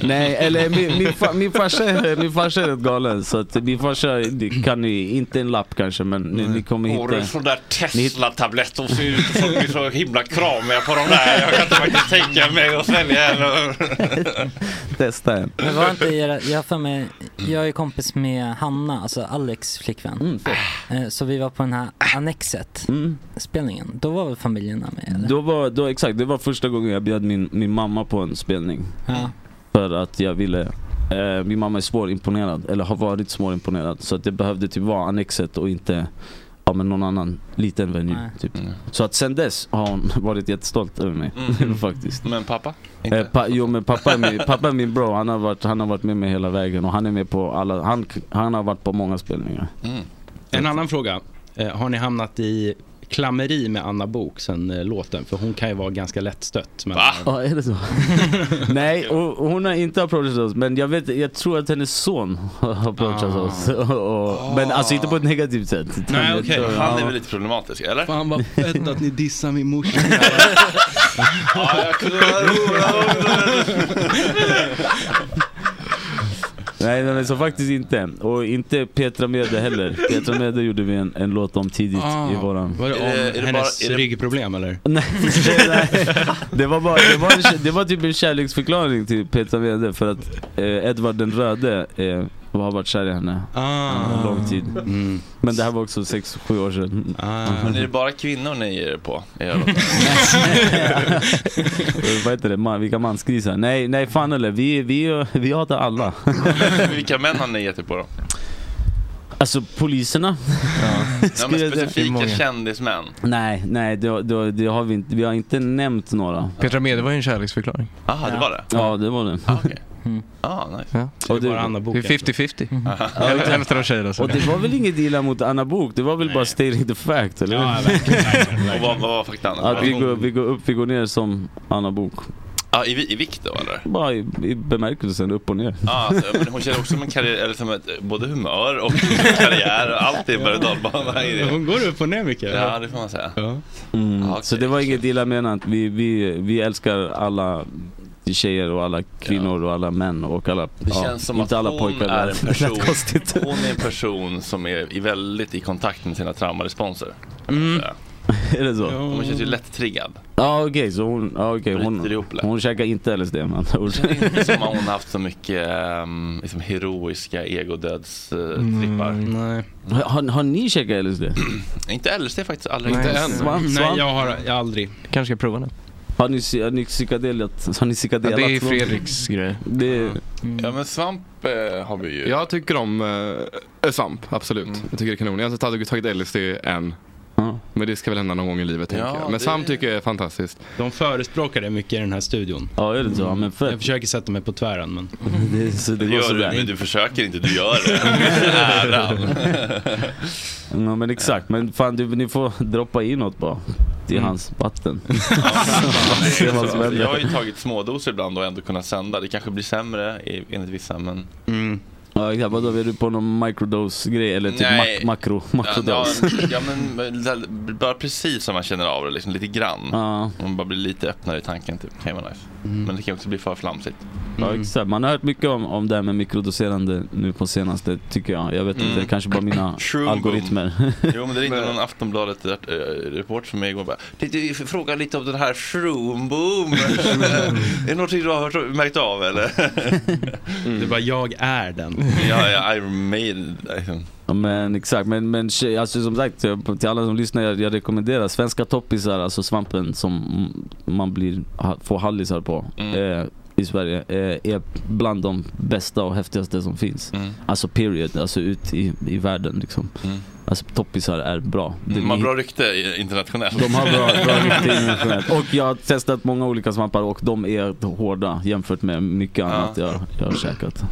Speaker 10: Nej, eller min, min, fa, min, farsa, är- min farsa är rätt galen så att min farsa det kan ni, inte en lapp kanske men ni, ni kommer
Speaker 1: Åh, det är
Speaker 10: hitta...
Speaker 1: sån där Tesla-tablett och ser ut och folk blir så himla kramiga på de där. Jag kan inte faktiskt tänka mig att svälja en.
Speaker 10: Testa en.
Speaker 8: Men var inte era, jag har för mig, jag är kompis med Hanna, alltså Alex flickvän.
Speaker 10: Mm,
Speaker 8: Eh, Så vi var på den här Annexet spelningen, då var väl familjerna med?
Speaker 10: Då var, då, exakt, det var första gången jag bjöd min, min mamma på en spelning.
Speaker 8: Ja.
Speaker 10: För att jag ville, eh, min mamma är svårimponerad, eller har varit svårimponerad. Så att det behövde typ vara Annexet och inte ja, men någon annan liten venue.
Speaker 1: Nej.
Speaker 10: Typ. Så att sen dess har hon varit jättestolt över mig
Speaker 1: Mm.
Speaker 10: faktiskt.
Speaker 1: Men pappa?
Speaker 10: Eh, pa, jo men pappa är, min, pappa är min bro, han har, varit, han har varit med mig hela vägen och han är med på alla, han, han har varit på många spelningar.
Speaker 6: Mm. En annan fråga. Eh, Har ni hamnat i klammeri med Anna Bok sen eh, låten? För hon kan ju vara ganska lättstött. Men...
Speaker 10: Ja, är det så? Nej, och, och hon har inte approachat oss men jag, vet, jag tror att hennes son har approachat
Speaker 1: Ah.
Speaker 10: oss. Och, och, men alltså inte på ett negativt sätt. utan
Speaker 1: Nej
Speaker 10: jag
Speaker 1: okej,
Speaker 10: tror-
Speaker 1: han är
Speaker 10: ja.
Speaker 1: väl lite problematisk eller?
Speaker 6: Fan vad fett att ni dissar min morsa.
Speaker 1: ja, jag kunde vara
Speaker 10: Nej, nej men så faktiskt inte. Och inte Petra Mede heller. Petra Mede gjorde vi en, en låt om tidigt
Speaker 1: Ah.
Speaker 10: i våran...
Speaker 6: Ah. Var det om hennes ryggproblem eller?
Speaker 10: Nej, det var, bara, det, var en, kä- det var typ en kärleksförklaring till Petra Mede för att eh, Edvard den röde eh, har varit kär i henne
Speaker 6: Ah. Mm.
Speaker 10: en lång tid. Men det här var också 6-7 år sedan.
Speaker 6: Ah.
Speaker 1: Men är det bara kvinnor ni ger er på? i era låtar?
Speaker 10: Eh, Vad heter det? Man, vilka mansgrisar? Nej, nej fan eller vi, vi, vi hatar alla.
Speaker 1: Vilka män har ni gett er på då?
Speaker 10: Alltså poliserna. Mm.
Speaker 1: Ja, men
Speaker 10: Skulle jag säga.
Speaker 1: specifika kändismän.
Speaker 10: Nej, nej det, det, det har vi, inte, vi har inte nämnt några.
Speaker 7: Petra Mede var ju en kärleksförklaring.
Speaker 1: Aha, det var det?
Speaker 10: Ja, det var det.
Speaker 1: Ah, nice.
Speaker 10: Så det är bara Anna Bok
Speaker 7: Det är 50-50.
Speaker 10: Mm. Ja,
Speaker 7: Häl-
Speaker 10: exakt.
Speaker 7: Hälften av tjejerna
Speaker 10: Och
Speaker 7: så.
Speaker 10: det var väl inget illa mot Anna Bok det var väl bara stating the fact eller?
Speaker 1: Ja, verkligen, Och vad, vad var faktan?
Speaker 10: Att vi går, vi går upp, vi går ner som Anna Bok
Speaker 1: Ja, i, vi- I vikt då eller?
Speaker 10: Bara i, i bemärkelsen upp och ner.
Speaker 1: Ja, alltså, men hon känner också som en karriär, eller som ett, både humör och karriär, och allt är berg och dalbana i det.
Speaker 6: Hon går upp och ner mycket.
Speaker 1: Ja, det får man säga.
Speaker 10: Mm. Så det var inget illa menat. Vi, vi, vi älskar alla tjejer och alla kvinnor och alla män och alla,
Speaker 1: Det
Speaker 10: ja,
Speaker 1: känns som
Speaker 10: inte
Speaker 1: att
Speaker 10: alla
Speaker 1: hon
Speaker 10: pojkar.
Speaker 1: är
Speaker 10: Det
Speaker 1: en
Speaker 10: lät
Speaker 1: person,
Speaker 10: konstigt.
Speaker 1: hon är en person som är i- väldigt i kontakt med sina traumaresponser.
Speaker 10: Mm. är det så?
Speaker 1: Hon känns ju lätt triggad.
Speaker 10: Ja okej, så hon, ja, okej, hon, hon käkar inte LSD med andra ord.
Speaker 1: Inte som att hon har haft så mycket ehm, liksom heroiska eh, egodödstrippar.
Speaker 6: nej.
Speaker 10: Har, har ni käkat LSD?
Speaker 1: Inte LSD faktiskt, aldrig.
Speaker 10: Svamp, svamp.
Speaker 6: jag aldrig.
Speaker 7: Kanske ska prova nu.
Speaker 10: Har ni, har ni psykadelat? Har ni psykadelat?
Speaker 7: Ja, det är
Speaker 10: någon?
Speaker 7: Fredriks grej.
Speaker 10: Det är,
Speaker 1: Ja men svamp eh, har vi ju.
Speaker 12: Mm.
Speaker 1: Mm.
Speaker 12: Jag tycker om eh, svamp, absolut. Jag tycker det är kanon. Jag har inte tagit- tagit LSD än. Men det ska väl hända någon gång i livet tänker
Speaker 6: Ja,
Speaker 12: jag. Men
Speaker 6: det-
Speaker 12: svamp tycker jag är fantastiskt.
Speaker 6: De förespråkar det mycket i den här studion. Mm.
Speaker 10: Ja, är det så? Men fett.
Speaker 6: Jag försöker sätta mig på tvären men...
Speaker 10: det, så det
Speaker 1: Det
Speaker 10: går
Speaker 1: gör du,
Speaker 10: sådär.
Speaker 1: men du försöker inte, du gör det. Äran.
Speaker 10: Ja men exakt, men fan du, ni får droppa in något bara. i
Speaker 7: Mm.
Speaker 10: hans vatten.
Speaker 1: Nej,
Speaker 10: Se vad som
Speaker 1: alltså,
Speaker 10: händer.
Speaker 1: jag har ju tagit smådoser ibland och ändå kunnat sända. Det kanske blir sämre i- enligt vissa, men...
Speaker 10: Mm. Ja, exakt. Vadå, är du på någon microdose-grej eller typ
Speaker 1: Nej.
Speaker 10: mak- makro,
Speaker 1: Ja,
Speaker 10: makrodos?
Speaker 1: ja, ja, men det- bara precis som man känner av det, liksom, lite grann. Man bara blir lite öppnare i tanken, typ. kan ju vara nice. Men det kan också bli för flamsigt.
Speaker 10: Ja,
Speaker 1: Mm.
Speaker 10: exakt. Man har hört mycket om, om det här med mikrodoserande nu på senaste, tycker jag. Jag vet inte,
Speaker 1: Mm.
Speaker 10: kanske bara mina
Speaker 1: Shroom boom.
Speaker 10: algoritmer.
Speaker 1: Jo men det ringde någon Aftonbladet-report som mig igår och bara "Du, du, Fråga lite om den här shroomboom. är det någonting du har hört, märkt av eller?
Speaker 10: Mm.
Speaker 6: Du bara, jag är den.
Speaker 1: ja, ja, I made it.
Speaker 10: Ja, men exakt, men, men tje- alltså, som sagt till alla som lyssnar, jag, jag rekommenderar svenska toppisar, alltså svampen som man blir, ha- får hallisar på eh, i Sverige, eh, är bland de bästa och häftigaste som finns. Alltså period, alltså ut i, i världen liksom. Alltså toppisar är bra. Det-
Speaker 1: De har bra rykte i- internationellt.
Speaker 10: Mm. de har bra, bra rykte internationellt. Och jag har testat många olika svampar och de är hårda jämfört med mycket annat jag, jag har käkat.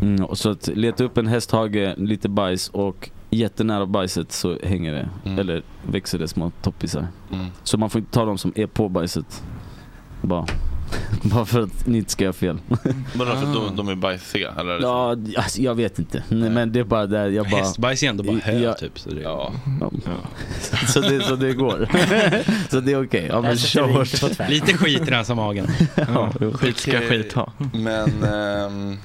Speaker 10: Mm. och så att leta upp en hästhage, lite bajs och jättenära bajset så hänger det. Eller växer det små toppisar.
Speaker 1: Mm.
Speaker 10: Så man får inte ta dem som är på bajset. Bara, bara för att ni inte ska göra fel.
Speaker 1: Men alltså, de, de är bajsiga eller?
Speaker 10: Ja, alltså, jag vet inte. Nej, men det är bara där jag bara...
Speaker 6: Hästbajs är ändå bara hö
Speaker 10: Jag-
Speaker 6: typ. Så det,
Speaker 1: ja.
Speaker 10: så, det, så det går. så det är okej. Ja, men kör.
Speaker 6: Lite skit rensar magen.
Speaker 10: Ja,
Speaker 7: skit ska
Speaker 1: Okej,
Speaker 7: skit ha.
Speaker 1: Men... ehm,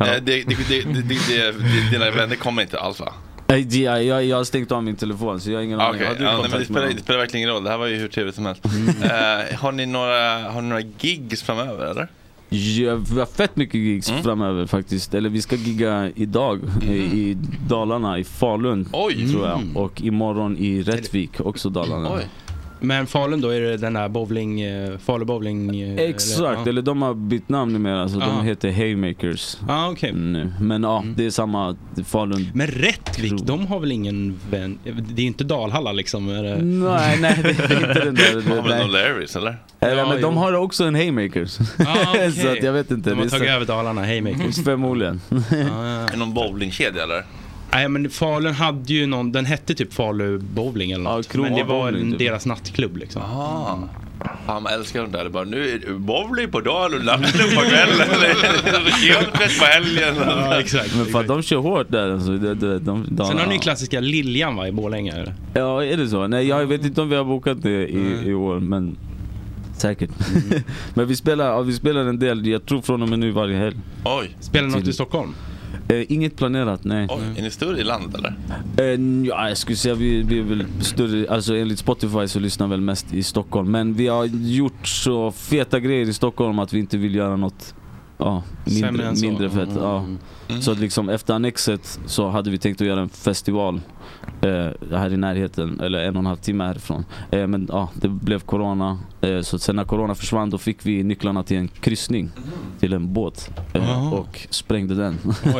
Speaker 1: eh, det, det, det, det, det, det, dina vänner kommer inte alls va?
Speaker 10: Nej, det- jag, jag, jag har stängt av min telefon så jag har ingen
Speaker 1: Ah,
Speaker 10: aning.
Speaker 1: Okej,
Speaker 10: Har du
Speaker 1: ja, nej,
Speaker 10: kontakt
Speaker 1: men det,
Speaker 10: med
Speaker 1: spelar,
Speaker 10: någon?
Speaker 1: det spelar verkligen ingen roll. Det här var ju hur trevligt som helst. Eh, har, ni några, har ni några gigs framöver eller?
Speaker 10: Ja, vi har fett mycket gigs
Speaker 1: Mm.
Speaker 10: framöver faktiskt. Eller vi ska gigga idag i, i Dalarna, i Falun
Speaker 1: Oj.
Speaker 10: tror jag.
Speaker 6: Mm.
Speaker 10: Och imorgon i Rättvik, också Dalarna.
Speaker 6: Men Falun då, är det den där bowling, eh, Falu bowling? eh,
Speaker 10: Exakt, eller,
Speaker 6: ja.
Speaker 10: de har bytt namn numera så
Speaker 6: Ah.
Speaker 10: de heter Haymakers.
Speaker 6: Ah, okay.
Speaker 10: nu. Men ja,
Speaker 1: Mm.
Speaker 10: det är samma Falun.
Speaker 6: Men Rättvik, de har väl ingen vän? Det är ju inte Dalhalla liksom? Är det...
Speaker 10: Nej, nej, det är inte den där.
Speaker 1: Har väl
Speaker 10: nej.
Speaker 1: någon Larrys eller?
Speaker 10: Eller, men
Speaker 6: jo. Ah,
Speaker 10: de har också en Haymakers. så att jag vet inte.
Speaker 6: De har
Speaker 10: det
Speaker 6: tagit
Speaker 10: är så- Mm.
Speaker 6: över Dalarna, Haymakers.
Speaker 10: Förmodligen.
Speaker 1: Är det någon bowlingkedja eller?
Speaker 6: Nej men Falun hade ju någon, den hette typ Falu bowling eller något. men det var
Speaker 1: Kronobowling,
Speaker 6: en,
Speaker 1: typ.
Speaker 6: deras nattklubb liksom.
Speaker 1: Ah. Fan, man älskar de där. Det är bara, nu är det bowling på dagen och nattklubb på kvällen. Gymmet på helgen.
Speaker 6: Ja, exakt.
Speaker 10: Men för att de kör hårt där alltså. De, de, de, de,
Speaker 6: Sen har ni ju klassiska Liljan va, i Borlänge? Eller?
Speaker 10: Ja, är det så? Nej, jag vet inte om vi har bokat det i, i år, men säkert. men vi spelar, ja, vi spelar en del, jag tror från och med nu varje helg.
Speaker 1: Oj.
Speaker 6: Spelar ni något i Stockholm?
Speaker 10: Eh, inget planerat, nej.
Speaker 1: Oj, är ni större i landet eller?
Speaker 10: Eh, ja, jag skulle säga vi, vi är väl större, alltså enligt Spotify så lyssnar väl mest i Stockholm. Men vi har gjort så feta grejer i Stockholm att vi inte vill göra något ja,
Speaker 6: Sämre
Speaker 10: mindre,
Speaker 6: än så. Mm.
Speaker 10: mindre fett. Ja. Så att liksom efter Annexet så hade vi tänkt att göra en festival eh, här i närheten, eller en och en halv timme härifrån. Eh, men ja, det blev Corona. Eh, så sen när Corona försvann då fick vi nycklarna till en kryssning
Speaker 6: Mm.
Speaker 10: till en båt eh, och sprängde den.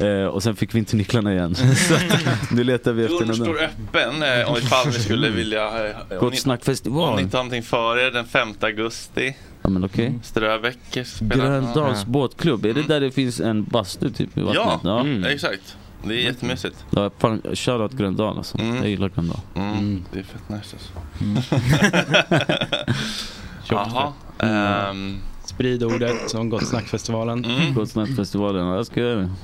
Speaker 10: eh, och sen fick vi inte nycklarna igen. så att nu letar vi efter
Speaker 1: Dörren
Speaker 10: den.
Speaker 1: står
Speaker 10: där.
Speaker 1: öppen eh, om ifall ni skulle vilja... eh, om
Speaker 10: Gott
Speaker 1: ni-
Speaker 10: snackfestival.
Speaker 1: Om ni inte har någonting för er den 5 augusti.
Speaker 10: Ja men okej.
Speaker 1: Ströbeck
Speaker 6: Mm.
Speaker 1: spelar. Mm.
Speaker 10: Gröndals båtklubb, är det där det finns en bastu typ i vattnet?
Speaker 1: Ja,
Speaker 6: Mm.
Speaker 1: exakt. Det är jättemysigt.
Speaker 10: Ja, fan, shoutout Gröndal alltså. Jag gillar Gröndal.
Speaker 1: Mm. Det är fett nice alltså. Jaha.
Speaker 6: Mm. Jaha.
Speaker 10: Mm.
Speaker 1: ehm.
Speaker 6: Sprid ordet om Gott Snack-festivalen.
Speaker 1: Mm.
Speaker 10: Gott Snack-festivalen, jag ska göra Mm. det.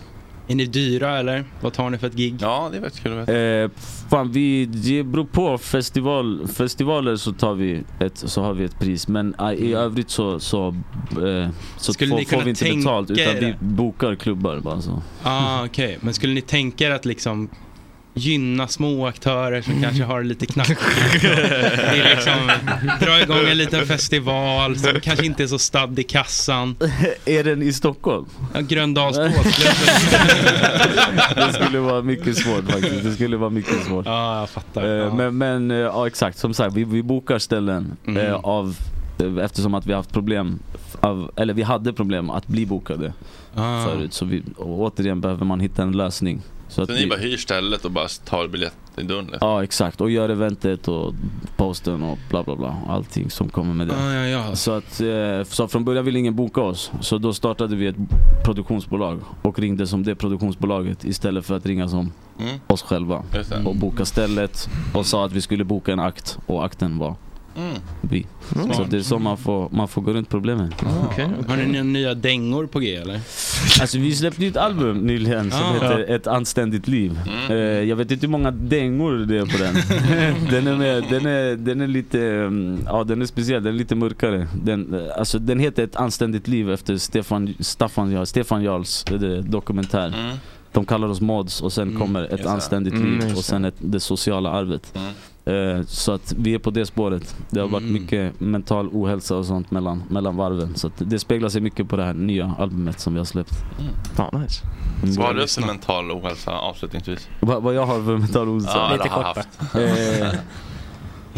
Speaker 6: Är ni dyra eller? Vad tar ni för ett gig?
Speaker 1: Ja, det vet jag.
Speaker 10: Eh, fan, vi, det beror på. Festival, festivaler så, tar vi ett, så har vi ett pris. Men eh, i övrigt så, så, eh, så
Speaker 6: Mm. Skulle
Speaker 10: får,
Speaker 6: ni kunna
Speaker 10: får vi inte
Speaker 6: tänka
Speaker 10: betalt. Utan
Speaker 6: er
Speaker 10: vi
Speaker 6: det?
Speaker 10: bokar klubbar bara så.
Speaker 6: Ah, okej. Men skulle ni tänka er att liksom gynna små aktörer som kanske har det lite knackigt? Det är liksom, dra igång en liten festival som kanske inte är så stadd i kassan.
Speaker 10: Är den i Stockholm?
Speaker 6: Ja, Gröndals båtklubb.
Speaker 10: det skulle vara mycket svårt faktiskt. Det skulle vara mycket svårt.
Speaker 6: Ja, jag fattar.
Speaker 10: Eh, Men, men eh, ja, exakt, som sagt, vi, vi bokar ställen
Speaker 6: Mm.
Speaker 10: eh, av, eh, eftersom att vi har haft problem, f- av, eller vi hade problem att bli bokade
Speaker 6: Ah.
Speaker 10: förut. Så vi, och återigen behöver man hitta en lösning.
Speaker 1: Så
Speaker 10: att
Speaker 1: ni
Speaker 10: vi-
Speaker 1: bara hyr stället och bara tar biljett, i dörren. liksom.
Speaker 10: Ja exakt, och gör eventet och posten och bla bla bla. Allting som kommer med det.
Speaker 6: Ja, ja, ja.
Speaker 10: Så, att, eh, så från början ville ingen boka oss. Så då startade vi ett produktionsbolag och ringde som det produktionsbolaget istället för att ringa som
Speaker 1: Mm.
Speaker 10: oss själva.
Speaker 1: Just det.
Speaker 10: Och boka stället och sa att vi skulle boka en akt och akten var
Speaker 1: Mm.
Speaker 10: vi. Så
Speaker 6: Smart.
Speaker 10: det är så man får, man får gå runt problemen.
Speaker 6: Har ni några nya dängor på g eller?
Speaker 10: Alltså vi släppte ju ett album nyligen som
Speaker 6: Ah.
Speaker 10: heter Ett anständigt liv.
Speaker 1: Mm.
Speaker 10: Eh, jag vet inte hur många dängor det är på den. den, är med, den, är, den är lite, mm, ja den är speciell, den är lite mörkare. Den, eh, alltså, den heter Ett anständigt liv efter Stefan, Staffan, Jarl- Stefan Jarls eh, dokumentär.
Speaker 1: Mm.
Speaker 10: De kallar oss mods och sen
Speaker 1: Mm,
Speaker 10: kommer Ett
Speaker 1: just det.
Speaker 10: anständigt
Speaker 1: Mm,
Speaker 10: liv
Speaker 1: just
Speaker 10: och sen ett, det sociala arvet.
Speaker 6: Mm.
Speaker 10: Eh, så att vi är på det spåret. Det har varit
Speaker 1: Mm.
Speaker 10: mycket mental ohälsa och sånt mellan, mellan varven. Så att det speglar sig mycket på det här nya albumet som vi har släppt.
Speaker 1: Mm.
Speaker 10: Fan, nice.
Speaker 1: Så har du för mental ohälsa avslutningsvis?
Speaker 10: Va, vad jag har för mental ohälsa?
Speaker 1: Ja, Lite det har jag kort, haft. va?
Speaker 10: Eh,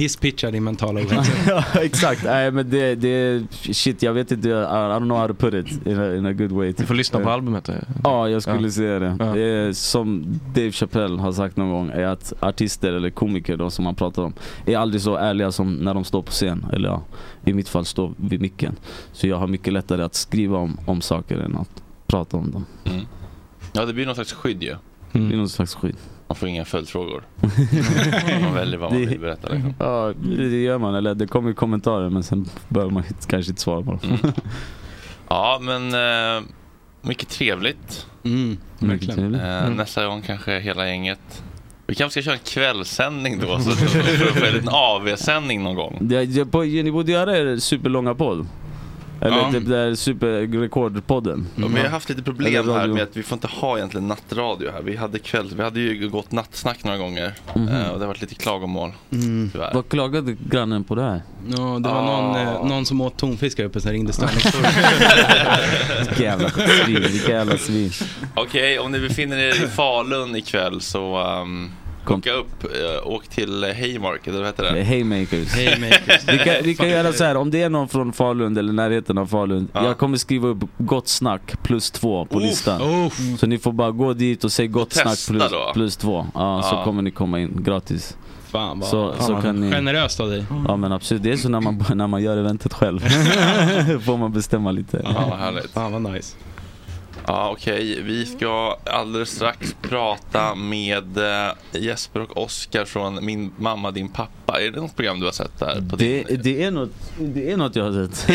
Speaker 6: Hisspitchar din mentala ohälsa.
Speaker 10: ja, exakt. Nej men det, det, shit jag vet inte, I, I don't know how to put it in a, in a good way. Du får lyssna på albumet. eh. Ja, jag skulle
Speaker 7: Ja.
Speaker 10: säga det. Eh, som Dave Chappelle har sagt någon gång, är att artister eller komiker, de som man pratar om, är aldrig så ärliga som när de står på scen. Eller ja, i mitt fall står vid micken. Så jag har mycket lättare att skriva om, om saker än att prata om dem.
Speaker 1: Mm. Ja, det blir någon slags skydd ju.
Speaker 10: Det är någon slags skit.
Speaker 1: Man får inga följdfrågor. man väljer vad man vill berätta. Liksom.
Speaker 10: Ja, det gör man. Eller det kommer ju kommentarer men sen behöver man inte- kanske inte svara på dem.
Speaker 1: Mm. Ja, men eh, mycket trevligt.
Speaker 10: Mycket trevligt.
Speaker 1: Eh,
Speaker 10: Mm.
Speaker 1: Nästa gång kanske hela gänget. Vi kanske ska köra en kvällssändning då, så att vi får en liten AV-sändning någon gång.
Speaker 10: Det, jag, på, ni borde göra er superlånga podd. Eller
Speaker 1: Ja.
Speaker 10: typ den där superrekordpodden. Mm.
Speaker 1: Ja, vi har haft lite
Speaker 10: Eller
Speaker 1: problem
Speaker 10: radio.
Speaker 1: här med att vi får inte ha egentligen nattradio här. Vi hade, kväll, vi hade ju gått nattsnack några gånger
Speaker 10: Mhm.
Speaker 1: eh, och det har varit lite klagomål.
Speaker 6: Mm.
Speaker 1: Tyvärr.
Speaker 10: Vad klagade grannen på det här?
Speaker 6: Ja, det var någon, eh, någon som åt tonfisk här uppe, sen ringde störningsfullt.
Speaker 10: Vilka jävla svin, vilka jävla svin.
Speaker 1: Okej, om ni befinner er i Falun ikväll så um, åka upp, eh, åk till eh, Haymarket, eller vad heter det?
Speaker 10: Haymakers.
Speaker 1: Haymakers.
Speaker 10: Vi kan, vi kan göra så här, om det är någon från Falun eller närheten av Falun.
Speaker 1: Ja.
Speaker 10: Jag kommer skriva upp gott snack plus två på
Speaker 1: Uff,
Speaker 10: listan. Så ni får bara gå dit och säga gott
Speaker 6: Testa
Speaker 10: snack plus,
Speaker 6: då.
Speaker 10: plus två. Ja,
Speaker 6: Ja.
Speaker 10: Så kommer ni komma in gratis.
Speaker 6: Fan vad
Speaker 10: Så, så
Speaker 6: vad
Speaker 10: kan ni...
Speaker 6: generöst av dig.
Speaker 10: Ja men absolut, det är så när man, när man gör eventet själv. får man bestämma lite.
Speaker 1: Ja, vad härligt.
Speaker 6: Fan vad nice.
Speaker 1: Ja, okej. Vi ska alldeles strax prata med eh, Jesper och Oskar från Min mamma, din pappa. Är det något program du har sett där? På
Speaker 10: Det, det, är något, det är något jag har sett.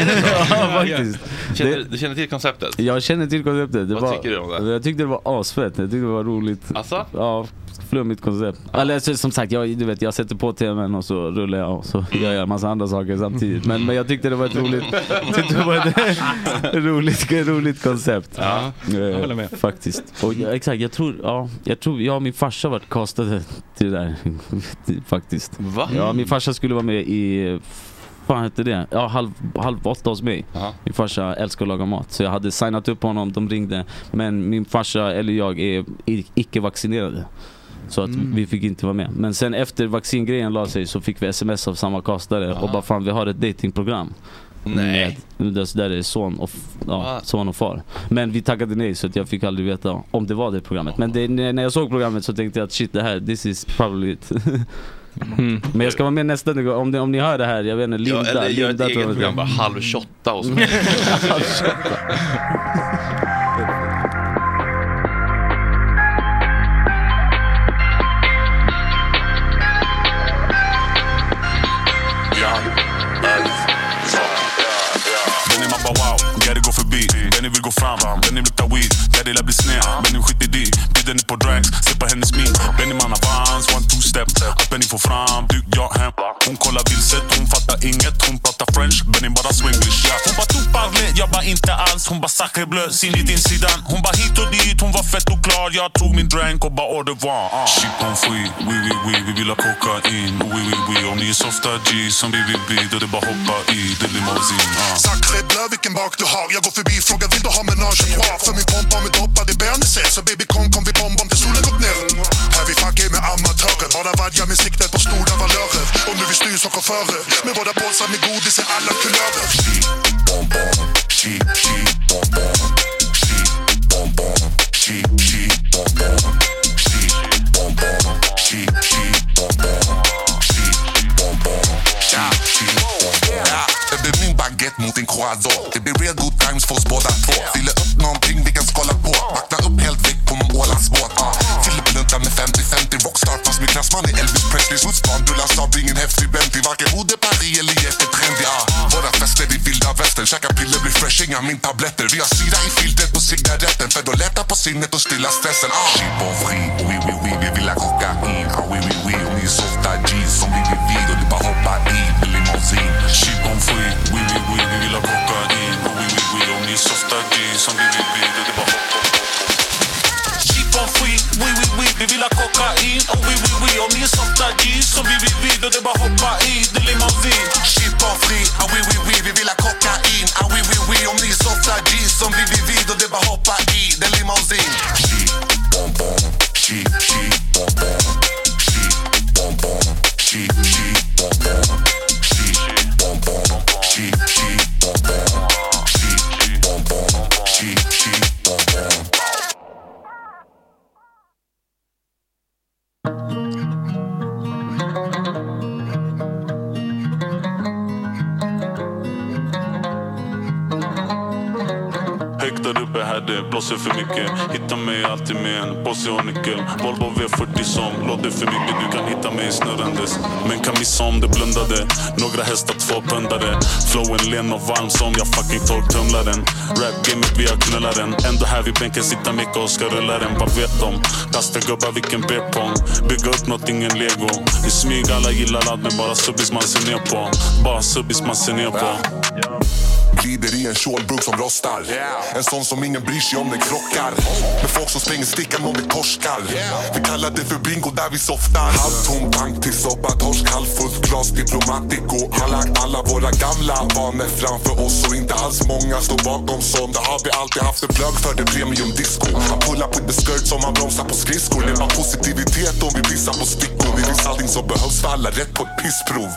Speaker 10: ja, faktiskt.
Speaker 1: Känner, du känner till konceptet?
Speaker 10: Jag känner till konceptet. Det
Speaker 1: Vad
Speaker 10: var,
Speaker 1: tycker du om det?
Speaker 10: Jag tyckte det var asfett. Jag tyckte det var roligt.
Speaker 1: Alltså?
Speaker 10: Ja, flummigt koncept. Eller så, som sagt, jag, du vet, jag sätter på tvn och så rullar jag och så
Speaker 1: Mm.
Speaker 10: gör jag en massa andra saker samtidigt. Men, men jag tyckte det var ett roligt, tyckte det var ett roligt, roligt koncept. Eh,
Speaker 6: Ja, jag håller med.
Speaker 10: Faktiskt. Och, jag, exakt, jag tror, ja, jag tror, jag och min farsa varit castade till det där. faktiskt.
Speaker 1: Va?
Speaker 10: Ja, min farsa skulle vara med i fan hette det? Ja, halv, halv åtta hos mig. Min farsa älskar att laga mat. Så jag hade signat upp honom, de ringde. Men min farsa eller jag är i- icke-vaccinerade. Så att
Speaker 1: Mm.
Speaker 10: vi fick inte vara med. Men sen efter vaccingrejen la sig så fick vi sms av samma kastare och bara fan vi har ett datingprogram.
Speaker 1: Nej.
Speaker 10: Där där det är son och, f- ja, son och far. Men vi tackade nej så att jag fick aldrig veta om det var det programmet. Men det, när jag såg programmet så tänkte jag att shit det här, this is probably it. Mm. Men jag ska vara med nästa gång, om, ni- om ni hör det här, jag vet inte, Linda.
Speaker 1: Ja, eller gör ett
Speaker 10: Linda tror
Speaker 1: eget
Speaker 10: jag-
Speaker 1: program, bara halv 28 och så.
Speaker 9: Benny man bara wow, Gary går förbi Benny vill gå fram, Benny luktar weed Gary lär bli sned, Benny skiter i det Bjuder ner på drags, ser på hennes min Benny man avans, one two step Allt Benny får fram, bygg jag hem Hon kollar vilset, hon fattar inget Hon pratar french, Benny bara swenglish ja. Hon bara tog parle, jag bara inte alls Hon bara sacre bleu, sin i din sidan Hon bara hit och dit, hon var fett och klar Jag tog min drink och bara au revoir ah. Shit on free, oui oui oui Vi vill ha kokain, oui oui oui Om ni är softa G som BBB Då det bara hoppa i, det blir morfin ah.
Speaker 13: Sacré bleu vilken bak du har Jag går förbi frågar vill du ha menage à trois För min pompa med doppad i bearnaisesås Så baby kom kom vi bombar till solen gått ner Här vi fuckar med amatörer Bara vadjar med siktet på stora valörer Och nu vi styr som chaufförer Med våra påsar med godis i alla kulörer
Speaker 9: She, she,
Speaker 13: Det blir real good times för oss båda två. Fyller upp någonting vi kan skåla på. Vakna upp helt väck på någon Ålandsbåt. Ah. Fyller bluntar med 50-50 rockstar. Fast min klassman är Elvis Presley. Sotsbarn dullas av ingen häftig Bentley. Varken Ode, Paris eller jättetrendig. Ah. Våra fester i vilda västern. Käka piller blir fresh, inga mintabletter. Vi har syra i filtret på cigaretten. För då lättar på sinnet och stillar stressen. Ah. Shit och vri, oui oui oui. Vi vill ha kokain. Ah, oui oui oui. Och ni är softa jeans som vi vill vid. Och det bara hoppa i en limousin. Shit och vri, oui oui oui. Vi vill ha kokain. Och oui oui oui. Och ni är softa jeans som vi vill vid. Och det bara hoppa Shit och vri, oui oui oui. Vi vill ha kokain. Och oui oui oui. Och ni är softa jeans som vi vill vid. Och det bara hoppa i en limousin. Shit och vri, ah, oui oui oui. Vi vill ha kokain. Ah, oui oui oui. Och ni är softa jeans som vi vill vid. Och det bara hoppa i en limousin. Shit, bom bom. Shit, shit, bom bom.
Speaker 14: Högt där uppe här det blåser för mycket Hitta mig alltid med en påse och nyckel Volvo V40 som låter för mycket Du kan hitta mig snurrandes Men kan missa om det blundade Några hästar, två pundare Flowen len och varm som jag fucking torktumlaren Rap-gamet vi har knullaren Ändå här vid bänken sitter Micke och ska rulla den Vad vet de? Plastergubbar, vilken bepong Bygga upp något, ingen lego I smyg, alla gillar ladd Men bara subbis man ser ner på Bara subbis man ser ner på
Speaker 13: Glider i en kjolbruk som rostar En sån som ingen bryr sig om den krockar Med folk som slänger stickan om vi torskar Vi kallar det för bingo där vi softar Halvtom tank till soppa torsk Halvfullt glas diplomatico Alla, alla våra gamla vanor framför oss Och inte alls många står bakom sånt Där har vi alltid haft en plugg för det premium disco Han pullar på the skirt som han bromsar på skridskor Det var positivitet om vi pissar på stickor Det finns allting som behövs för alla rätt på ett pissprov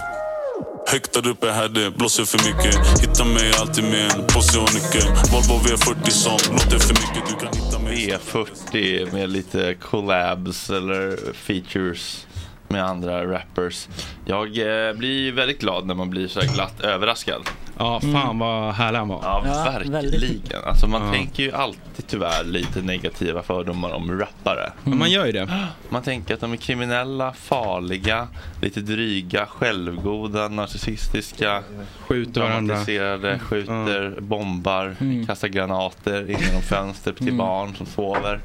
Speaker 14: Högt där uppe här det blåser för mycket Hitta mig alltid med en påse och nyckel Volvo V40 som låter för mycket Du kan hitta mig
Speaker 1: E40 med lite collabs eller features med andra rappers. Jag eh, blir väldigt glad när man blir så här glatt överraskad.
Speaker 6: Ja, fan vad härlig han var.
Speaker 1: Ja, verkligen. Alltså, man tänker ju alltid tyvärr lite negativa fördomar om rappare.
Speaker 6: Men man gör ju det.
Speaker 1: Man tänker att de är kriminella, farliga, lite dryga, självgoda, narcissistiska.
Speaker 6: Skjuter varandra.
Speaker 1: dramatiserade, skjuter, bombar,
Speaker 6: Mm.
Speaker 1: kastar granater in genom fönster till
Speaker 6: Mm.
Speaker 1: barn som sover.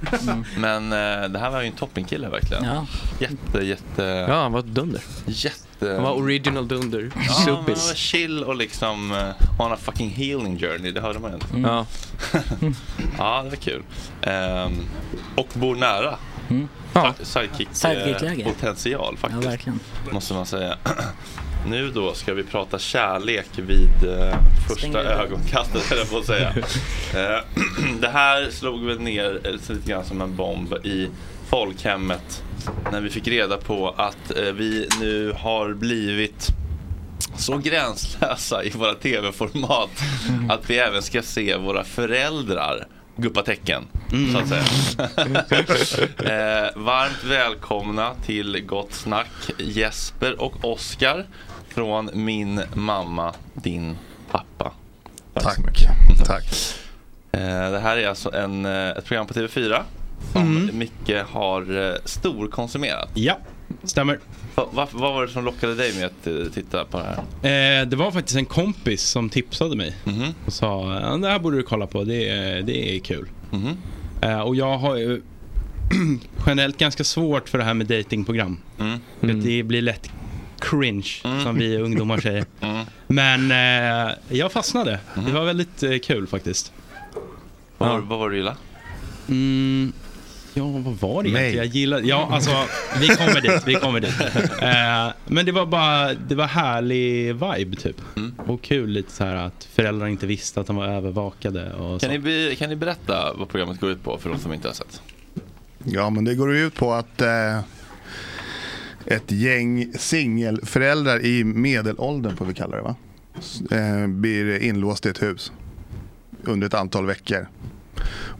Speaker 1: Men eh, det här var ju en toppenkille verkligen.
Speaker 7: Ja.
Speaker 1: Jätte, jätte...
Speaker 7: Ja, han var dunder.
Speaker 1: Jätte...
Speaker 7: Han var original dunder.
Speaker 1: Ja, men han
Speaker 7: Supis.
Speaker 1: var chill och liksom eh, on a fucking healing journey, det hörde man ju inte.
Speaker 7: Mm. Ja.
Speaker 1: ja, det var kul. Ehm, och bor nära.
Speaker 8: Mm.
Speaker 1: Ja. Sidekick, eh,
Speaker 8: Sidekick-läge.
Speaker 1: potential faktiskt.
Speaker 8: Ja, verkligen.
Speaker 1: Måste man säga. Nu då ska vi prata kärlek vid eh,
Speaker 8: Stäng
Speaker 1: första
Speaker 8: dörren.
Speaker 1: ögonkastet höll jag på att säga. Eh, det här slog väl ner eh, lite grann som en bomb i folkhemmet när vi fick reda på att eh, vi nu har blivit så gränslösa i våra tv-format att vi även ska se våra föräldrar guppa tecken, så att säga. eh, varmt välkomna till Gott Snack, Jesper och Oskar från min mamma, din pappa. Tack. Tack. Eh, det här är alltså en, eh, ett program på TV4 som Micke har eh, storkonsumerat.
Speaker 6: Ja, stämmer.
Speaker 1: Va, va, vad var det som lockade dig med att eh, titta på det här?
Speaker 6: Eh, det var faktiskt en kompis som tipsade mig
Speaker 1: Mhm.
Speaker 6: och sa "Ja, det här borde du kolla på, det är, det är kul.
Speaker 1: Mhm.
Speaker 6: Eh, och jag har ju generellt ganska svårt för det här med datingprogram.
Speaker 1: Mm.
Speaker 6: För att Det blir lätt cringe som vi ungdomar säger.
Speaker 1: Mm.
Speaker 6: Men eh, jag fastnade. Det var väldigt eh, kul faktiskt.
Speaker 1: Vad, Mm. var- vad var det du gillade?
Speaker 6: Mm, ja, vad var det
Speaker 1: Mig.
Speaker 6: egentligen? Jag gillade, ja, alltså, vi kommer dit. Vi kommer dit. Eh, men det var bara, det var härlig vibe typ.
Speaker 1: Mm.
Speaker 6: Och kul lite så här att föräldrar inte visste att de var övervakade och så.
Speaker 1: Kan ni, be- kan ni berätta vad programmet går ut på för de som inte har sett?
Speaker 15: Ja, men det går ju ut på att eh, ett gäng singelföräldrar i medelåldern, får vi kalla det va? S- Eh, blir inlåst i ett hus under ett antal veckor.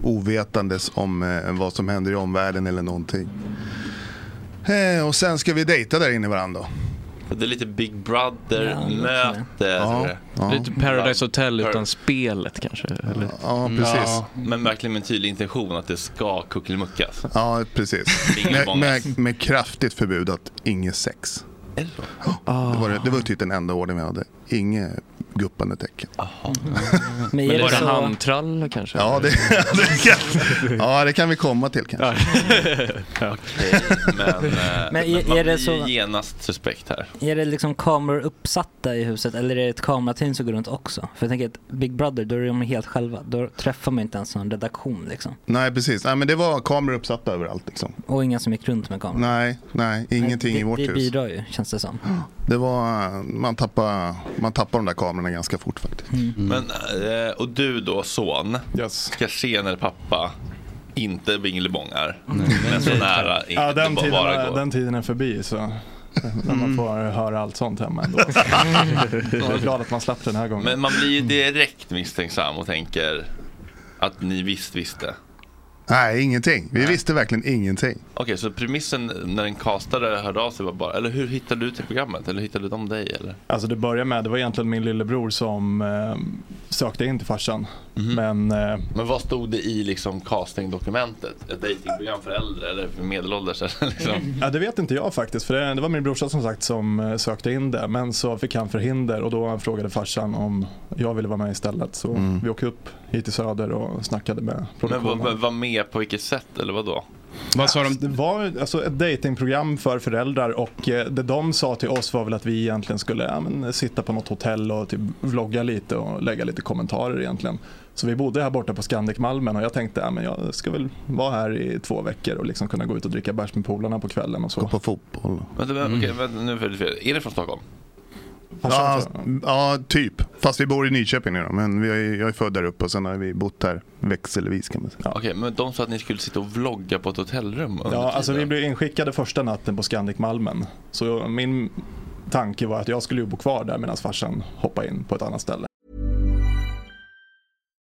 Speaker 15: Ovetandes om eh, vad som händer i omvärlden eller någonting. Eh, och sen ska vi dejta där inne i varandra.
Speaker 1: Det är lite Big Brother eh,
Speaker 7: Ja, det låter
Speaker 1: möter...
Speaker 7: det. Lite Paradise Hotel utan spelet kanske. Eller?
Speaker 15: Ja, precis.
Speaker 1: Men verkligen med en tydlig intention att det ska kuckelimuckas.
Speaker 15: Ja, precis.
Speaker 1: Ingen
Speaker 15: Med,
Speaker 1: bongas.
Speaker 15: med, med kraftigt förbud att inget sex. Det var, det, det var typ den enda ordningen vi hade. Inget guppande tecken.
Speaker 8: Mm.
Speaker 7: Men är det Bara så- handtrall kanske?
Speaker 15: Ja det, det kan, ja, det kan vi komma till kanske.
Speaker 1: Okej, men, eh,
Speaker 8: Men är-
Speaker 1: men man
Speaker 8: är det
Speaker 1: blir
Speaker 8: så-
Speaker 1: ju genast suspekt här.
Speaker 8: Är det liksom kameror uppsatta i huset eller är det ett kamerateam som går runt också? För jag tänker att Big Brother, då är de helt själva. Då träffar man inte ens någon redaktion liksom.
Speaker 15: Nej, precis. Nej, men det var kameror uppsatta överallt. Liksom.
Speaker 8: Och inga som gick runt med kameror.
Speaker 15: Nej, nej, ingenting
Speaker 8: det,
Speaker 15: i vårt
Speaker 8: det
Speaker 15: hus.
Speaker 8: bidrar ju, känns det som.
Speaker 15: Det var, man tappade, man tappade de där kamerorna ganska fort faktiskt.
Speaker 1: Men, eh, och du då, son, ska se när pappa inte bingelibongar, men så nära inte
Speaker 16: Ja, den,
Speaker 1: bara,
Speaker 16: tiden
Speaker 1: bara
Speaker 16: är,
Speaker 1: går. Mm.
Speaker 16: den tiden är förbi så när man får höra allt sånt hemma ändå. Jag är glad att man slapp den här gången.
Speaker 1: Men man blir ju direkt misstänksam och tänker att ni visst visste.
Speaker 15: Nej, ingenting. Vi visste verkligen ingenting.
Speaker 1: Okej, så premissen när en kastare hörde av sig var bara, eller hur hittade du till programmet? Eller hittade de dig? Eller?
Speaker 16: Alltså det började med, det var egentligen min lillebror som eh, sökte in till farsan. Men, eh,
Speaker 1: Mhm. Men vad stod det i liksom castingdokumentet? Ett dejtingprogram för äldre eller för medelålders? eller liksom.
Speaker 16: ja, det vet inte jag faktiskt, för det, det var min brorsa som sagt som eh, sökte in det. Men så fick han förhinder och då frågade farsan om jag ville vara med istället. Så
Speaker 1: Mm.
Speaker 16: vi åkte upp hit till Söder och snackade med
Speaker 1: Men
Speaker 16: produktionen.
Speaker 1: var, var- var med på vilket sätt eller vad då?
Speaker 16: Vad sa de? Det var alltså ett datingprogram för föräldrar och eh, det de sa till oss var väl att vi egentligen skulle ja, men, sitta på något hotell och typ vlogga lite och lägga lite kommentarer egentligen. Så vi bodde här borta på Scandic Malmen och jag tänkte ja, men jag ska väl vara här i två veckor och liksom kunna gå ut och dricka bärs med polarna på kvällen och så. Gå på
Speaker 15: fotboll.
Speaker 1: Vänta, men, okej, vänta nu för, för, är det från Stockholm?
Speaker 15: Ja, ja, typ. Fast vi bor i Nyköping nu då. Men vi är, jag är född där uppe och sen har vi bott här växelvis kan man säga.
Speaker 1: Okej, men de sa att ni skulle sitta och vlogga på ett hotellrum under
Speaker 16: Ja,
Speaker 1: tiden.
Speaker 16: alltså vi blev inskickade första natten på Scandic Malmen. Så min tanke var att jag skulle ju bo kvar där medan farsan hoppade in på ett annat ställe.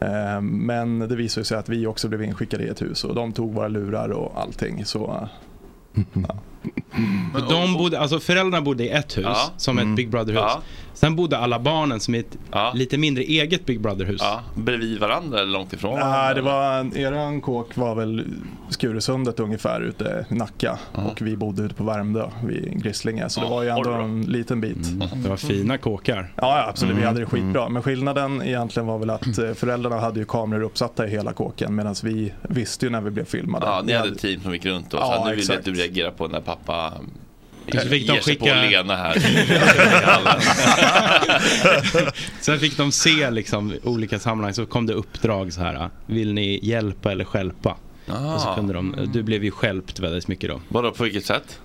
Speaker 16: Eh, Men det visade sig att vi också blev inskickade i ett hus och de tog våra lurar och allting. Så eh,
Speaker 6: Men De bodde, alltså föräldrarna bodde i ett hus,
Speaker 16: Ja.
Speaker 6: som
Speaker 16: Mm.
Speaker 6: ett Big Brother-hus.
Speaker 16: Ja.
Speaker 6: Sen bodde alla barnen som i ett lite mindre eget Big Brother-hus.
Speaker 1: Ja, bredvid varandra eller långt ifrån?
Speaker 16: nej, det var, eran kåk var väl Skuresundet ungefär ute i Nacka och vi bodde ute på Värmdö vid Grisslinge. Så det var ju ändå en liten bit.
Speaker 6: Mm. Det var fina kåkar. Mm.
Speaker 16: Ja, ja absolut. Vi hade det skitbra. Men skillnaden egentligen var väl att eh, föräldrarna hade ju kameror uppsatta i hela kåken medan vi visste ju när vi blev filmade.
Speaker 1: Ja,
Speaker 16: Vi
Speaker 1: ni hade ett team som gick runt och sa
Speaker 16: Ja,
Speaker 1: nu vill jag
Speaker 16: exakt.
Speaker 1: att du reagerar på när pappa
Speaker 6: Så fick de
Speaker 1: ger sig på
Speaker 6: skicka-
Speaker 1: Lena här.
Speaker 6: Sen fick de se liksom olika sammanhang, så kom det uppdrag så här. Vill ni hjälpa eller stjälpa?
Speaker 1: Ah.
Speaker 6: Och så kunde de, du blev ju stjälpt väldigt mycket då.
Speaker 1: Vadå, på vilket sätt?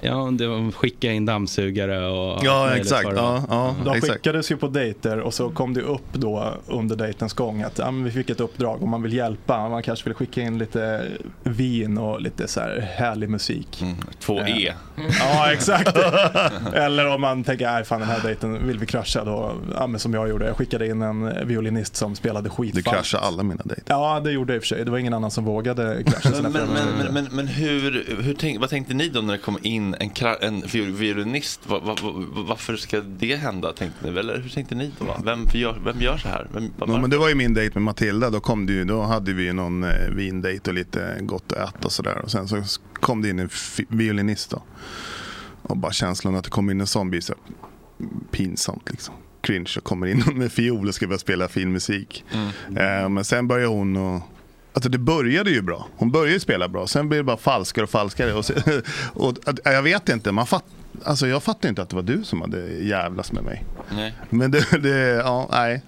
Speaker 6: Ja, det var skicka in dammsugare och...
Speaker 15: Ja,
Speaker 6: allt möjligt
Speaker 15: exakt.
Speaker 6: var det. Mm.
Speaker 15: Ja, ja,
Speaker 16: De skickades ju på dejter och så kom det upp då under dejtens gång att ja, men vi fick ett uppdrag och man vill hjälpa. Man kanske vill skicka in lite vin och lite så här härlig musik.
Speaker 15: Mm.
Speaker 1: Två
Speaker 16: Eh,
Speaker 1: E.
Speaker 16: Ja, exakt. Eller om man tänker, nej fan den här dejten vill vi krascha då. Ja, men som jag gjorde, jag skickade in en violinist som spelade skitfalskt.
Speaker 15: Du kraschar alla mina dejter.
Speaker 16: Ja, det gjorde jag i och för sig. Det var ingen annan som vågade krascha sina
Speaker 1: Men, men,
Speaker 16: föräldrar.
Speaker 1: men, men, men hur, hur tänk, vad tänkte ni då när det kom in en, kra- en viol- violinist? Va, va, va, varför ska det hända tänkte ni? Eller hur tänkte ni då? Vem gör, vem gör så här? Vem,
Speaker 15: Ja, men det var ju min dejt med Matilda. Då, kom det ju, då hade vi ju någon eh, vindejt och lite gott att äta och sådär. Och sen så kom det in en fi- violinist då. Och bara känslan att det kom in en sån blir så här pinsamt liksom. Cringe och kommer in någon med fiol och ska börja spela fin musik. Eh, men sen började hon och Alltså det började ju bra. Hon började ju spela bra. Sen blev det bara falskare och falskare. Och, så, och, att- jag vet inte. Man fatt, alltså jag fattade inte att det var du som hade jävlas med mig.
Speaker 1: Nej.
Speaker 15: Men det, det ja, nej.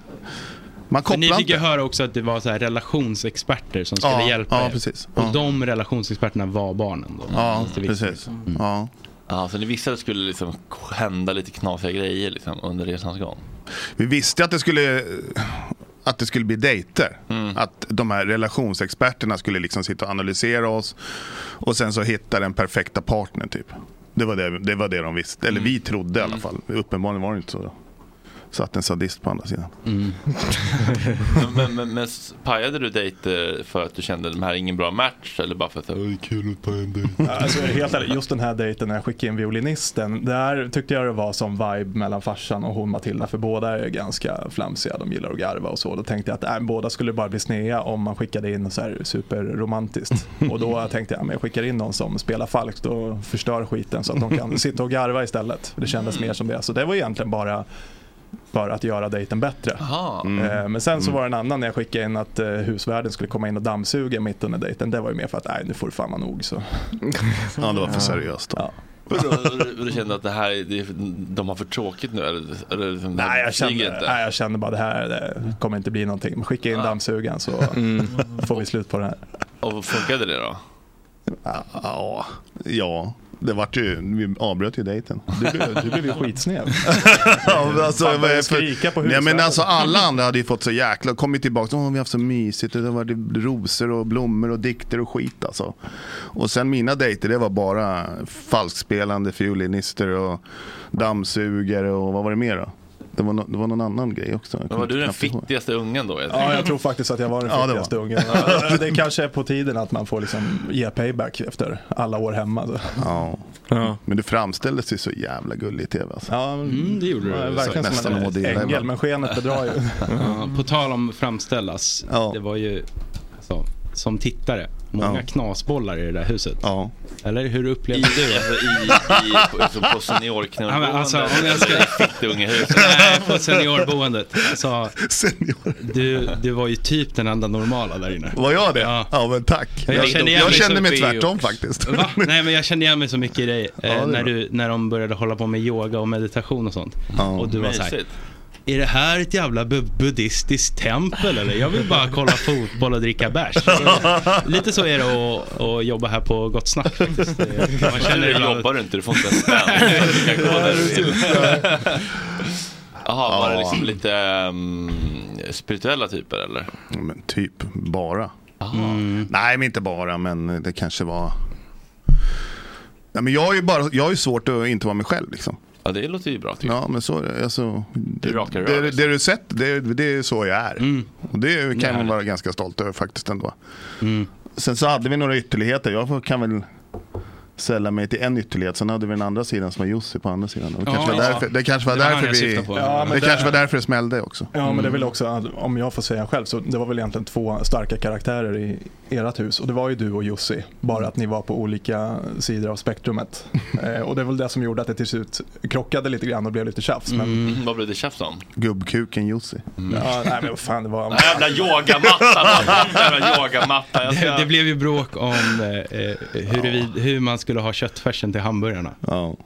Speaker 15: Man
Speaker 6: Men ni
Speaker 15: kopplar
Speaker 6: fick ju
Speaker 15: inte.
Speaker 6: höra också att det var så här relationsexperter som skulle
Speaker 15: Ja,
Speaker 6: hjälpa
Speaker 15: ja,
Speaker 6: er.
Speaker 15: precis.
Speaker 6: Och
Speaker 15: Ja.
Speaker 6: de relationsexperterna var barnen då.
Speaker 15: Ja,
Speaker 6: Det visste Mm.
Speaker 15: precis. Ja.
Speaker 1: Ja, så ni visste att det skulle liksom hända lite knasiga grejer liksom, under resans gång?
Speaker 15: Vi visste att det skulle, att det skulle bli dejter.
Speaker 6: Mm.
Speaker 15: Att de här relationsexperterna skulle liksom sitta och analysera oss och sen så hitta den perfekta partnern typ. Det var det, det, var det de visste.
Speaker 6: Mm.
Speaker 15: Eller vi trodde i alla fall. Uppenbarligen var det inte så. Då. Satt en sadist på andra sidan.
Speaker 6: Mm.
Speaker 1: men, men, men, men s- pajade du dejter för att du kände att de här är ingen bra match? Eller bara för att det är kul att paja en dejt?
Speaker 16: Alltså, helt ärligt, just den här dejten när jag skickade in violinisten, där tyckte jag det var som vibe mellan farsan och hon Matilda, för båda är ganska flamsiga, de gillar att garva och så. Då tänkte jag att äh, båda skulle bara bli snea om man skickade in så här superromantiskt. Och då tänkte jag, äh, men jag skickar in någon som spelar falskt och förstör skiten så att de kan sitta och garva istället. Det kändes mer som det. Så det var egentligen bara för att göra dejten bättre. Eh, Men sen så var det en annan när jag skickade in att eh, husvärden skulle komma in och dammsuga mitt under dejten. Det var ju mer för att nej, nu får du fan vara nog. Så.
Speaker 15: Ja, det var för seriöst.
Speaker 16: Ja.
Speaker 1: Och då- och du kände att det här, är- det, är- de har för tråkigt nu? Eller, eller liksom,
Speaker 16: Nej, jag
Speaker 1: flyger
Speaker 16: kände,
Speaker 1: inte.
Speaker 16: nej, jag kände bara det här det kommer inte bli någonting. Men skicka in dammsugaren så får vi slut på det här.
Speaker 1: Och funkade det då?
Speaker 15: Ja, ja. Det vart ju, vi avbröt ju dejten.
Speaker 16: Du, blev- du blev ju skitsned.
Speaker 15: Ja, men alltså,
Speaker 16: Fan,
Speaker 15: vad är
Speaker 16: började
Speaker 15: det
Speaker 16: skrika på
Speaker 15: för... Nej, men
Speaker 16: husvärden.
Speaker 15: alltså, alla andra hade ju fått så jäkla, kommit tillbaka, Åh, vi har haft så mysigt, och det var det rosor och blommor och dikter och skit alltså. Och sen mina dejter, det var bara falskspelande fiolinister och dammsugare och vad var det mer då? Det var, no- det var någon annan grej också. Jag
Speaker 1: Men var
Speaker 15: kommer
Speaker 1: du den
Speaker 15: knappt ihåg.
Speaker 1: fittigaste ungen då?
Speaker 16: Ja, jag tror faktiskt att jag var den
Speaker 15: Ja, det
Speaker 16: fittigaste
Speaker 15: var.
Speaker 16: ungen. Det kanske är på tiden att man får liksom ge payback efter alla år hemma. Så.
Speaker 15: Ja. Men du framställdes ju så jävla gullig i tv alltså.
Speaker 16: Ja,
Speaker 6: Mm, det gjorde du.
Speaker 16: Ja, verkligen som
Speaker 15: Nästan
Speaker 16: en
Speaker 15: att må dela
Speaker 16: ängel,
Speaker 15: ibland.
Speaker 16: men skenet bedrar ju.
Speaker 6: Ja, på tal om framställas. Det var ju, alltså, som tittare, många
Speaker 1: Ja.
Speaker 6: knasbollar i det där huset. Eller hur
Speaker 1: I,
Speaker 6: upplevde du det?
Speaker 1: alltså, i, i, på, alltså, på seniorknullboende?
Speaker 6: Ja, men alltså, om jag ska-
Speaker 1: eller i fittungehuset?
Speaker 6: Nej, på seniorboendet. Alltså, Du, du var ju typ den enda normala där inne.
Speaker 15: Var jag det? Ja, men tack. Jag, jag kände,
Speaker 6: så
Speaker 15: mig
Speaker 6: uppe i-
Speaker 15: tvärtom faktiskt.
Speaker 6: Va? Nej men jag kände igen mig så mycket i dig eh,
Speaker 15: det är
Speaker 6: när,
Speaker 15: bra.
Speaker 6: du, när de började hålla på med yoga och meditation och sånt. och du var så här,
Speaker 1: Mysigt.
Speaker 6: är det här ett jävla bu- buddhistiskt tempel eller? Jag vill bara kolla fotboll och dricka bärs. Lite så är det att, att jobba här på Gott Snack. faktiskt. Det- Man känner
Speaker 1: Nu
Speaker 6: ibland
Speaker 1: jobbar du inte, du får inte en spänn. Du kan gå där du vill. Jaha, var det liksom lite ehm, spirituella typer eller?
Speaker 15: Men typ bara. Mm. Nej, men inte bara, men det kanske var... Nej, men jag, är ju bara, jag har ju svårt att inte vara mig själv. Liksom.
Speaker 1: Ja, det låter ju bra tycker jag.
Speaker 15: Ja, men så är det. Alltså, det,
Speaker 1: rakar
Speaker 15: det,
Speaker 1: rör,
Speaker 15: det,
Speaker 1: liksom.
Speaker 15: du sett, det, det är så jag är. Och det kan man
Speaker 1: Härligt.
Speaker 15: vara ganska stolt över faktiskt ändå. Sen så hade vi några ytterligheter. Jag får- kan väl sälja mig till en ytterlighet. Sen hade vi den andra sidan som var Jussi på andra sidan. Det
Speaker 16: Ja,
Speaker 15: kanske var
Speaker 16: ja.
Speaker 15: därför det, kanske var
Speaker 16: Det var han
Speaker 15: därför,
Speaker 16: jag
Speaker 15: vi,
Speaker 16: syftade på. Ja, men
Speaker 15: det
Speaker 16: det-
Speaker 15: kanske var därför det smällde också. Mm.
Speaker 16: Ja,
Speaker 6: Mm.
Speaker 16: men det är väl också, att- om jag får säga själv, så det var väl egentligen två starka karaktärer i ert hus. Och det var ju du och Jussi, bara att ni var på olika sidor av spektrumet. Eh, och det är väl det som gjorde att det till slut krockade lite grann och blev lite tjafs. Men,
Speaker 6: Mm.
Speaker 1: Mm, Vad blev det tjafs om?
Speaker 15: Gubbkuken Jussi.
Speaker 16: ja, nej, men vad fan, det var...
Speaker 1: Den här jävla yogamattan! den här jävla yogamattan. Jag ska...
Speaker 6: Det, det blev ju bråk om eh, eh, huruvida, hur man skulle ha köttfärsen till hamburgarna.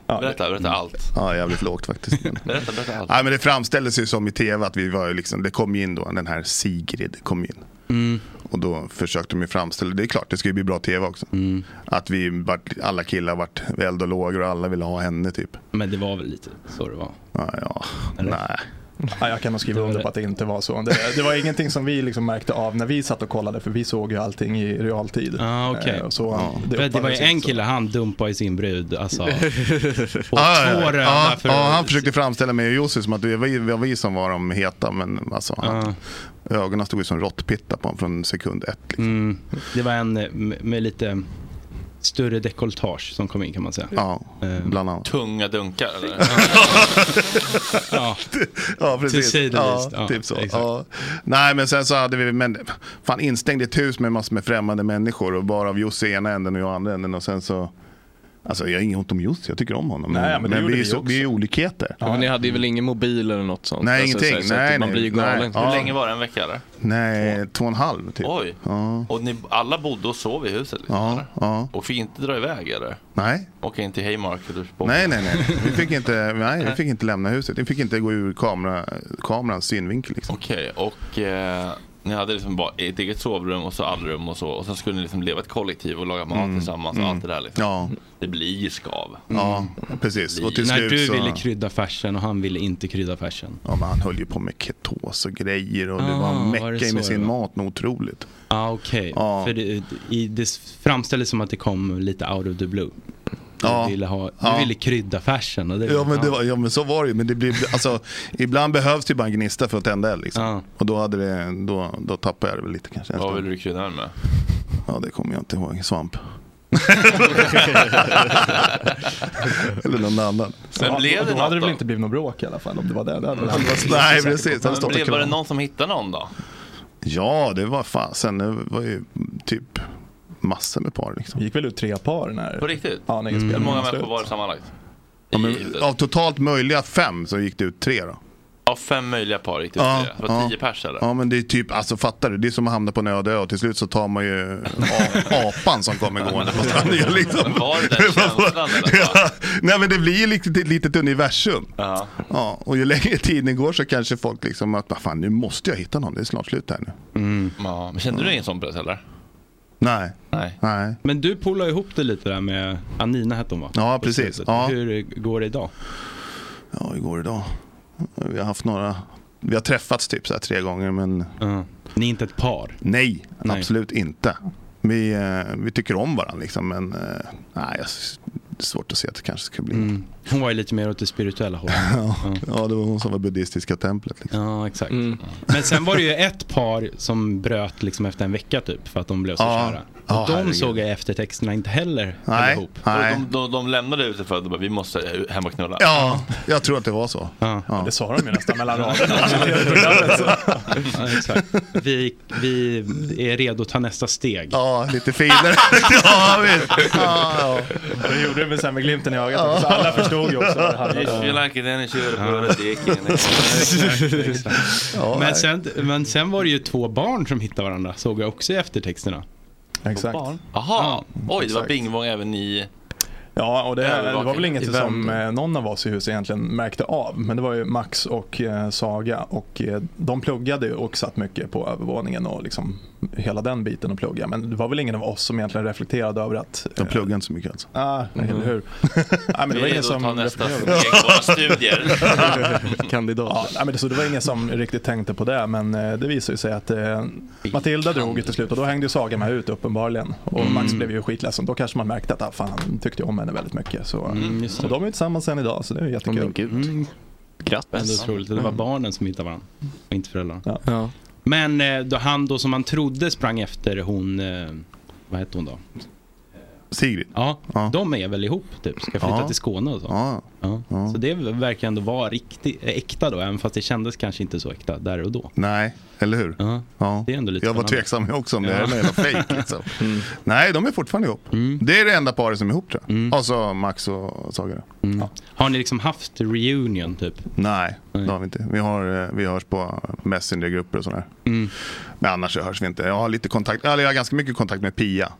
Speaker 1: Berätta, berätta allt.
Speaker 6: Typ.
Speaker 15: Ja, jävligt lågt faktiskt.
Speaker 1: Berätta, berätta allt.
Speaker 15: Nej, men det framställdes ju som i tv att vi var ju liksom, det kom ju in då, den här Sigrid kom in. Och då försökte de ju framställa, det är klart det ska ju bli bra tv också.
Speaker 6: Mm.
Speaker 15: Att vi vart, alla killar vart eld och lågor och alla ville ha henne typ.
Speaker 6: Men det var väl lite så det var?
Speaker 15: Ja, ja. nej.
Speaker 16: Ja, jag kan nog skriva under på att det inte var så. Det, det var ingenting som vi liksom märkte av när vi satt och kollade, för vi såg ju allting i realtid.
Speaker 6: Ah, okej.
Speaker 16: Eh, och så,
Speaker 6: Det, För att det var ju
Speaker 16: uppfattades
Speaker 6: en
Speaker 16: inte så.
Speaker 6: kille, han dumpade ju sin brud. Alltså. Och
Speaker 15: Ja, ja,
Speaker 6: två
Speaker 15: ja.
Speaker 6: röda
Speaker 15: Ja,
Speaker 6: för...
Speaker 15: ja, han försökte framställa mig och Jussi som att det var, det var vi som var de heta, men alltså, han, ögonen stod ju som råttpitta på honom från sekund ett.
Speaker 6: Mm, det var en eh, med, med lite större dekoltage som kom in kan man säga. Eh,
Speaker 15: Ja, bland annat.
Speaker 1: Tunga dunkar eller?
Speaker 6: ja.
Speaker 15: ja,
Speaker 6: Till
Speaker 15: precis.
Speaker 6: sidan,
Speaker 15: ja,
Speaker 6: ja,
Speaker 15: typ så.
Speaker 6: exakt.
Speaker 15: Ja. Nej, men sen så hade vi, men fan instängd i ett hus med massor med främmande människor och bara av Jussi ena änden och jag andra änden och sen så, alltså jag har inget ont om Jussi, jag tycker om honom.
Speaker 7: Nej, men det gjorde
Speaker 15: vi,
Speaker 7: vi
Speaker 15: är ju så,
Speaker 7: också.
Speaker 15: vi är ju olikheter.
Speaker 7: Ja, men ni hade ju väl ingen mobil eller något sånt?
Speaker 15: Nej,
Speaker 7: Alltså,
Speaker 15: ingenting.
Speaker 7: Så, så, att
Speaker 15: Nej,
Speaker 7: man
Speaker 15: nej,
Speaker 7: blir ju
Speaker 15: nej.
Speaker 7: galen.
Speaker 15: Ja.
Speaker 1: Hur länge var det? En vecka eller?
Speaker 15: Nej, två och en halv typ.
Speaker 1: Oj.
Speaker 15: Ja.
Speaker 1: Och ni alla bodde och sov i huset? Liksom,
Speaker 15: Ja,
Speaker 1: eller?
Speaker 15: ja.
Speaker 1: Och fick inte dra iväg eller?
Speaker 15: Nej.
Speaker 1: Åka in till Haymarket och spå?
Speaker 15: Nej, nej, nej. Vi fick inte, nej, vi
Speaker 1: Nej.
Speaker 15: fick inte lämna huset. Vi fick inte gå ur kamera, kamerans synvinkel. Liksom.
Speaker 1: Okej, och eh, ni hade liksom bara ett eget sovrum och så allrum och så. Och sen skulle ni liksom leva ett kollektiv och laga mat
Speaker 15: Mm,
Speaker 1: tillsammans och
Speaker 15: mm.
Speaker 1: allt det där liksom.
Speaker 15: Ja.
Speaker 1: Det blir ju skav.
Speaker 15: Ja, precis. Och till
Speaker 6: Mm. När
Speaker 15: slut
Speaker 6: du
Speaker 15: så-
Speaker 6: ville krydda färsen och han ville inte krydda färsen.
Speaker 15: Ja, men han höll ju på med ketos och grejer och det
Speaker 6: Ah,
Speaker 15: var han
Speaker 6: var det
Speaker 15: meckade
Speaker 6: så
Speaker 15: med
Speaker 6: det
Speaker 15: sin
Speaker 6: var?
Speaker 15: mat något otroligt.
Speaker 6: Ah, Okej,
Speaker 15: Ja.
Speaker 6: för det, i, det framställdes som att det kom lite out of the blue. Du,
Speaker 15: Ja.
Speaker 6: ville, ha, du
Speaker 15: Ja.
Speaker 6: ville krydda färsen. Och det,
Speaker 15: Ja men, det var, ja men så var det ju. Men det blir, alltså, ibland behövs det ju bara en gnista för att tända eld. Liksom. Och då, hade det, då, då tappade jag det väl lite kanske.
Speaker 1: Vad ville du krydda den med?
Speaker 15: Ja det kommer jag inte ihåg. Svamp. Eller någon annan.
Speaker 1: Men blev det
Speaker 16: Då hade
Speaker 1: något
Speaker 16: det
Speaker 1: då?
Speaker 16: väl inte blivit något bråk i alla fall om det var det. det hade väl-
Speaker 15: Nej precis. Han
Speaker 1: Men
Speaker 15: stod och
Speaker 1: blev var det
Speaker 15: kramade.
Speaker 1: någon som hittade någon då?
Speaker 15: Ja det var fasen. Det var ju typ massor med par. Liksom.
Speaker 16: gick väl ut tre par när...
Speaker 1: På riktigt?
Speaker 16: Ja, när
Speaker 15: Mm.
Speaker 16: Mm.
Speaker 1: Hur
Speaker 16: inspelningen
Speaker 1: många
Speaker 16: var slut.
Speaker 1: människor var det sammanlagt?
Speaker 15: Ja, men, av totalt möjliga fem så gick det ut tre då.
Speaker 1: Av fem möjliga par gick det ut
Speaker 15: Ja,
Speaker 1: tre. Det var
Speaker 15: ja.
Speaker 1: tio pers eller?
Speaker 15: Ja men det är typ, alltså fattar du? Det är som att hamna på en öde ö och till slut så tar man ju a- apan som kommer gående på stranden. Liksom.
Speaker 1: Men var det den känslan eller?
Speaker 15: Ja, nej men det blir ju lite ett litet universum.
Speaker 1: Ja.
Speaker 15: och ju längre tiden går så kanske folk liksom att, "Vad fan nu måste jag hitta någon, det är snart slut här nu.
Speaker 1: Mm. Ja, men kände du ingen sån press eller?
Speaker 15: Nej.
Speaker 1: Nej.
Speaker 15: Nej.
Speaker 6: Men du pollar ihop det lite där med Anina hette hon va?
Speaker 15: Ja,
Speaker 6: På
Speaker 15: precis.
Speaker 6: slutet.
Speaker 15: Ja.
Speaker 6: Hur går det idag?
Speaker 15: Ja, hur går det idag? Vi har haft några, vi har träffats typ så här tre gånger men...
Speaker 6: Ni är inte ett par?
Speaker 15: Nej, absolut inte. Vi, eh, vi tycker om varandra liksom men eh, nej, jag, det är svårt att se att det kanske ska bli
Speaker 6: Mm. Hon var ju lite mer åt det spirituella hållet.
Speaker 15: Ja, ja, det var hon som var buddhistiska templet. Liksom.
Speaker 6: Ja, exakt.
Speaker 16: Mm.
Speaker 6: Men sen var det ju ett par som bröt liksom efter en vecka typ för att de blev så
Speaker 15: Ja.
Speaker 6: kära.
Speaker 15: Ja,
Speaker 6: Och de
Speaker 15: herregud.
Speaker 6: såg jag i eftertexterna inte heller
Speaker 15: Nej,
Speaker 6: ihop.
Speaker 15: nej.
Speaker 1: De, de, de lämnade huset för att de bara, vi måste hem och knulla.
Speaker 15: Ja, jag tror att det var så.
Speaker 6: Ja.
Speaker 16: Det sa de ju nästan mellan raderna.
Speaker 6: Ja, exakt. Vi, vi är redo att ta nästa steg.
Speaker 15: Ja, lite finare. ja, visst. Ja,
Speaker 16: Det gjorde det väl sen med glimten i ögat. också, Så alla förstod ju också vad det handlade
Speaker 1: If
Speaker 16: om.
Speaker 1: you like it then you should put a dick in it.
Speaker 6: Exakt, exakt.
Speaker 1: Ja, nej.
Speaker 6: men, sen, men sen var det ju två barn som hittade varandra, såg jag också i eftertexterna.
Speaker 16: Exakt.
Speaker 1: Aha, oj det var
Speaker 16: exakt.
Speaker 1: bingvång även i...
Speaker 16: Ja, och det, det var väl
Speaker 1: Övervakning.
Speaker 16: inget som eh, någon av oss i huset egentligen märkte av. Men det var ju Max och eh, Saga och eh, de pluggade ju och satt mycket på övervåningen och liksom hela den biten och plugga. Men det var väl ingen av oss som egentligen reflekterade över att... eh,
Speaker 15: De pluggade inte så mycket alltså.
Speaker 16: Ah, eller hur. Ah, men
Speaker 1: Vi är
Speaker 16: det var ingen
Speaker 1: redo att
Speaker 16: som
Speaker 1: ta nästa
Speaker 16: reflekterade.
Speaker 1: steg i våra studier.
Speaker 16: Kandidat. Ja, nej, men det, så det var ingen som riktigt tänkte på det, men eh, det visade ju sig att eh, Matilda drog ju till slut och då hängde ju Saga med ut uppenbarligen. Och Max blev ju skitledsen. Då kanske man märkte att ah, fan, han tyckte ju om henne väldigt mycket. Så, och de är ju tillsammans än idag, så det är ju jättekul.
Speaker 6: Mm. Grattis. Ändå otroligt. Det var
Speaker 16: Mm.
Speaker 6: barnen som hittade varandra, och inte föräldrarna. Men eh, då han då som man trodde sprang efter hon, eh, vad hette hon då?
Speaker 15: Sigrid.
Speaker 6: Ja, de är väl ihop typ, ska flytta
Speaker 15: Ja.
Speaker 6: till Skåne och så.
Speaker 15: Ja.
Speaker 6: Så det verkar ändå vara riktigt äkta då, även fast det kändes kanske inte så äkta där och då.
Speaker 15: Nej, eller hur?
Speaker 6: Ja. Det är ändå lite
Speaker 15: Jag var
Speaker 6: spännande.
Speaker 15: tveksam jag också om det
Speaker 6: Ja. Mm.
Speaker 15: här är någon fejk. Liksom. Nej, de är fortfarande ihop. Det är det enda paret som är ihop tror jag. Alltså Max och Saga.
Speaker 6: Mm. Har ni liksom haft reunion typ?
Speaker 15: Nej, det har vi inte. Vi, har, eh, vi hörs på Messenger-grupper och sådär.
Speaker 6: Mm.
Speaker 15: Men annars så hörs vi inte. Jag har lite kontakt, eller jag har ganska mycket kontakt med Pia.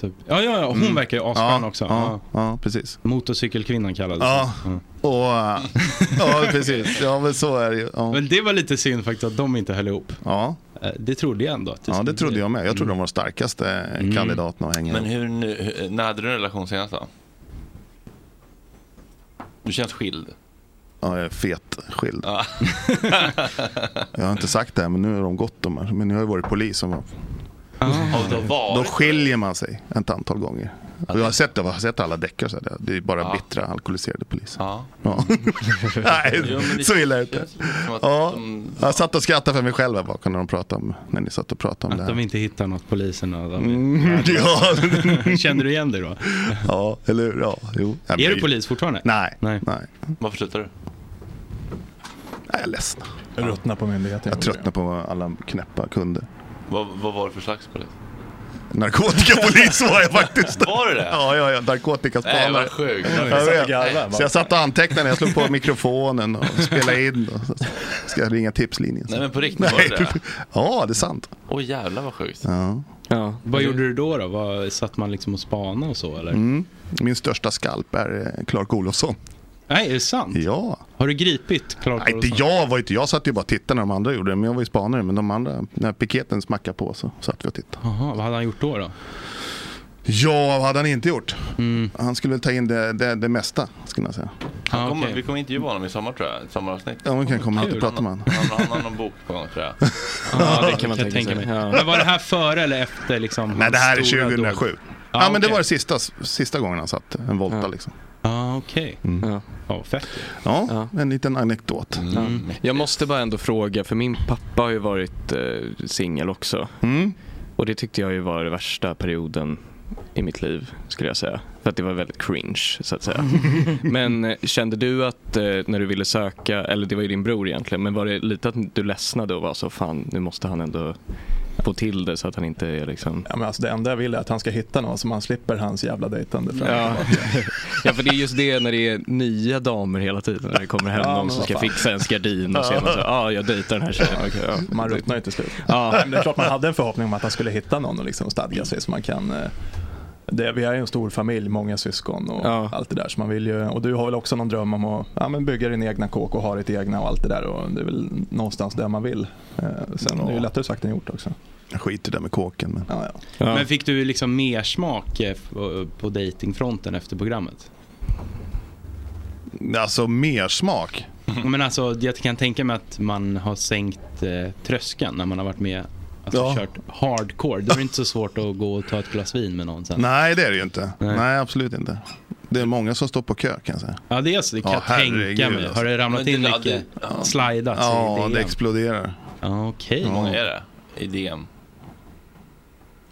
Speaker 6: Ja, ja, ja. hon
Speaker 15: Mm.
Speaker 6: verkar ju asskön
Speaker 15: Ja,
Speaker 6: också.
Speaker 15: ja, precis.
Speaker 6: Motorcykelkvinnan kallades
Speaker 15: Ja,
Speaker 6: hon. Ja.
Speaker 15: och, eh, ja precis. Ja, men så är det ju. Ja.
Speaker 6: Men det var lite synd faktiskt att de inte höll ihop.
Speaker 15: Ja.
Speaker 6: Eh, Det trodde jag ändå.
Speaker 15: Ja, det trodde jag med. Jag trodde de var starkaste mm. kandidaterna att hänga
Speaker 1: Men
Speaker 15: ihop.
Speaker 1: hur, nu- hur, när hade du en relation senast då? Du känns skild.
Speaker 15: Ja, jag är fet skild. jag har inte sagt det här, men nu är de gott de här. Men jag har ju varit polis. Som var...
Speaker 1: Ah. Och då var
Speaker 15: Då skiljer man sig ett antal gånger. Och jag, har sett, det, jag har sett alla däckare, så här, det är bara bittra alkoholiserade poliser. Ja. Nej,
Speaker 1: Jo, men det
Speaker 15: så illa är det
Speaker 1: känns-
Speaker 15: inte.
Speaker 1: känns ju som att
Speaker 15: Ja.
Speaker 1: de-
Speaker 15: Jag satt och skrattade för mig själv här bakom när de pratade om, när ni satt och pratade om det
Speaker 6: Att
Speaker 15: här.
Speaker 6: de inte hittar något poliserna. David.
Speaker 15: Mm, ja.
Speaker 6: Kände du igen dig då?
Speaker 15: Ja, eller hur? Ja, jo. Ja, men
Speaker 6: är du
Speaker 15: jag-
Speaker 6: polis fortfarande?
Speaker 15: Nej. Nej.
Speaker 1: Varför slutade du?
Speaker 15: Nej, jag är ledsen.
Speaker 16: Ruttna på myndigheten.
Speaker 15: Jag tröttnar på alla knäppa kunder.
Speaker 1: Vad, vad var det för slags polis?
Speaker 15: Narkotikapolis var jag faktiskt.
Speaker 1: Var du det?
Speaker 15: Ja, ja, ja. Narkotikaspanare.
Speaker 1: Nej, vad sjukt.
Speaker 15: Jag vet.
Speaker 1: Satt och garvade, va?
Speaker 15: Så jag satt och antecknade, jag slog på mikrofonen och spelade in. Och så ska jag ringa tipslinjen.
Speaker 1: Nej, men på riktigt, var det
Speaker 15: Nej.
Speaker 1: det?
Speaker 15: Ja, det är sant.
Speaker 1: Åh jävlar vad sjukt.
Speaker 15: Ja.
Speaker 6: Vad gjorde du då? då? Vad, satt man liksom och spanade och så eller?
Speaker 15: Mm. Min största skalp är eh, Clark Olofsson.
Speaker 6: Nej, är det sant?
Speaker 15: Ja.
Speaker 6: Har du gripit Clark
Speaker 15: Nej, inte
Speaker 6: Olofsson?
Speaker 15: jag, var inte, jag satt ju bara och tittade när de andra gjorde det, men jag var ju spanare. Men de andra, när piketen smackade på så satt vi och tittade.
Speaker 6: Jaha, vad hade han gjort då? då? Mm.
Speaker 15: Ja, vad hade han inte gjort? Han skulle väl ta in det, det, det mesta, skulle jag säga.
Speaker 1: Han kommer, Vi kommer intervjua honom i sommar tror jag, ett sommaravsnitt.
Speaker 15: Ja, vi kan komma hit och
Speaker 1: Kul.
Speaker 15: prata med honom.
Speaker 1: Han, han, han har någon bok på gång tror jag.
Speaker 6: Ja, det kan man tänka, sig. Men var det här före eller efter? Liksom,
Speaker 15: Nej, det här är
Speaker 6: hans stora
Speaker 15: 2007.
Speaker 6: dåd?
Speaker 15: Ja,
Speaker 6: Ja,
Speaker 15: men det
Speaker 6: okej.
Speaker 15: var det sista, sista gången han satt en volta liksom.
Speaker 6: Ja, okej.
Speaker 15: Mm.
Speaker 6: Ja, fett.
Speaker 15: Ja, en liten anekdot.
Speaker 6: Mm.
Speaker 7: Ja. Jag måste bara ändå fråga, för min pappa har ju varit eh, singel också.
Speaker 15: Mm.
Speaker 7: Och det tyckte jag ju var den värsta perioden i mitt liv, skulle jag säga. För att det var väldigt cringe, så att säga. men eh, kände du att eh, när du ville söka, eller det var ju din bror egentligen, men var det lite att du ledsnade och var så fan, nu måste han ändå få till det så att han inte är liksom...
Speaker 16: Ja, men alltså, det enda jag vill är att han ska hitta någon så man slipper hans jävla dejtande. fram och
Speaker 7: Ja.
Speaker 16: tillbaka.
Speaker 7: ja, för det är just det när det är nya damer hela tiden. När det kommer hem
Speaker 16: Ja,
Speaker 7: någon
Speaker 16: men
Speaker 7: som
Speaker 16: vad
Speaker 7: ska
Speaker 16: fan.
Speaker 7: fixa ens gardin och sen så, ja, ah, jag dejtar den här tjejen. Okej, ja.
Speaker 16: Man ruttnar ju till slut.
Speaker 7: Ja.
Speaker 16: Men det är klart man hade en förhoppning om att han skulle hitta någon och liksom stadga sig så man kan eh, det, vi är ju en stor familj, många syskon och allt det där. Så man vill ju, och du har väl också någon dröm om att ja, men bygga din egna kåk och ha ditt egna och allt det där. Och det är väl någonstans där man vill. Eh, sen är det ju lättare sagt än gjort också.
Speaker 15: Jag skiter där med kåken. Men...
Speaker 16: Ja, ja.
Speaker 6: Men fick du liksom mer smak eh, på, på datingfronten efter programmet?
Speaker 15: Alltså mer smak?
Speaker 6: Men alltså, jag kan tänka mig att man har sänkt eh, tröskeln när man har varit med Alltså
Speaker 15: Ja.
Speaker 6: kört hardcore. Då är det inte så svårt att gå och ta ett glas vin med någon sen.
Speaker 15: Nej, det är det ju inte. Nej. absolut inte. Det är många som står på kö kan jag säga.
Speaker 6: Ja, det, är så, det kan
Speaker 15: Ja,
Speaker 6: jag
Speaker 15: herregud, alltså.
Speaker 6: tänka mig. Har det ramlat
Speaker 1: Men
Speaker 6: in
Speaker 1: det- ja,
Speaker 6: mycket?
Speaker 1: det- ja.
Speaker 6: Slidat?
Speaker 15: Ja,
Speaker 6: i
Speaker 15: det
Speaker 6: DM?
Speaker 15: exploderar.
Speaker 6: Ja, Okej.
Speaker 1: Hur många är det i DM?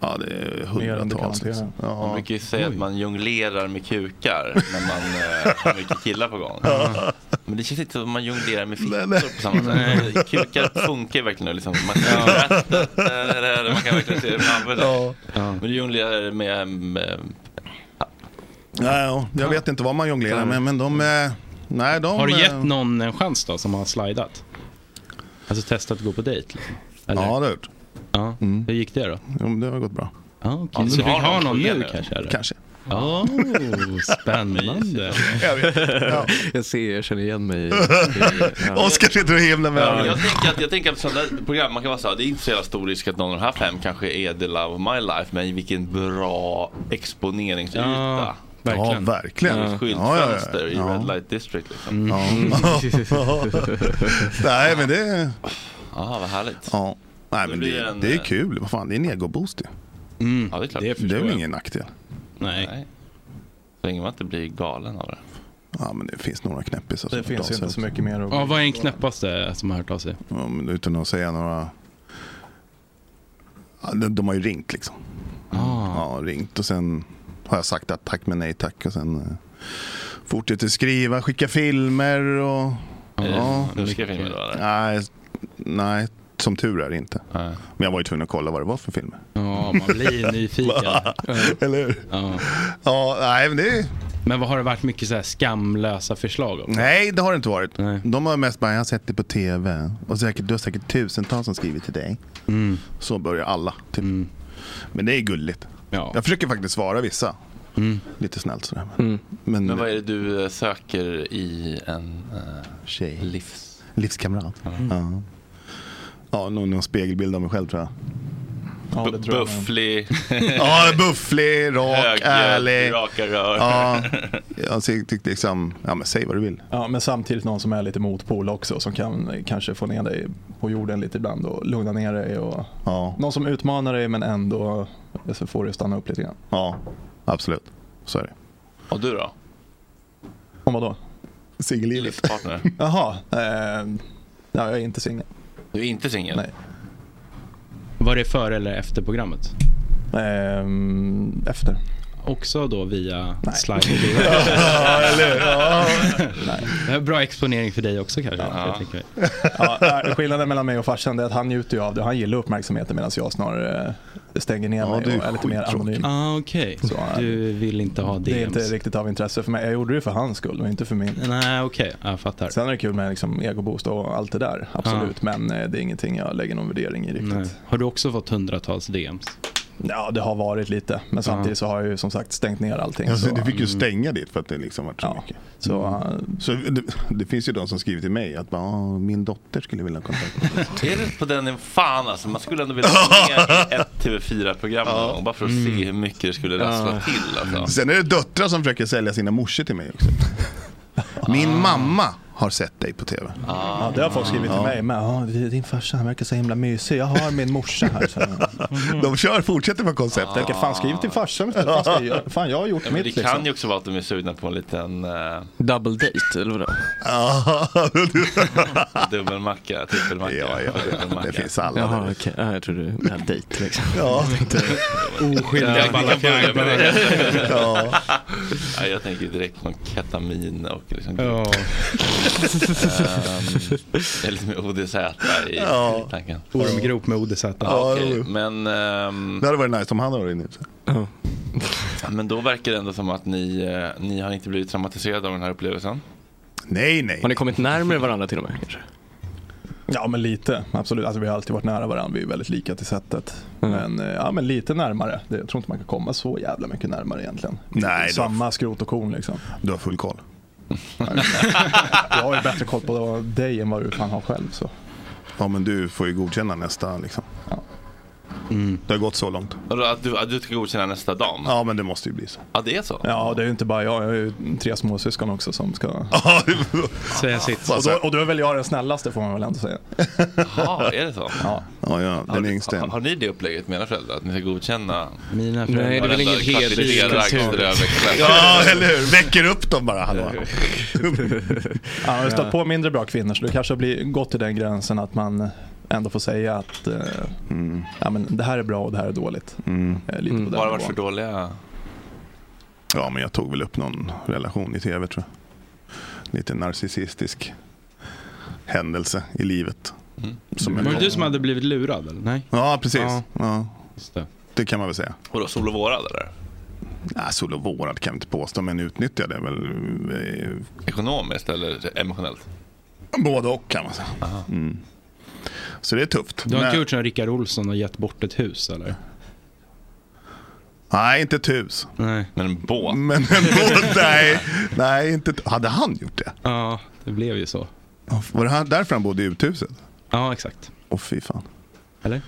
Speaker 15: Ja, det är
Speaker 1: Mer än du kan
Speaker 15: hundratals.
Speaker 1: hantera.
Speaker 15: Liksom.
Speaker 1: Man
Speaker 15: Ja.
Speaker 1: brukar ju säga att man jonglerar med kukar när man eh, har mycket killar på gång.
Speaker 15: Ja.
Speaker 1: Men det känns inte som att man jonglerar med
Speaker 15: nej.
Speaker 1: fittor på samma sätt.
Speaker 15: Nej.
Speaker 1: Alltså, Kukar funkar ju verkligen nu liksom. Man kan, ja. man kan verkligen se det framför sig.
Speaker 15: Ja.
Speaker 1: Men du jonglerar med... med
Speaker 15: Ja, ja, jag vet inte vad man jonglerar med, men de... eh, Nej, de
Speaker 6: Har du
Speaker 15: eh,
Speaker 6: gett någon en chans då som har slidat? Alltså testat att gå på dejt? Liksom. Eller?
Speaker 15: Ja, det har jag gjort.
Speaker 6: Ja. Hur gick det då?
Speaker 15: Jo, men det har gått bra.
Speaker 6: Ah, okej. Så du fick ha någon nu kanske? Eller?
Speaker 15: Kanske.
Speaker 6: Oh, spännande.
Speaker 15: jag, vet. Ja.
Speaker 7: jag ser, jag känner igen mig. i-
Speaker 15: Oskar sitter och himlar med
Speaker 1: Ja,
Speaker 15: ögonen.
Speaker 1: jag tänker att, jag tänker att sådana där program, man kan vara såhär, det är inte så jävla stor risk att någon av de här fem kanske är the love of my life, men vilken bra exponeringsyta.
Speaker 15: Ja, verkligen. Ja, verkligen.
Speaker 1: Ett Skyltfönster
Speaker 15: Ja, ja, ja.
Speaker 1: i
Speaker 15: Ja.
Speaker 1: Red
Speaker 15: Mm.
Speaker 1: Light District liksom.
Speaker 15: Ja. Nej, men det...
Speaker 1: Ja, vad härligt.
Speaker 15: Ja. Nej,
Speaker 1: Då
Speaker 15: men
Speaker 1: blir
Speaker 15: det,
Speaker 1: det en,
Speaker 15: det är
Speaker 1: eh,
Speaker 15: kul. Vad fan, det är en egoboost ju.
Speaker 1: Mm. Ja, det är klart.
Speaker 15: Det är väl ingen nackdel.
Speaker 6: Nej.
Speaker 1: Så länge man inte blir galen av det.
Speaker 15: Ja, men det finns några knäppisar
Speaker 16: Det finns ju inte så mycket mer att...
Speaker 6: Ja, vad är den knäppaste som har hört av sig?
Speaker 15: Ja, men utan att säga några... Ja, de, de har ju ringt liksom.
Speaker 6: Ah.
Speaker 15: Ja, ringt och sen har jag sagt att tack men nej tack och sen eh, fortsätter skriva, skicka filmer och...
Speaker 1: Är det
Speaker 15: Ja.
Speaker 1: ryska filmer då, eller?
Speaker 15: Nej, nej, som tur är inte. Men jag var ju tvungen att kolla vad det var för filmer.
Speaker 6: Ja, man blir nyfiken.
Speaker 15: Eller hur?
Speaker 6: Ja.
Speaker 15: ja, nej men det
Speaker 6: Men vad har det varit mycket så här skamlösa förslag? Också?
Speaker 15: Nej, det har det inte varit. De har mest bara, jag har sett det på tv. Och säkert, du har säkert tusentals som skrivit till dig. Så börjar alla. Typ. Men det är gulligt. Jag försöker faktiskt svara vissa. Lite snällt sådär. Men, men,
Speaker 1: Men, vad är det du eh, söker i en eh,
Speaker 15: Tjej.
Speaker 1: livs...
Speaker 15: livskamrat. Ja. Ja, någon, någon spegelbild av mig själv tror jag.
Speaker 1: Bu- bufflig.
Speaker 15: ja, bufflig, rak,
Speaker 1: Högljudd,
Speaker 15: ärlig.
Speaker 1: Raka rör.
Speaker 15: Ja, jag tyckte liksom, ja men säg vad du vill.
Speaker 16: Ja, men samtidigt någon som är lite motpol också som kan eh, kanske få ner dig på jorden lite ibland och lugna ner dig. Och Någon som utmanar dig men ändå eh, så får dig att stanna upp lite grann.
Speaker 15: Ja, absolut. Så är det.
Speaker 1: Och du då?
Speaker 16: Om vadå?
Speaker 15: Singellivet.
Speaker 1: Partner.
Speaker 16: Jaha. Eh, nej, jag är inte singel.
Speaker 1: Du är inte singel?
Speaker 16: Nej.
Speaker 6: Var det före eller efter programmet?
Speaker 16: Ehm, efter.
Speaker 6: Också då via
Speaker 16: Nej.
Speaker 6: slide.
Speaker 16: Ja, eller hur? Ja.
Speaker 6: Det är bra exponering för dig också kanske.
Speaker 16: Ja.
Speaker 6: jag tänker.
Speaker 16: Ja, nej, skillnaden mellan mig och farsan är att han njuter ju av det. Han gillar uppmärksamheten medan jag snarare eh, stänger ner mig
Speaker 6: du är
Speaker 16: och är lite mer
Speaker 6: skittråkig.
Speaker 16: anonym.
Speaker 6: Ah, okej.
Speaker 16: Så, eh,
Speaker 6: Du vill inte ha DMs?
Speaker 16: Det är inte riktigt av intresse för mig. Jag gjorde det för hans skull och inte för min.
Speaker 6: Nej, okej. Jag fattar.
Speaker 16: Sen är det kul med liksom egoboost och allt det där. Absolut. Men eh, det är ingenting jag lägger någon värdering i riktigt.
Speaker 6: Nej. Har du också fått hundratals DMs?
Speaker 16: Ja, det har varit lite. Men samtidigt så har jag ju som sagt stängt ner allting.
Speaker 15: Alltså,
Speaker 16: så-
Speaker 15: du fick ju stänga ditt för att det liksom vart så mycket. Mm.
Speaker 16: Så, eh,
Speaker 15: så det, det finns ju de som skriver till mig att bara, "Ah, min dotter skulle vilja ha kontakt. med mig."
Speaker 1: Är det på den nivån? Fan alltså, man skulle ändå vilja vara med i ett TV4-program någon gång, bara för att
Speaker 16: Mm.
Speaker 1: se hur mycket det skulle rassla
Speaker 15: Ja.
Speaker 1: till. Alltså.
Speaker 15: Sen är det döttrar som försöker sälja sina morsor till mig också. Min mamma har sett dig på tv.
Speaker 16: Ah.
Speaker 1: Ah.
Speaker 16: Ja, det har folk skrivit till
Speaker 15: Ja.
Speaker 16: mig med. Ja, din farsa han verkar så himla mysig. Jag har min morsa här. Så.
Speaker 15: De kör, fortsätter med konceptet.
Speaker 16: Tänker fan skriv till farsan. istället. Fan, ska jag- fan jag har gjort
Speaker 1: Ah. Ja, men
Speaker 16: mitt
Speaker 1: det
Speaker 16: liksom.
Speaker 1: kan ju också vara att de är sugna på en liten eh,
Speaker 7: Double date eller vadå?
Speaker 1: dubbelmacka, trippelmacka.
Speaker 7: Ja, ja, det-
Speaker 1: dubbelmacka.
Speaker 7: det
Speaker 15: finns alla
Speaker 7: Jaha, okej. Ja, jag trodde du menade dejt liksom.
Speaker 15: Ja.
Speaker 1: Ja, vi kan börja med det.
Speaker 15: Ja.
Speaker 1: Ja, jag tänker direkt på ketamin och liksom
Speaker 6: Ja.
Speaker 1: Ehm, Det är lite mer ODZ i
Speaker 15: Ja.
Speaker 1: tanken.
Speaker 6: Ormgrop
Speaker 16: Ah.
Speaker 6: med ODZ.
Speaker 1: Ja, okej. Men, ehm,
Speaker 15: Det hade varit nice om han hade varit inne.
Speaker 1: men då verkar det ändå som att ni, eh, ni har inte blivit traumatiserade av den här upplevelsen.
Speaker 15: Nej, nej.
Speaker 7: Har ni kommit närmare varandra till och med kanske?
Speaker 16: Ja, men lite. Absolut. Alltså, vi har alltid varit nära varandra. Vi är väldigt lika till sättet. Men, eh, ja, men lite närmare. Det- Jag tror inte man kan komma så jävla mycket närmare egentligen.
Speaker 15: Nej,
Speaker 16: Samma skrot och korn liksom.
Speaker 15: Du har full koll.
Speaker 16: Jag har ju bättre koll på dig än vad du fan har själv. Så.
Speaker 15: Ja, men du får ju godkänna nästa liksom.
Speaker 6: Mm.
Speaker 15: Det har gått så långt.
Speaker 1: Vadå, Att du, att du ska godkänna nästa dam?
Speaker 15: Ja, men det måste ju bli så.
Speaker 1: Ja, det är så?
Speaker 16: Ja, det är ju inte bara jag. Jag har ju tre småsyskon också som ska...
Speaker 6: Säga sitt.
Speaker 16: Och då, och då är väl jag den snällaste får man väl ändå säga.
Speaker 1: Jaha, är det så?
Speaker 16: Ja.
Speaker 15: Ja, ja, den
Speaker 1: har, ni-
Speaker 15: yngste.
Speaker 1: har, har ni det upplägget med era föräldrar? Att ni ska godkänna?
Speaker 6: Mina föräldrar- Nej, det är väl ingen hederskultur.
Speaker 15: Ja, eller hur? Väcker upp dem bara. Hallå.
Speaker 16: Ja, jag har stött på mindre bra kvinnor så det kanske har blivit, gått till den gränsen att man ändå får säga att eh,
Speaker 1: Mm.
Speaker 16: ja, men det här är bra och det här är dåligt.
Speaker 15: Mm.
Speaker 16: Eh,
Speaker 6: Mm.
Speaker 16: lite på den
Speaker 1: Bara varit för
Speaker 16: nivån.
Speaker 1: dåliga?
Speaker 15: Ja, men jag tog väl upp någon relation i tv tror jag. Lite narcissistisk händelse i livet. jag
Speaker 6: Var det
Speaker 15: kom-
Speaker 6: du som hade blivit lurad? Eller? Mm. Nej.
Speaker 15: Ja, precis. Ja.
Speaker 6: Ja.
Speaker 15: det. kan man väl säga.
Speaker 1: Vadå, sol och vårad eller?
Speaker 15: Nej, sol och vårad kan vi inte påstå, men utnyttjade det väl. eh,
Speaker 1: Ekonomiskt eller emotionellt?
Speaker 15: Både och kan man säga. Mm. Så det är tufft.
Speaker 6: Du har inte
Speaker 15: Men-
Speaker 6: gjort som Rickard Olsson och gett bort ett hus eller?
Speaker 15: Nej, inte ett hus.
Speaker 6: Nej.
Speaker 1: Men en båt?
Speaker 15: Men en båt, nej. nej inte ett- Hade han gjort det?
Speaker 6: Ja, det blev ju så.
Speaker 15: Var det här därför han bodde i uthuset?
Speaker 6: Ja, exakt.
Speaker 15: Åh fy fan.
Speaker 6: Eller?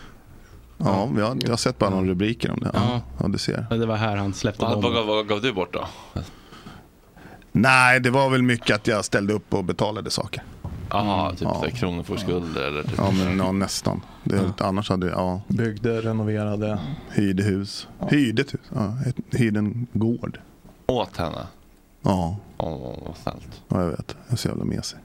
Speaker 15: Ja, jag, jag har sett bara några rubriker om det. Ja, ja du ser.
Speaker 6: Ja, Det var här han släppte
Speaker 1: Vad, vad,
Speaker 6: bomben.
Speaker 1: gav- vad gav du bort då?
Speaker 15: Nej, det var väl mycket att jag ställde upp och betalade saker.
Speaker 1: Jaha, typ ja. kronofogdeskulder eller typ.
Speaker 15: Ja, men ja, nästan. Det, Annars hade jag, ja.
Speaker 16: Byggde, renoverade.
Speaker 15: Hyrde hus. Hyrde ett hus. Ja, ett, hyrde en gård.
Speaker 1: Åt henne?
Speaker 15: Ja.
Speaker 1: Åh, vad snällt.
Speaker 15: ja, jag vet. Jag är så jävla mesig.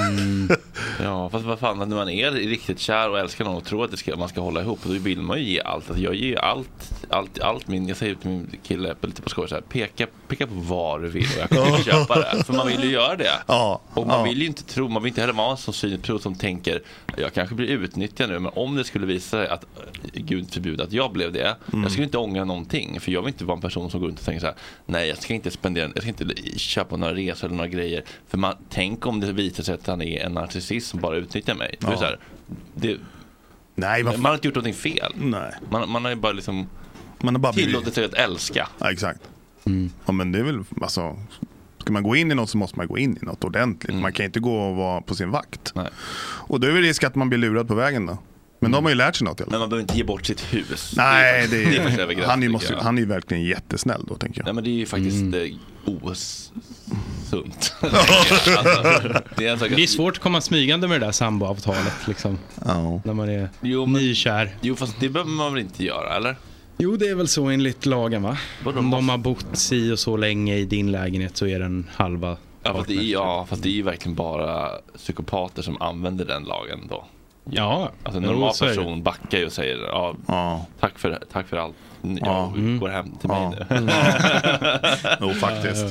Speaker 1: Mm. Ja, fast vad fan, när man är riktigt kär och älskar någon och tror att det ska, man ska hålla ihop, då vill man ju ge allt. Alltså, jag ger ju allt, allt, allt min, jag säger till min kille, lite på skoj så här, peka, peka på vad du vill och jag kommer köpa det. För man vill ju göra det.
Speaker 15: Ja,
Speaker 1: Och man
Speaker 15: ja.
Speaker 1: vill ju inte tro, man vill inte heller vara en sån synprov som tänker, jag kanske blir utnyttjad nu, men om det skulle visa sig att, eh, gud förbjude att jag blev det,
Speaker 12: Mm.
Speaker 1: jag skulle inte ångra någonting. För jag vill inte vara en person som går runt och tänker så här, nej jag ska inte spendera, jag ska inte köpa några resor eller några grejer. För man, tänk om det visar sig att han är en narcissist som bara utnyttjar mig. Då är det
Speaker 15: Ja.
Speaker 1: så här, det,
Speaker 15: Nej, vad
Speaker 1: man har inte gjort någonting fel.
Speaker 15: Nej.
Speaker 1: Man, man har ju bara liksom
Speaker 15: Man har bara blivit-
Speaker 1: tillåtit sig att älska.
Speaker 15: Ja, exakt. Ja, men det är väl, alltså, Ska man gå in i något så måste man gå in i något ordentligt.
Speaker 1: Mm.
Speaker 15: Man kan inte gå och vara på sin vakt. Och då är det risk att man blir lurad på vägen då.
Speaker 1: Mm.
Speaker 15: Men de har ju lärt sig något i alla fall.
Speaker 17: Men man behöver inte ge bort sitt hus.
Speaker 15: Nej,
Speaker 17: faktiskt-
Speaker 15: det
Speaker 17: det är faktiskt
Speaker 15: är,
Speaker 17: övergrepp,
Speaker 15: han, är ju
Speaker 17: tycker
Speaker 15: måste,
Speaker 17: jag.
Speaker 15: han är ju verkligen jättesnäll då tänker jag.
Speaker 17: Nej men det är ju faktiskt mm. osunt. det, är en sak
Speaker 6: Det
Speaker 17: att-
Speaker 6: är svårt att komma smygande med det där samboavtalet. Liksom, När man är nykär.
Speaker 17: Jo fast det behöver man väl inte göra eller?
Speaker 6: Jo, det är väl så enligt lagen va? Om de har bott si och så länge i din lägenhet så är den halva
Speaker 17: Ja fast, det är, ja fast det är ju verkligen bara psykopater som använder den lagen då.
Speaker 6: Ja,
Speaker 17: Alltså en
Speaker 6: jo,
Speaker 17: normal
Speaker 6: så är det.
Speaker 17: person backar ju och säger ja, tack, för, tack för allt. Jag
Speaker 15: Ja.
Speaker 6: Mm.
Speaker 17: går hem till
Speaker 15: Ja.
Speaker 17: mig nu.
Speaker 15: Mm. Jo, faktiskt.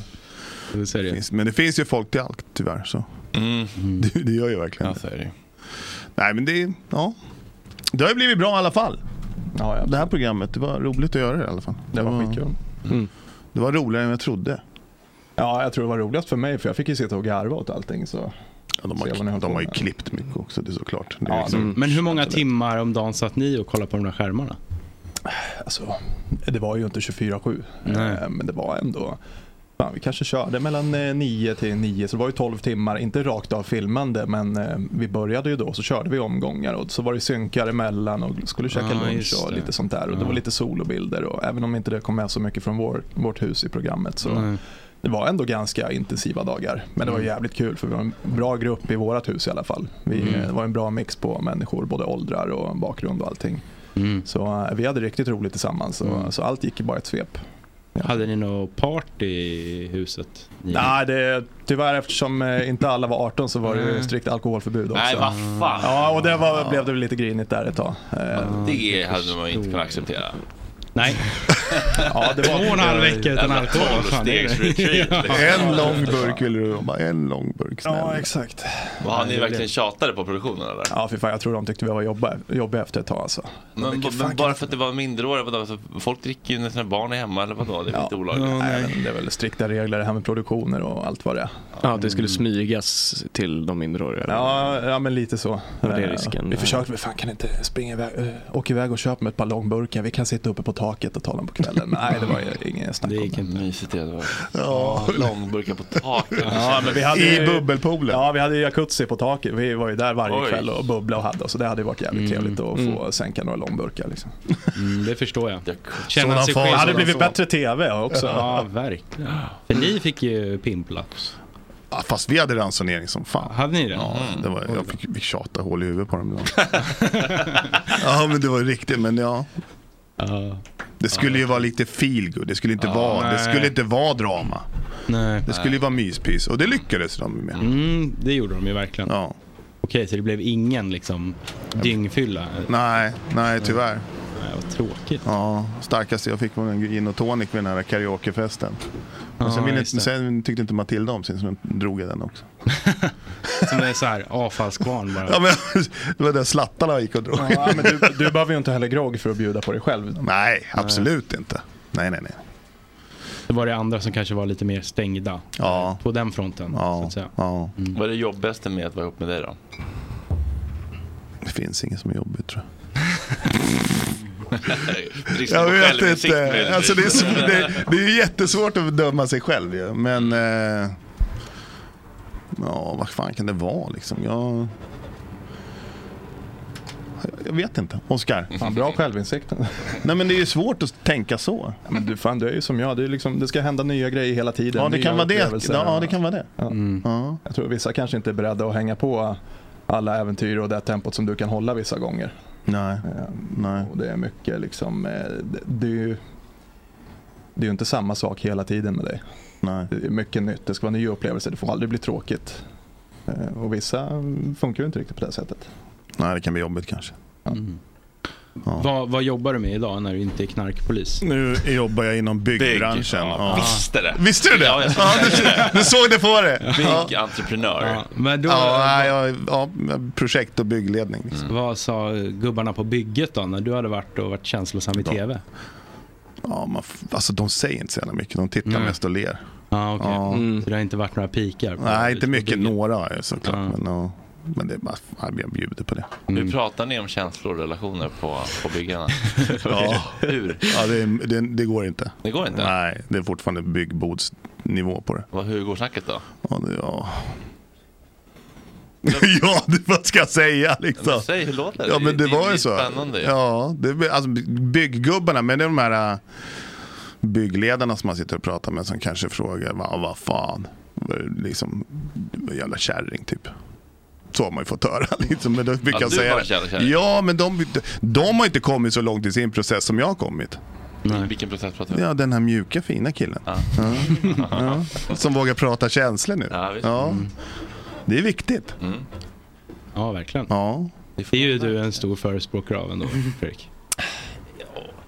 Speaker 15: Finns- Men det finns ju folk till allt tyvärr. Så.
Speaker 17: Mm.
Speaker 15: Det, det gör ju verkligen det. Nej men det, ja. det har ju blivit bra i alla fall. det här programmet, det var roligt att göra det i alla fall. Mm. Det, var skitkul.
Speaker 6: Mm.
Speaker 15: Det var roligare än jag trodde.
Speaker 16: Ja, jag tror det var roligast för mig för jag fick ju sitta och garva åt allting. Så.
Speaker 15: Ja, de har, de har ju klippt mycket också, det är såklart. Det är
Speaker 6: Ja,
Speaker 15: liksom-
Speaker 6: Men hur många timmar om dagen satt ni och kollade på de där skärmarna?
Speaker 16: Alltså, det var ju inte 24-7,
Speaker 6: Nej.
Speaker 16: eh, men det var ändå... Fan, vi kanske körde mellan eh, 9 till 9, så det var ju 12 timmar. Inte rakt av filmande, men eh, vi började ju då så körde vi omgångar och så var det synkar emellan och skulle käka
Speaker 6: Ja,
Speaker 16: lunch
Speaker 6: Ah, just
Speaker 16: och
Speaker 6: det.
Speaker 16: lite sånt där. Och Det
Speaker 6: Ja.
Speaker 16: var lite solobilder och även om inte det kom med så mycket från vår, vårt hus i programmet så
Speaker 6: Nej.
Speaker 16: det var ändå ganska intensiva dagar. Men det var
Speaker 6: Mm.
Speaker 16: jävligt kul för vi var en bra grupp i vårt hus i alla fall. Vi,
Speaker 6: Mm.
Speaker 16: Det var en bra mix på människor, både åldrar och bakgrund och allting. Så eh, vi hade riktigt roligt tillsammans och, så allt gick i bara ett svep.
Speaker 6: Hade ni något party i huset? Ni-
Speaker 16: Nej, det, tyvärr eftersom eh, inte alla var 18 så var det ju
Speaker 6: Nej.
Speaker 16: strikt alkoholförbud också.
Speaker 17: Nej, vad fan.
Speaker 16: Ja, och det var, blev det väl lite grinigt där ett tag. Eh,
Speaker 17: Det hade man ju inte kunnat acceptera.
Speaker 6: Nej.
Speaker 16: ja, det var-
Speaker 6: Två och en halv vecka utan
Speaker 17: Jävla
Speaker 6: alkohol. vad fan är det?
Speaker 17: tolvstegsretreat,
Speaker 6: Ja.
Speaker 17: liksom.
Speaker 15: En lång burk ville du bara, en lång burk snälla.
Speaker 16: Ja, exakt.
Speaker 17: Och har ni
Speaker 16: det
Speaker 17: verkligen
Speaker 16: blev-
Speaker 17: tjatade på produktionen eller?
Speaker 16: Ja, fy fan, jag tror de tyckte vi var jobba, jobbiga efter ett tag alltså.
Speaker 17: Men, b- men bara för att det var mindreåriga, vadå? Alltså, folk dricker ju när sina barn är hemma eller vadå? Det är väl inte olagligt?
Speaker 16: Nej, men det är väl strikta regler det här med produktioner och allt vad det är.
Speaker 7: Ja, det
Speaker 16: Mm.
Speaker 7: skulle smygas till de minderåriga. eller?
Speaker 16: Ja, ja men lite så.
Speaker 7: Var det
Speaker 16: Eh,
Speaker 7: risken?
Speaker 16: Vi försökte, vi fan kan inte springa iväg, eh, åka iväg och köpa med ett par långburkar. Vi kan sitta uppe på taket och ta dem på kvällen. Men nej, det var ju inget snack om det.
Speaker 17: Mysigt det var.
Speaker 16: Ja.
Speaker 17: Långburkar på taket.
Speaker 16: Ja, men vi hade ju-
Speaker 15: bubbelpoolen?
Speaker 16: Ja, vi hade ju jacuzzi på taket. Vi var ju där varje
Speaker 6: Oj.
Speaker 16: kväll och bubblade och hade. Så det hade ju varit jävligt trevligt att få sänka några långburkar. Liksom.
Speaker 6: Mm, det förstår jag.
Speaker 16: Sådan fas.
Speaker 6: skyldig.
Speaker 16: Det hade blivit bättre tv också.
Speaker 6: Ja, verkligen. För ni fick ju pimpla.
Speaker 15: Ja, fast vi hade ransonering som fan.
Speaker 6: Hade ni det? Mm.
Speaker 15: Ja, det var, jag fick, fick tjata hål i huvudet på dem ibland. ja, men det var ju riktigt, men ja. Det skulle ju vara lite feel good. det skulle inte,
Speaker 6: Ja,
Speaker 15: vara, det
Speaker 6: nej.
Speaker 15: skulle inte vara drama.
Speaker 6: Nej.
Speaker 15: Det skulle ju vara myspys och det lyckades de med.
Speaker 6: Mm, det gjorde de ju verkligen.
Speaker 15: Ja.
Speaker 6: Okej, så det blev ingen liksom dyngfylla?
Speaker 15: Nej, nej tyvärr.
Speaker 6: Nej, vad tråkigt.
Speaker 15: Ja, starkaste jag fick var en gin och tonic vid den här karaokefesten. Men
Speaker 6: Ja,
Speaker 15: sen, ville,
Speaker 6: just det.
Speaker 15: sen tyckte inte Matilda om sin så den drog jag den också.
Speaker 6: Som är så här avfallskvarn bara.
Speaker 15: Ja, men, det var där slattarna gick och drog.
Speaker 16: Ja, men du, du behöver ju inte heller grogg för att bjuda på dig själv.
Speaker 15: Nej, absolut inte. Nej, nej, nej.
Speaker 6: Det var det andra som kanske var lite mer stängda.
Speaker 15: Ja.
Speaker 6: På den fronten. Ja. Så att säga.
Speaker 15: Ja.
Speaker 17: Vad är det jobbigaste med att vara ihop med dig då?
Speaker 15: Det finns inget som är jobbigt tror jag.
Speaker 17: Bristen
Speaker 15: Jag
Speaker 17: på
Speaker 15: vet
Speaker 17: självinsikt
Speaker 15: inte.
Speaker 17: möjligtvis.
Speaker 15: Alltså det, är, sv- det, det är ju jättesvårt att döma sig själv ju. Men... Eh, ja, vad fan kan det vara liksom? Jag, jag vet inte. Oskar?
Speaker 16: Fan, bra självinsikt.
Speaker 15: Nej men det är ju svårt att tänka så.
Speaker 16: Men du, fan, du är ju som jag. Det, är liksom, det ska hända nya grejer hela tiden.
Speaker 15: Ja, det
Speaker 16: nya
Speaker 15: kan vara det.
Speaker 16: upplevelser.
Speaker 15: Ja, det kan vara det.
Speaker 16: Ja.
Speaker 15: Mm.
Speaker 16: Jag tror vissa kanske inte är beredda att hänga på alla äventyr och det tempot som du kan hålla vissa gånger. Ehm,
Speaker 15: Nej. Nej.
Speaker 16: Och det är mycket liksom, eh, det, det är ju det är ju inte samma sak hela tiden med dig.
Speaker 15: Nej.
Speaker 16: Det är mycket nytt, det ska vara nya upplevelser, det får aldrig bli tråkigt. Eh, Och vissa mm, funkar ju inte riktigt på det sättet.
Speaker 15: Nej, det kan bli jobbigt kanske.
Speaker 6: Mm. Vad, vad jobbar du med idag när du inte är knarkpolis?
Speaker 15: Nu jobbar jag inom byggbranschen.
Speaker 6: Bygg, ja.
Speaker 15: Ja.
Speaker 6: Visste det.
Speaker 15: Visste du det?
Speaker 6: Ja,
Speaker 15: Ja,
Speaker 6: jag såg det.
Speaker 15: du, du såg det på det? Ja.
Speaker 17: Byggentreprenör.
Speaker 6: Ja, men då,
Speaker 15: Ja, nej, jag, ja, projekt och byggledning. Liksom.
Speaker 6: Vad sa gubbarna på bygget då när du hade varit och varit känslosam i tv?
Speaker 15: Ja, man, f- alltså de säger inte så jävla mycket, de tittar
Speaker 6: Nej.
Speaker 15: mest och ler.
Speaker 6: Ja, okej.
Speaker 15: Ja.
Speaker 6: Mm. Så det har inte varit några pikar? på-
Speaker 15: Nej, inte mycket, några är såklart. Men, ja, Mm. men det är bara, fan, jag bjuder på det.
Speaker 16: Mm.
Speaker 17: Hur pratar ni om känslor och relationer på, på byggarna?
Speaker 15: Ja.
Speaker 17: Hur?
Speaker 15: Ja, det, är- det, det går inte.
Speaker 17: Det går inte?
Speaker 15: Nej, det är fortfarande byggbods nivå på det.
Speaker 1: Vad, hur går snacket då?
Speaker 15: Ja, det, ja. ja, det, vad ska jag säga liksom?
Speaker 1: Ja, men säg, hur låter det?
Speaker 15: Ja, men det,
Speaker 1: Det är
Speaker 15: var ju
Speaker 1: lite
Speaker 15: så.
Speaker 1: spännande ju.
Speaker 15: Ja, det, är- alltså, bygggubbarna, men det är de här äh, byggledarna som man sitter och pratar med som kanske frågar vad, vad fan, liksom, jävla kärring typ. Så har man ju fått höra. Liksom, men då
Speaker 1: Ja,
Speaker 15: brukar jag
Speaker 1: du
Speaker 15: säga
Speaker 1: var
Speaker 15: det.
Speaker 1: en jävla kärring.
Speaker 15: Ja, men de, de har inte kommit så långt i sin process som jag har kommit.
Speaker 1: I vilken process pratar vi om?
Speaker 15: Ja, den här mjuka fina killen. Ja. Ja. Som vågar prata känslor nu.
Speaker 1: Ja, visst. Mm.
Speaker 15: Det är viktigt.
Speaker 6: Ja, verkligen.
Speaker 15: Ja.
Speaker 6: Det är ju du en stor förespråkare av ändå, Fredrik.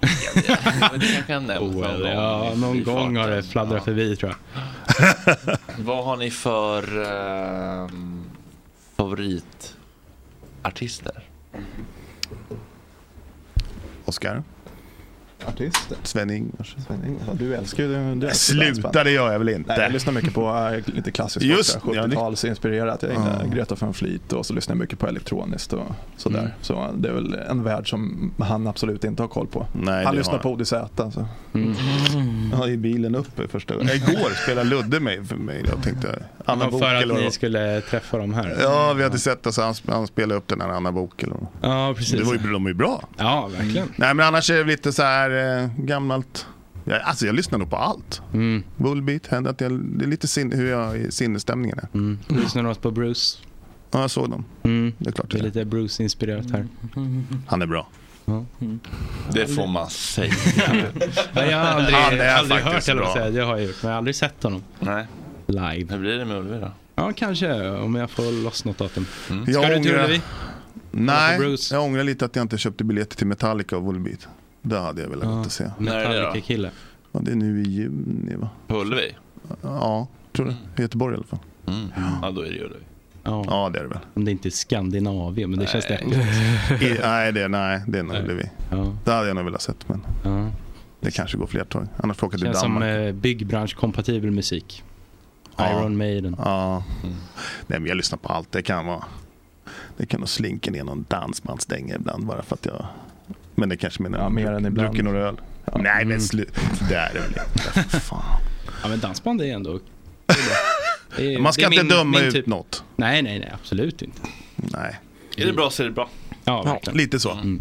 Speaker 1: Men det kanske jag nämnt någon gång.
Speaker 6: Ja, någon gång har det fladdrat förbi tror jag.
Speaker 1: Vad har ni för ehm, favoritartister?
Speaker 15: Oscar?
Speaker 16: Artister?
Speaker 15: Sven-Ingvars.
Speaker 16: Du älskar ju... Du älskar
Speaker 15: Sluta,
Speaker 16: dansband.
Speaker 15: det gör jag väl inte.
Speaker 16: Nej, jag lyssnar mycket på äh, lite klassiskt
Speaker 15: Just-
Speaker 16: rock, där, 70-talsinspirerat. Jag gillar Greta von Fleet och så lyssnar jag mycket på elektroniskt och sådär.
Speaker 15: Mm.
Speaker 16: Så det är väl en värld som han absolut inte har koll på.
Speaker 15: Nej,
Speaker 16: han
Speaker 15: det
Speaker 16: lyssnar
Speaker 15: har
Speaker 16: på Odyssey alltså.
Speaker 6: Mm.
Speaker 15: Ja, i bilen uppe första gången. Igår spelade Ludde mig för mig. Jag tänkte, Anna
Speaker 6: Ja, för
Speaker 15: Bokel
Speaker 6: att
Speaker 15: och...
Speaker 6: ni skulle träffa dem här.
Speaker 15: Ja, vi hade sett oss. Han, han spelade upp den här Anna Bokel. Och...
Speaker 6: Ja, precis.
Speaker 15: Det var ju, de var ju bra.
Speaker 6: Ja, verkligen.
Speaker 15: Nej, men annars är det lite så här eh, gammalt. Ja, alltså jag lyssnar nog på allt.
Speaker 6: Mm.
Speaker 15: Bullbeat, händer att jag, det är lite sin, hur jag i sinnesstämningen är.
Speaker 6: Lyssnar Mm. du på Bruce?
Speaker 15: Ja, jag såg dem.
Speaker 6: Mm.
Speaker 15: Det är klart
Speaker 6: det är lite Bruce-inspirerat här.
Speaker 15: Han är bra.
Speaker 1: Det får man säga.
Speaker 6: Nej, jag har aldrig,
Speaker 1: Han är
Speaker 6: aldrig hört
Speaker 1: faktiskt
Speaker 6: eller
Speaker 1: bra.
Speaker 6: vad säga. Det har jag gjort, men jag har aldrig sett honom.
Speaker 1: Nej.
Speaker 6: Live.
Speaker 1: Hur blir det med Ulvi då?
Speaker 6: Ja, kanske. Om jag får loss något datum. Ska
Speaker 15: Mm. Jag
Speaker 6: du till
Speaker 15: ångrar-
Speaker 6: Ullevi?
Speaker 15: Nej, jag ångrar lite att jag inte köpte biljetter till Metallica och Volbeat. Det hade jag velat gått och se.
Speaker 1: När är det då? Metallica-kille.
Speaker 15: Ja, det är nu i juni va?
Speaker 1: På Ullevi?
Speaker 15: Ja, tror det. I Göteborg i alla fall.
Speaker 1: Mm. Ja, då är det ju Ullevi.
Speaker 6: Ja.
Speaker 15: ja, det är det väl.
Speaker 6: Om det inte är Skandinavien, men det känns
Speaker 1: Nej.
Speaker 6: det.
Speaker 15: I, nej, det, nej, det är nog Ullevi. Det hade jag nog velat sett, men
Speaker 6: Ja.
Speaker 15: det kanske går fler tåg. Annars får jag åka till
Speaker 6: Känns som
Speaker 15: Danmark.
Speaker 6: eh, byggbranschkompatibel musik.
Speaker 15: Ja.
Speaker 6: Iron Maiden.
Speaker 15: Ja.
Speaker 1: Mm.
Speaker 15: Nej, men jag lyssnar på allt. Det kan vara... Det kan nog slinka ner någon dansbandsdänga ibland bara för att jag... Men det kanske menar... Ja, mer än ibland. Mm. Druckit några öl. Nej, men slut. Det är det väl inte. Fan.
Speaker 6: Ja, men dansband är ändå... Det är-
Speaker 15: Man ska
Speaker 6: det är
Speaker 15: inte döma
Speaker 6: min typ-
Speaker 15: ut något.
Speaker 6: Nej, nej, nej. Absolut inte.
Speaker 15: Nej.
Speaker 1: Är det bra så är det bra.
Speaker 6: Ja, verkligen.
Speaker 15: lite så.
Speaker 6: Mm.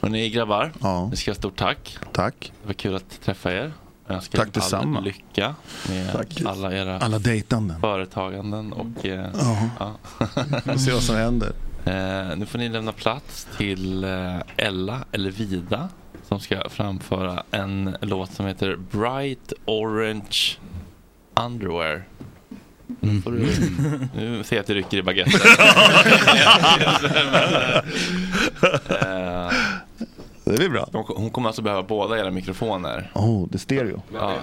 Speaker 1: Hörni grabbar,
Speaker 15: ja.
Speaker 1: vi ska ha stort tack.
Speaker 15: Tack.
Speaker 1: Det var kul att träffa er. Jag önskar
Speaker 15: Tack
Speaker 1: er all
Speaker 15: detsamma.
Speaker 1: lycka med alla era
Speaker 15: Alla dejtanden.
Speaker 1: företaganden och... Eh,
Speaker 15: Ja.
Speaker 1: ja.
Speaker 15: Får se vad som händer.
Speaker 1: Eh, nu får ni lämna plats till eh, Ella eller Vida som ska framföra en låt som heter Bright Orange Underwear. Nu Får du, nu ser jag att du rycker i baguetten. Eh,
Speaker 15: Det blir bra.
Speaker 1: Hon, hon kommer alltså behöva båda era mikrofoner.
Speaker 15: Åh, oh, det är stereo.
Speaker 1: Ja.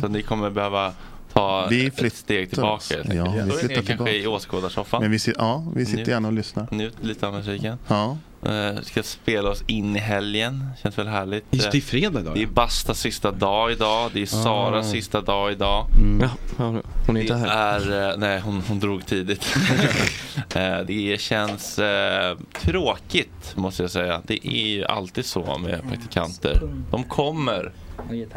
Speaker 1: Så ni kommer behöva ta
Speaker 15: Vi
Speaker 1: ett steg
Speaker 15: oss.
Speaker 1: tillbaka. helt enkelt.
Speaker 15: Ja, vi
Speaker 1: Då är ni
Speaker 15: flyttar
Speaker 1: kanske
Speaker 15: tillbaka.
Speaker 1: i åskådarsoffan.
Speaker 15: Men vi, sit- ja, vi sitter
Speaker 1: Njut-
Speaker 15: gärna och lyssnar.
Speaker 1: Njut lite av musiken.
Speaker 15: Ja.
Speaker 1: Eh, ska spela oss in i helgen. Känns väl härligt.
Speaker 7: Just det, är fredag idag,
Speaker 1: Det är Bastas sista dag idag. Det är Saras
Speaker 7: Ah.
Speaker 1: sista dag idag.
Speaker 7: Ja, ja, hon är inte
Speaker 1: det
Speaker 7: här.
Speaker 1: är, eh, nej hon, hon drog tidigt. Eh, det känns eh, tråkigt måste jag säga. Det är ju alltid så med praktikanter. De kommer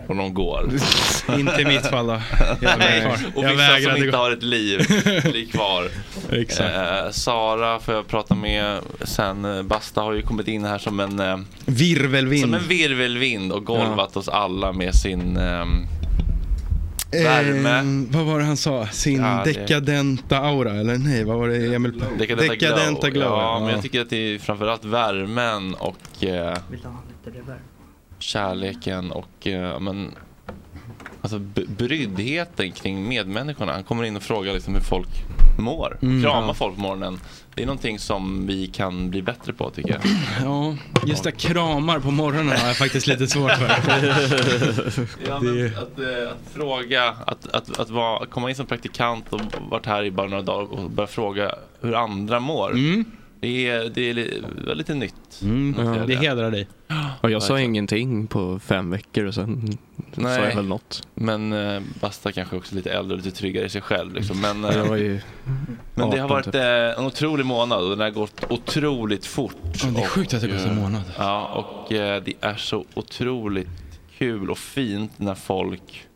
Speaker 1: och de går.
Speaker 6: Inte i mitt fall då. Jag
Speaker 1: Nej,
Speaker 6: vägrar.
Speaker 1: och
Speaker 6: Jag
Speaker 1: vissa
Speaker 6: vägrar.
Speaker 1: som
Speaker 6: Det
Speaker 1: inte
Speaker 6: går-
Speaker 1: har ett liv blir kvar.
Speaker 6: Exakt.
Speaker 1: Eh, Sara får jag prata med sen. Eh, Basta har ju kommit in här som en eh,
Speaker 7: Virvelvind.
Speaker 1: som en virvelvind och golvat oss alla med sin ehm, värme.
Speaker 7: Eh, vad var det han sa? Sin
Speaker 1: Ja, det-
Speaker 7: dekadenta aura? Eller nej, vad var det Emil?
Speaker 1: dekadenta,
Speaker 7: dekadenta glow.
Speaker 1: Ja, men
Speaker 7: ja.
Speaker 1: jag tycker att det är framförallt värmen och eh, kärleken och eh, men, alltså, b- bryddheten kring medmänniskorna. Han kommer in och frågar liksom hur folk mår.
Speaker 7: Mm,
Speaker 1: Krama
Speaker 7: ja.
Speaker 1: folk på morgonen. Det är någonting som vi kan bli bättre på tycker jag.
Speaker 7: Ja, just det, kramar på morgonen har jag faktiskt lite svårt för.
Speaker 1: Ja, men att, eh, att fråga, att, att, att, vara, att komma in som praktikant och varit här i bara några dagar och börja fråga hur andra mår.
Speaker 7: Mm.
Speaker 1: Det, är, det är li- var lite nytt.
Speaker 7: ja.
Speaker 1: Mm.
Speaker 7: Det hedrar dig.
Speaker 1: Och
Speaker 7: jag sa ingenting på fem veckor och sen
Speaker 1: Nej.
Speaker 7: sa jag väl något.
Speaker 1: Men eh, Basta kanske också lite äldre och lite tryggare i sig själv. Liksom. Men, eh,
Speaker 7: Jag var ju
Speaker 1: men det har
Speaker 7: 18
Speaker 1: varit
Speaker 7: typ.
Speaker 1: eh, en otrolig månad och den har gått otroligt fort.
Speaker 7: Ja, det är sjukt att det har gått en
Speaker 1: eh,
Speaker 7: månad.
Speaker 1: Ja, och eh, det är så otroligt kul och fint när folk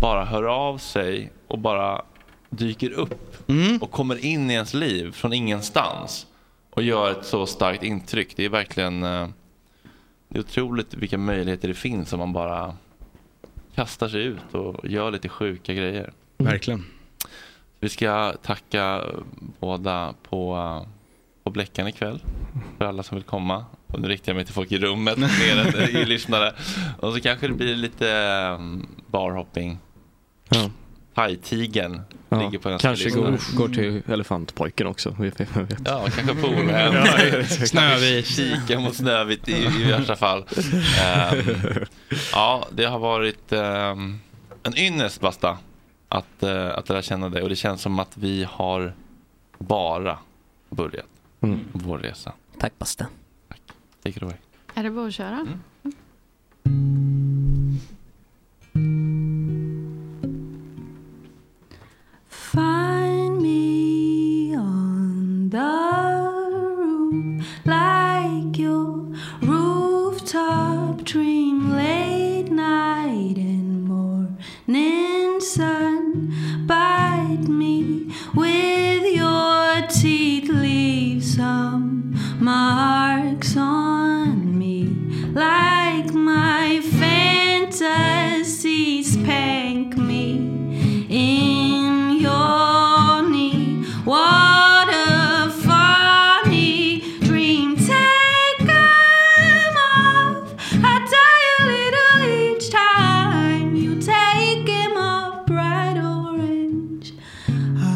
Speaker 1: bara hör av sig och bara dyker upp
Speaker 7: Mm.
Speaker 1: och kommer in i ens liv från ingenstans och gör ett så starkt intryck. Det är verkligen eh, det är otroligt vilka möjligheter det finns om man bara kastar sig ut och gör lite sjuka grejer.
Speaker 6: Verkligen.
Speaker 1: Vi ska tacka båda på, eh, på Bläckan ikväll för alla som vill komma. Och nu riktar jag mig till folk i rummet mer än i lyssnare. Och så kanske det blir lite eh, barhopping.
Speaker 7: Ja.
Speaker 1: Thai-tigern ligger på ens
Speaker 7: Kanske
Speaker 1: lista.
Speaker 7: går, går till elefantpojken också. Vi vet- vi vet.
Speaker 1: Ja, kanske Polhem.
Speaker 7: Ja, exakt.
Speaker 1: Snövit. Kika mot Snövit i, i värsta fall. Ehm, ja, det har varit ehm, en ynnest, Basta, att, eh, att lära känna dig. Och det känns som att vi har bara börjat
Speaker 7: Mm.
Speaker 1: vår resa.
Speaker 18: Tack, Basta.
Speaker 1: Take it away.
Speaker 3: Är det bara att köra?
Speaker 19: Find me on the roof like your rooftop dream, late night and morning sun. Bite me with your teeth, leave some marks on me like my fantasies. Pank me in your knee. What a funny dream. Take 'em off. I die a little each time. You take 'em off, bright orange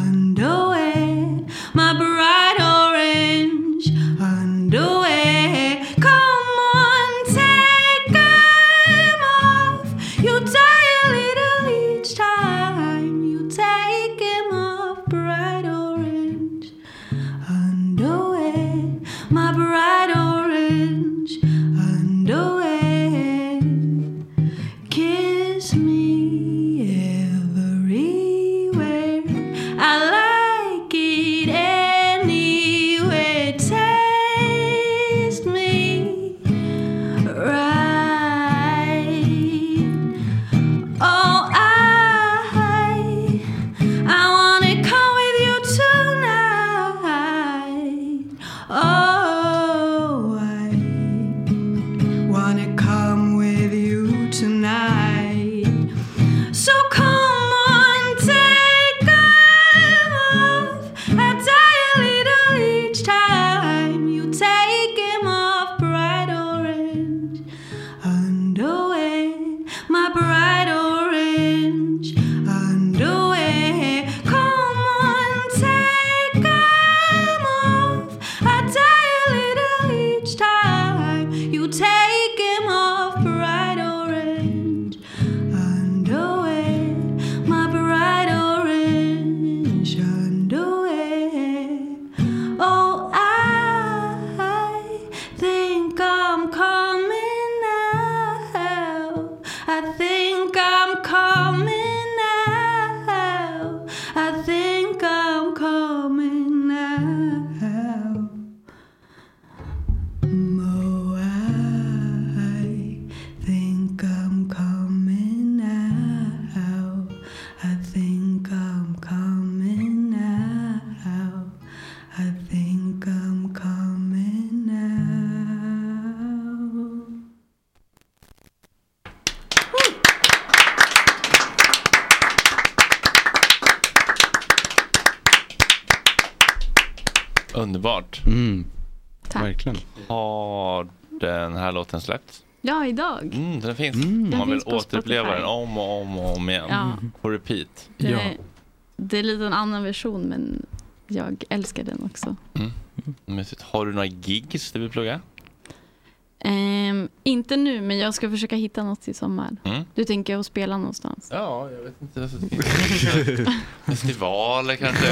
Speaker 19: underwear. My bright orange underwear. Come on, take 'em off. You die a little each time. You take 'em off, bright orange underwear. My bright orange underwear. Kiss me everywhere. I like it anywhere. Taste me right. Oh, I, I wanna come with you tonight. Oh, I wanna come with you tonight. So come on, take them off. I die a little each time. You take him off, bright orange underwear. My bright orange underwear. Come on, take them off. I die a little each time. You take him off, bright orange underwear. My bright orange underwear. Oh, I think I'm coming out. I think I'm coming out. I think I'm coming out. Oh, I think I'm coming out. I think I'm coming out. I think I'm coming out.
Speaker 1: Underbart.
Speaker 7: Mm.
Speaker 3: Tack.
Speaker 1: Verkligen. Har den här låten släppts?
Speaker 3: Ja, idag.
Speaker 1: Mm, den finns.
Speaker 3: Den
Speaker 1: Man vill
Speaker 3: finns på
Speaker 1: återuppleva
Speaker 3: Spotify.
Speaker 1: den om och om och om igen.
Speaker 3: Ja.
Speaker 1: På repeat. Mm.
Speaker 3: Den Är, det är lite en annan version, men jag älskar den också.
Speaker 1: Mm. Mysigt. Har du några gigs du vill plugga?
Speaker 3: Ehm, inte nu, men jag ska försöka hitta något i sommar.
Speaker 1: Mm.
Speaker 3: Du tänker att spela någonstans?
Speaker 1: Ja, jag vet inte. Festivaler kanske?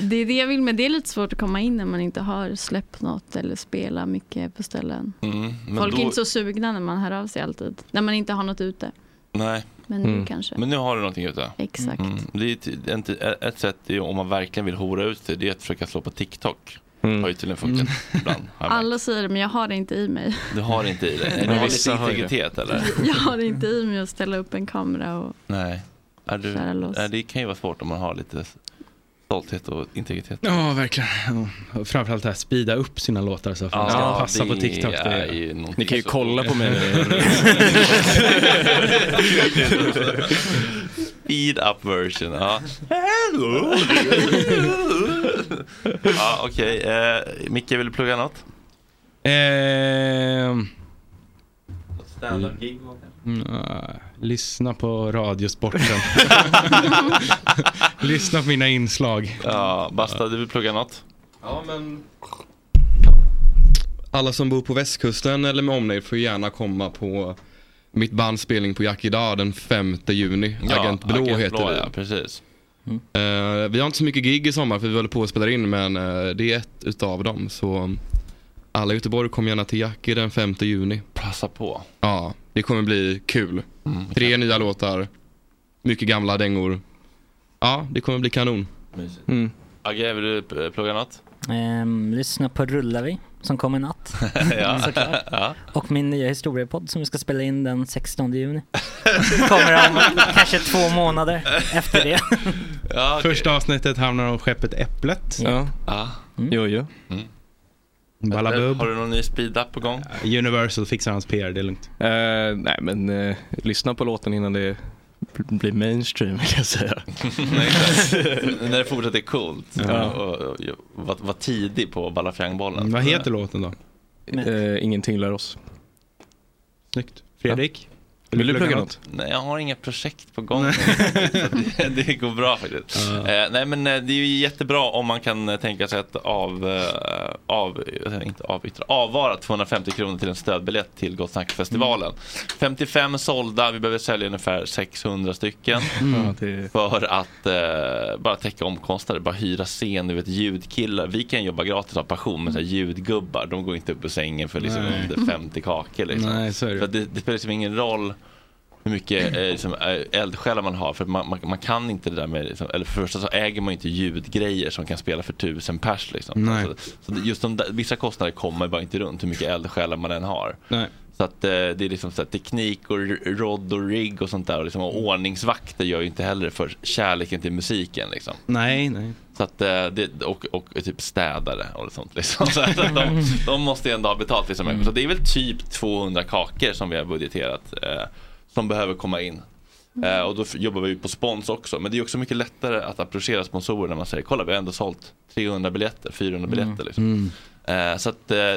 Speaker 3: Det är det jag vill, men det är lite svårt att komma in när man inte har släppt något eller spelat mycket på ställen.
Speaker 1: Mm, men
Speaker 3: Folk
Speaker 1: då-
Speaker 3: är inte så sugna när man hör av sig alltid, när man inte har något ute.
Speaker 1: Nej.
Speaker 3: Men nu Mm. kanske.
Speaker 1: Men nu har du någonting ute.
Speaker 3: Exakt.
Speaker 1: Mm. Det är ett, ett, ett sätt, är om man verkligen vill hora ut sig, det är att försöka slå på TikTok. Har ju tydligen funkat ibland. har jag märkt.
Speaker 3: Alla säger det, men jag har det inte i mig.
Speaker 1: Du har det inte i dig.
Speaker 3: Nej,
Speaker 1: Nej, du har lite
Speaker 3: vissa har ju det.
Speaker 1: integritet eller?
Speaker 3: Jag har det inte i mig att ställa upp en kamera och...
Speaker 1: Nej. Är du,
Speaker 3: Skära loss.
Speaker 1: nej, det kan ju vara svårt om man har lite stolthet och integritet.
Speaker 6: Ja, verkligen. Ja. Framförallt det här, speeda upp sina låtar så att man ska passa på TikTok. Det
Speaker 1: är ju någonting
Speaker 7: Ni kan ju
Speaker 1: som-
Speaker 7: kolla på mig.
Speaker 1: Speed up version, ja. ja Okej, eh, Micke vill du plugga något?
Speaker 7: Eh,
Speaker 6: Ehm,
Speaker 1: Standup-gig
Speaker 6: nej, Mm. äh, lyssna på Radiosporten. lyssna på mina inslag.
Speaker 1: Ja, Basta, du vill plugga något?
Speaker 12: Ja, men... Alla som bor på västkusten eller med omnejd får gärna komma på mitt bands spelning på Yakida den 5 juni.
Speaker 1: Ja,
Speaker 12: Agent Blå
Speaker 1: Agent
Speaker 12: heter
Speaker 1: Blå,
Speaker 12: det.
Speaker 1: ja, precis.
Speaker 12: Eh, vi har inte så mycket gig i sommar för vi håller på att spela in men eh, det är ett utav dem. Så alla i Göteborg kom gärna till Jackie den 5 juni.
Speaker 1: Passa på. Mm,
Speaker 12: Ja, det kommer bli kul. Tre nya låtar, mycket gamla dängor. Ja, det kommer bli kanon.
Speaker 1: Mysigt.
Speaker 12: Mm.
Speaker 1: Agge, vill du eh, plugga något?
Speaker 8: Ehm, lyssna på Rullar vi, som kommer i natt.
Speaker 1: Ja.
Speaker 8: Såklart.
Speaker 1: Ja.
Speaker 8: Och min nya historiepodd som vi ska spela in den 16 juni. Kommer om kanske två månader efter det.
Speaker 6: Första avsnittet handlar om skeppet Äpplet.
Speaker 8: Ja.
Speaker 1: Ja. Mm.
Speaker 6: Jo, jo. Balabub.
Speaker 1: Har du någon ny speed-up på gång?
Speaker 6: Universal fixar hans PR, det är lugnt.
Speaker 7: Eh, nej, men eh, lyssna på låten innan det blir mainstream kan jag säga.
Speaker 1: Nej, exakt. När det fortsätter är coolt.
Speaker 7: Ja.
Speaker 1: Och, och, och, var, var tidig på Balafiangbollen.
Speaker 6: Vad heter låten då?
Speaker 7: Eh, ingenting lär oss.
Speaker 6: Snyggt. Fredrik?
Speaker 7: Vill du plugga något?
Speaker 1: Nej, jag har inga projekt på gång. Så det, det går bra faktiskt. Eh, nej, men eh, det är ju jättebra om man kan eh, tänka sig att av, eh, av, eh, inte avyttra, avvara 250 kronor till en stödbiljett till Gott Snack-festivalen.
Speaker 7: Mm.
Speaker 1: 55 sålda, vi behöver sälja ungefär 600 stycken.
Speaker 7: Mm. Ja, det-
Speaker 1: För att eh, bara täcka omkostnader, bara hyra scen, du vet ljudkillar. Vi kan jobba gratis av passion, men så här, ljudgubbar, de går inte upp ur sängen för liksom
Speaker 6: Nej.
Speaker 1: under 50 kakor. Liksom.
Speaker 6: Nej, så är det.
Speaker 1: För att det, det spelar liksom ingen roll hur mycket eh, liksom, eh, eldsjälar man har. För att man, man, man kan inte det där med, liksom, eller för det första så äger man ju inte ljudgrejer som kan spela för tusen pers. Liksom.
Speaker 6: Nej.
Speaker 1: Så, så det- just de där, vissa kostnader kommer bara inte runt hur mycket eldsjälar man än har.
Speaker 6: Nej.
Speaker 1: Så att eh, det är liksom så här, teknik och r- rodd och rigg och sånt där. Och, liksom, och ordningsvakter gör ju inte heller det för kärleken till musiken. Liksom.
Speaker 6: Nej, nej.
Speaker 1: Så att, eh, det, och, och typ städare och sånt liksom. Så att de, de måste ju ändå ha betalt liksom. Så det är väl typ 200 kakor som vi har budgeterat eh, som behöver komma in. Eh, och då f- jobbar vi ju på spons också. Men det är ju också mycket lättare att approchera sponsorer när man säger kolla vi har ändå sålt 300 biljetter, 400 biljetter liksom.
Speaker 6: Mm.
Speaker 1: Eh, så att eh,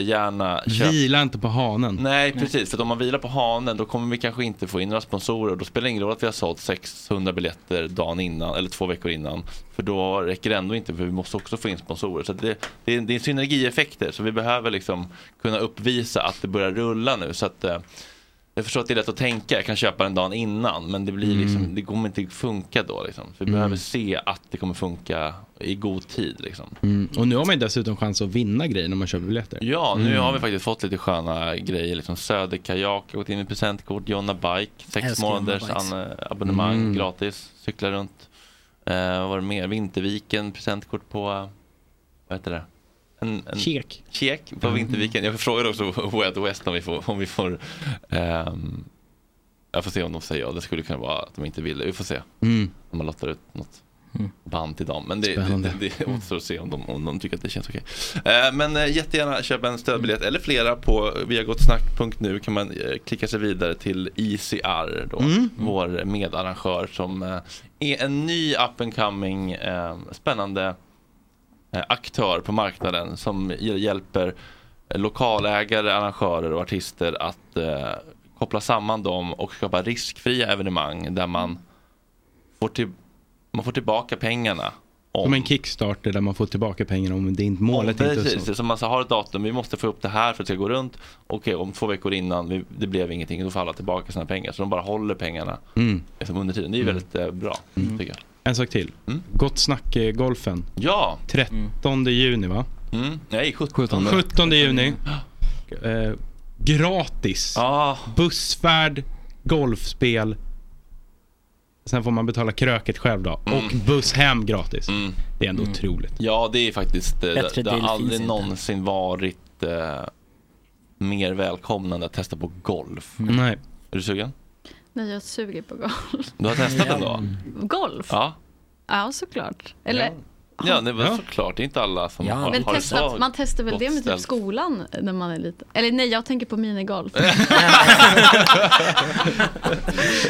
Speaker 1: jättegärna köp.
Speaker 6: Vila inte på hanen.
Speaker 1: Nej precis, för att om man vilar på hanen då kommer vi kanske inte få in några sponsorer. Då spelar det ingen roll att vi har sålt 600 biljetter dagen innan eller två veckor innan. För då räcker det ändå inte för vi måste också få in sponsorer. Så att det, det, är, det är synergieffekter så vi behöver liksom kunna uppvisa att det börjar rulla nu. Så att, eh, jag förstår att det är lätt att tänka, jag kan köpa den dagen innan men det, blir
Speaker 6: Mm.
Speaker 1: liksom, det kommer inte funka då. Liksom. Vi
Speaker 6: Mm.
Speaker 1: behöver se att det kommer funka i god tid. Liksom.
Speaker 6: Mm. Och nu har man ju dessutom chans att vinna grejer när man köper biljetter.
Speaker 1: Ja, nu
Speaker 6: Mm.
Speaker 1: har vi faktiskt fått lite sköna grejer. Liksom Söderkajak, jag har gått in med presentkort, Jonna Bike, sex
Speaker 6: Älskar Jonna
Speaker 1: månaders
Speaker 6: Bikes.
Speaker 1: an- abonnemang
Speaker 6: Mm.
Speaker 1: gratis, cykla runt. Eh, vad var det mer? Vinterviken, presentkort på, eh, vad heter det? En, en
Speaker 6: Check.
Speaker 1: Check på
Speaker 6: Mm.
Speaker 1: Vinterviken. Jag frågade också Way Out West om vi får, om vi får ehm, jag får se om de säger ja. Det skulle kunna vara att de inte vill det. Vi får se.
Speaker 6: Mm.
Speaker 1: Om man lottar ut något
Speaker 6: Mm.
Speaker 1: band till dem. Men det,
Speaker 6: Spännande. Mm.
Speaker 1: det, det, det återstår att se om de, om de tycker att det känns okej. Eh, men eh, jättegärna köp en stödbiljett eller flera på viagottsnack.nu kan man eh, klicka sig vidare till ICR. Då,
Speaker 6: Mm.
Speaker 1: Vår medarrangör som eh, är en ny up and coming eh, spännande eh, aktör på marknaden som hjälper lokalägare, arrangörer och artister att eh, koppla samman dem och skapa riskfria evenemang där man får, till, man får tillbaka pengarna.
Speaker 6: Som en kickstarter där man får tillbaka pengarna om det inte målet inte är
Speaker 1: Precis,
Speaker 6: så.
Speaker 1: det är som man så har ett datum, vi måste få upp det här för att det ska gå runt. Okej, om två veckor innan, vi, det blev ingenting, då får alla tillbaka sina pengar. Så de bara håller pengarna
Speaker 6: Mm.
Speaker 1: liksom, under tiden. Det är ju
Speaker 6: Mm.
Speaker 1: väldigt eh, bra, tycker jag.
Speaker 6: En sak till.
Speaker 1: Mm.
Speaker 6: Gott snack eh, golfen.
Speaker 1: Ja!
Speaker 6: 13 juni va?
Speaker 1: Mm. Nej, 17.
Speaker 6: 17 juni. Eh, gratis.
Speaker 1: Ah.
Speaker 6: Bussfärd, golfspel. Sen får man betala kröket själv då.
Speaker 1: Mm.
Speaker 6: Och buss hem gratis. Det är ändå otroligt.
Speaker 1: Ja, det är faktiskt... eh,
Speaker 6: Bättre
Speaker 1: Det, det
Speaker 6: deal
Speaker 1: har
Speaker 6: finns
Speaker 1: aldrig
Speaker 6: inte.
Speaker 1: någonsin varit eh, mer välkomnande att testa på golf.
Speaker 6: Nej.
Speaker 1: Är du sugen?
Speaker 3: Nej, jag suger på golf.
Speaker 1: Du har testat ändå?
Speaker 3: Golf?
Speaker 1: Ja.
Speaker 3: Ja, såklart. Eller,
Speaker 1: Ja, det var såklart. Det är inte alla som har,
Speaker 3: men
Speaker 1: har
Speaker 3: testat,
Speaker 1: så
Speaker 3: man testar väl
Speaker 1: gott
Speaker 3: det med typ
Speaker 1: ställt.
Speaker 3: skolan när man är liten? Eller nej, jag tänker på minigolf.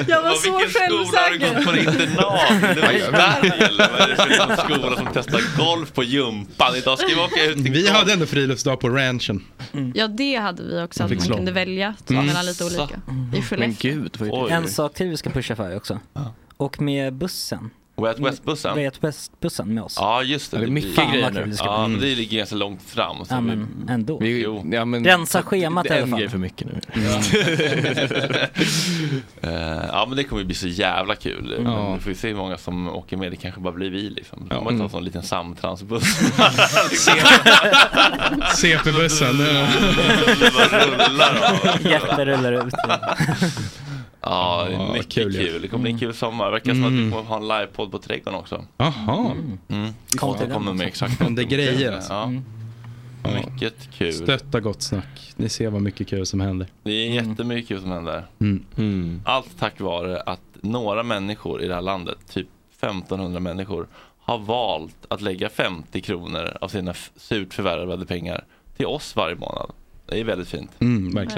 Speaker 3: jag var så självsäker.
Speaker 1: På internat? Det var i Sverige eller? Vad är det för någon skola som testar golf på gympan? Idag ska vi åka ut till
Speaker 6: Vi hade ändå friluftsdag på ranchen.
Speaker 3: Ja, det hade vi också,
Speaker 6: Man
Speaker 3: att
Speaker 6: fick
Speaker 3: man
Speaker 6: slå.
Speaker 3: kunde välja så,
Speaker 6: Mm.
Speaker 3: mellan lite olika. I Skellefteå.
Speaker 7: gud,
Speaker 6: vad är det?
Speaker 8: En sak till vi ska pusha för också. Och med bussen.
Speaker 1: Way Out West-bussen?
Speaker 8: Way Out West-bussen med oss.
Speaker 1: Ja, just det.
Speaker 8: Det är mycket
Speaker 1: blir-
Speaker 8: grejer nu.
Speaker 1: Ja, men det ligger ganska långt fram. så
Speaker 8: Ja,
Speaker 1: vi-
Speaker 8: men ändå.
Speaker 1: Mm. Vi- Jo. ja, men-
Speaker 8: Rensa schemat
Speaker 1: Det är en
Speaker 8: i alla fall.
Speaker 1: grej för mycket
Speaker 7: nu.
Speaker 1: Eh, ja men det kommer ju bli så jävla kul.
Speaker 7: Mm.
Speaker 1: Men
Speaker 7: Ja.
Speaker 1: vi får ju se hur många som åker med. Det kanske bara blir vi liksom. De
Speaker 7: Ja.
Speaker 1: kommer ta en sån liten samtransbuss.
Speaker 6: CP-bussen.
Speaker 1: Det bara rullar av.
Speaker 8: Jätte rullar ut.
Speaker 1: Ja, det
Speaker 6: Ja,
Speaker 1: är
Speaker 6: vad
Speaker 1: mycket
Speaker 6: kul
Speaker 1: kul.
Speaker 6: ju.
Speaker 1: Det kommer bli en kul sommar. Det verkar som att vi
Speaker 6: Mm.
Speaker 1: kommer ha en livepodd på Trädgården också.
Speaker 6: Jaha.
Speaker 1: Mm. Vi
Speaker 6: Kom
Speaker 1: får
Speaker 6: till den
Speaker 1: återkomma med
Speaker 6: också.
Speaker 1: exakt.
Speaker 6: Om det är grejer, alltså.
Speaker 1: Ja.
Speaker 8: Mm.
Speaker 1: Mycket kul.
Speaker 6: Stötta gott snack. Ni ser vad mycket kul som händer.
Speaker 1: Det är jättemycket kul som händer.
Speaker 6: Mm.
Speaker 1: Allt tack vare att några människor i det här landet, typ 1500 människor, har valt att lägga 50 kronor av sina f- surt förvärvade pengar till oss varje månad. Det är väldigt fint.
Speaker 6: Mm,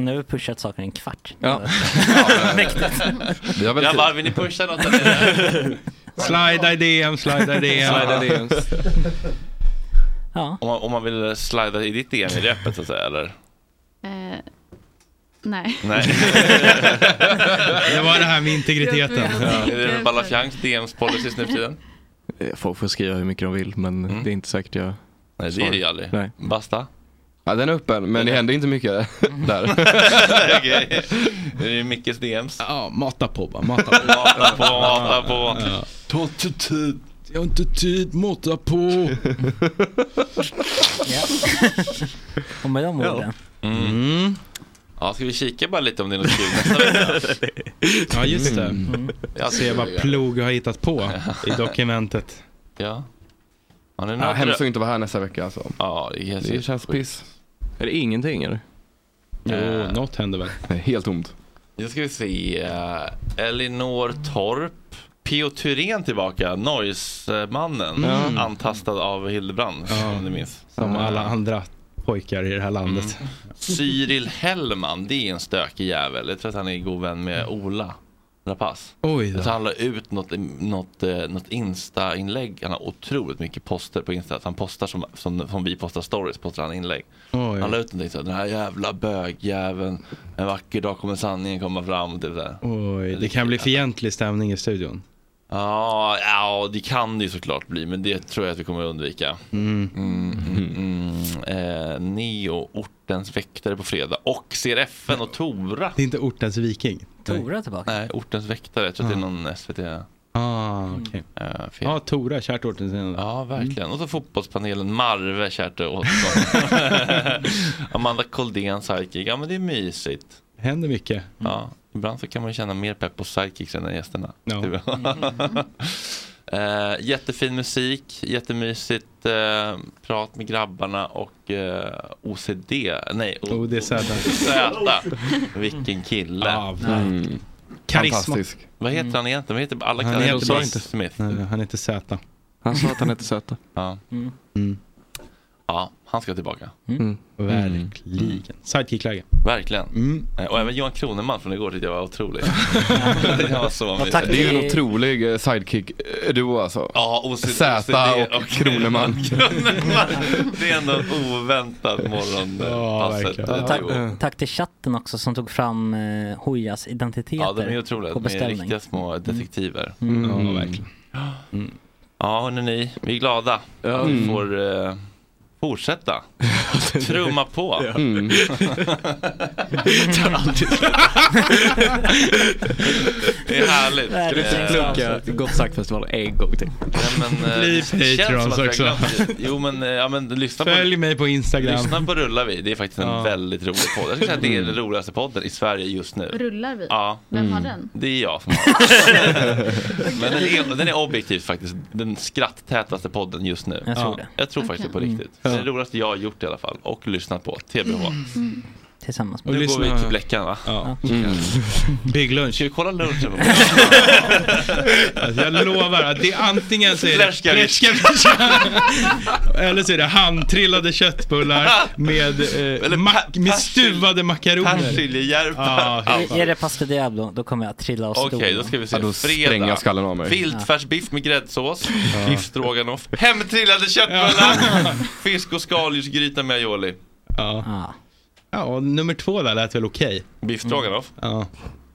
Speaker 8: Nu har vi pushat saker i en kvart.
Speaker 1: Ja.
Speaker 8: Mäktigt.
Speaker 1: Grabbar, vill ni pusha något eller?
Speaker 6: Slida i DM, slida i DM.
Speaker 1: Slida i DM.
Speaker 8: Ja.
Speaker 1: Om, man, om man vill slida i ditt DM, är det öppet så att säga eller?
Speaker 6: Mm.
Speaker 3: Eh, nej.
Speaker 1: Nej.
Speaker 6: Det var det här med integriteten.
Speaker 1: Är det Balafiangs DMs policies nu för tiden?
Speaker 7: Eh, Folk får skriva hur mycket de vill men
Speaker 12: Mm.
Speaker 7: det är inte säkert jag
Speaker 1: Nej, det
Speaker 7: svarar.
Speaker 1: är det ju aldrig.
Speaker 7: Nej.
Speaker 1: Basta?
Speaker 12: Ja, den är öppen, men det händer inte mycket där.
Speaker 1: Okej. Är det Mickes DMs?
Speaker 6: Ja, mata på bara. Mata på.
Speaker 1: Mata på, mata på.
Speaker 6: Ta inte tid. Jag har inte tid, mata på.
Speaker 8: Och med de orden.
Speaker 1: Mm. Ja, ska vi kika bara lite om det är något kul nästa vecka?
Speaker 6: Ja, just det.
Speaker 1: Mm.
Speaker 6: Mm.
Speaker 1: Ja,
Speaker 6: Se vad Plog har hittat på i dokumentet.
Speaker 1: Ja. Har ni
Speaker 12: Ja,
Speaker 1: några
Speaker 12: hemskt
Speaker 1: drö-
Speaker 12: att inte vara här nästa vecka alltså.
Speaker 1: Ja, det, är
Speaker 12: Det känns piss.
Speaker 7: Är det ingenting eller?
Speaker 1: Eh,
Speaker 6: Jo, något händer väl.
Speaker 12: Nej, helt tomt.
Speaker 1: Nu ska vi se. eh, Elinor Torp. P.O. Thyrén tillbaka, Noise-mannen.
Speaker 6: Mm.
Speaker 1: Antastad av Hildebrand, om ni minns. Mm.
Speaker 6: Som alla andra pojkar i det här landet.
Speaker 1: Cyril Hellman, det är en stökig jävel. Jag tror att han är god vän med Ola Rapace.
Speaker 6: Oj då.
Speaker 1: Jag tror han la ut något, något, eh, något Insta-inlägg. Han har otroligt mycket poster på Insta. Att Han postar som, som, som vi postar stories, postar han inlägg.
Speaker 6: Oj.
Speaker 1: Han la ut någonting såhär, den här jävla bögjäveln. En vacker dag kommer sanningen komma fram. Typ såhär.
Speaker 6: Oj, det kan bli fientlig stämning i studion.
Speaker 1: Ja, ja, det kan det ju såklart bli, men det tror jag att vi kommer att undvika.
Speaker 6: Mm.
Speaker 1: Mm, mm, mm. Eh, Neo, Ortens väktare på fredag och CRFN och Tora.
Speaker 6: Det är inte ortens viking.
Speaker 8: Tora tillbaka.
Speaker 1: Nej, Ortens väktare. Jag tror att det är någon SVT.
Speaker 6: Ah, okej.
Speaker 1: eh, film.
Speaker 6: Ja, Tora, kärt ortens inland.
Speaker 1: Ja, verkligen. Och så fotbollspanelen Marve, Kärte Åtsson. Amanda Koldén, Psychic. Ja, men det är mysigt.
Speaker 6: Mm. Händer mycket.
Speaker 1: Ja, ibland så kan man ju känna mer pepp på psychics än gästerna.
Speaker 6: Ja.
Speaker 1: Typ. Eh, jättefin musik, jättemysigt eh, prat med grabbarna och eh, OCD, nej o-
Speaker 6: ODZ.
Speaker 1: ODZ. Vilken kille.
Speaker 6: Ja, verkligen.
Speaker 1: Mm.
Speaker 6: Karisma. Fantastisk.
Speaker 1: Vad heter han egentligen? Vad heter alla
Speaker 6: Han
Speaker 1: kallar
Speaker 6: heter
Speaker 1: honom
Speaker 6: bara inte-
Speaker 1: Smith.
Speaker 6: Nej, han heter Z.
Speaker 7: Han sa att han hette Zäta.
Speaker 1: Ja.
Speaker 8: Mm.
Speaker 1: ja, han ska tillbaka.
Speaker 12: Mm.
Speaker 6: Mm. Verkligen. Sidekick-läge.
Speaker 1: Verkligen.
Speaker 8: Mm.
Speaker 1: Eh, Och även Johan Kroneman från igår tyckte jag var otrolig. det var så mysigt.
Speaker 12: det är ju en otrolig eh, sidekick-duo alltså.
Speaker 1: Ja, OCD,
Speaker 12: Zäta
Speaker 1: OCD
Speaker 12: och Kroneman.
Speaker 1: Kroneman. Det är ändå en oväntad morgon. eh, passet.
Speaker 8: Och
Speaker 1: Ja,
Speaker 8: tack,
Speaker 1: jo.
Speaker 8: tack till chatten också som tog fram eh, Hojas identiteter
Speaker 1: Ja, de är otroliga.
Speaker 8: på
Speaker 1: De är
Speaker 8: beställning.
Speaker 1: riktiga små detektiver.
Speaker 8: Mm. Mm.
Speaker 6: Ja, verkligen.
Speaker 1: Ja, hörni, ni, vi är glada. att Vi
Speaker 6: Mm.
Speaker 1: får eh, Fortsätta. Trumma på.
Speaker 20: Mm.
Speaker 1: Det är härligt.
Speaker 7: Kan du inte plugga Gott sagt-festivalen en gång till?
Speaker 1: Nej, men, eh,
Speaker 7: Bli
Speaker 1: det känns som
Speaker 7: Patrons
Speaker 1: att jag
Speaker 7: också.
Speaker 1: glömt det. Jo men, eh, ja, men lyssna på
Speaker 7: Följ mig på Instagram.
Speaker 1: Lyssna på Rullar vi. Det är faktiskt en
Speaker 7: Ja. Mm.
Speaker 1: väldigt rolig podd. Jag skulle säga att det är den roligaste podden i Sverige just nu.
Speaker 21: Rullar vi?
Speaker 1: Ja.
Speaker 21: Vem har den?
Speaker 1: Det är jag som har den. Men den är, den är objektivt faktiskt den skratttätaste podden just nu.
Speaker 8: Jag tror det.
Speaker 1: Jag tror faktiskt på
Speaker 8: Okej.
Speaker 1: riktigt. Det
Speaker 8: Mm.
Speaker 1: är det roligaste jag har gjort i alla fall och lyssnat på. TBH.
Speaker 21: Mm.
Speaker 8: Mm. Tillsammans
Speaker 1: Nu går vi till Bleckan va?
Speaker 6: Big lunch.
Speaker 1: Ska vi kolla lunchen?
Speaker 6: alltså, jag lovar att det är antingen så är det
Speaker 1: Fläskavisk.
Speaker 6: fläskavisk. eller så är det handtrillade köttbullar med, eh, mack- med stuvade makaroner.
Speaker 1: Persiljehjärpa.
Speaker 6: Ja,
Speaker 8: Är- Är det pasta diablo, då kommer jag att trilla av
Speaker 1: Alltså. Okej,
Speaker 8: stolen.
Speaker 1: då ska vi se. Fredag. Viltfärsbiff med gräddsås. Biff stroganoff. Hemtrillade köttbullar. Fisk och skaldjursgryta med aioli.
Speaker 6: Ja. ja, och nummer två där lät väl okej.
Speaker 1: Biff stroganoff.
Speaker 6: Ja.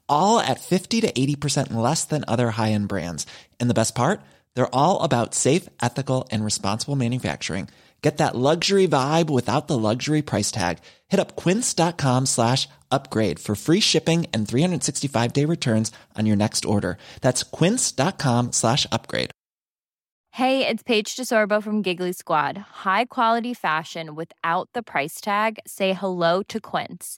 Speaker 22: all at 50 to 80% less than other high end brands. And the best part? They're all about safe, ethical, and responsible manufacturing. Get that luxury vibe without the luxury price tag. Hit up quince.com slash upgrade for free shipping and 365 day returns on your next order. That's quince.com slash upgrade.
Speaker 23: Hey, it's Paige DeSorbo from Giggly Squad. High quality fashion without the price tag. Say hello to Quince.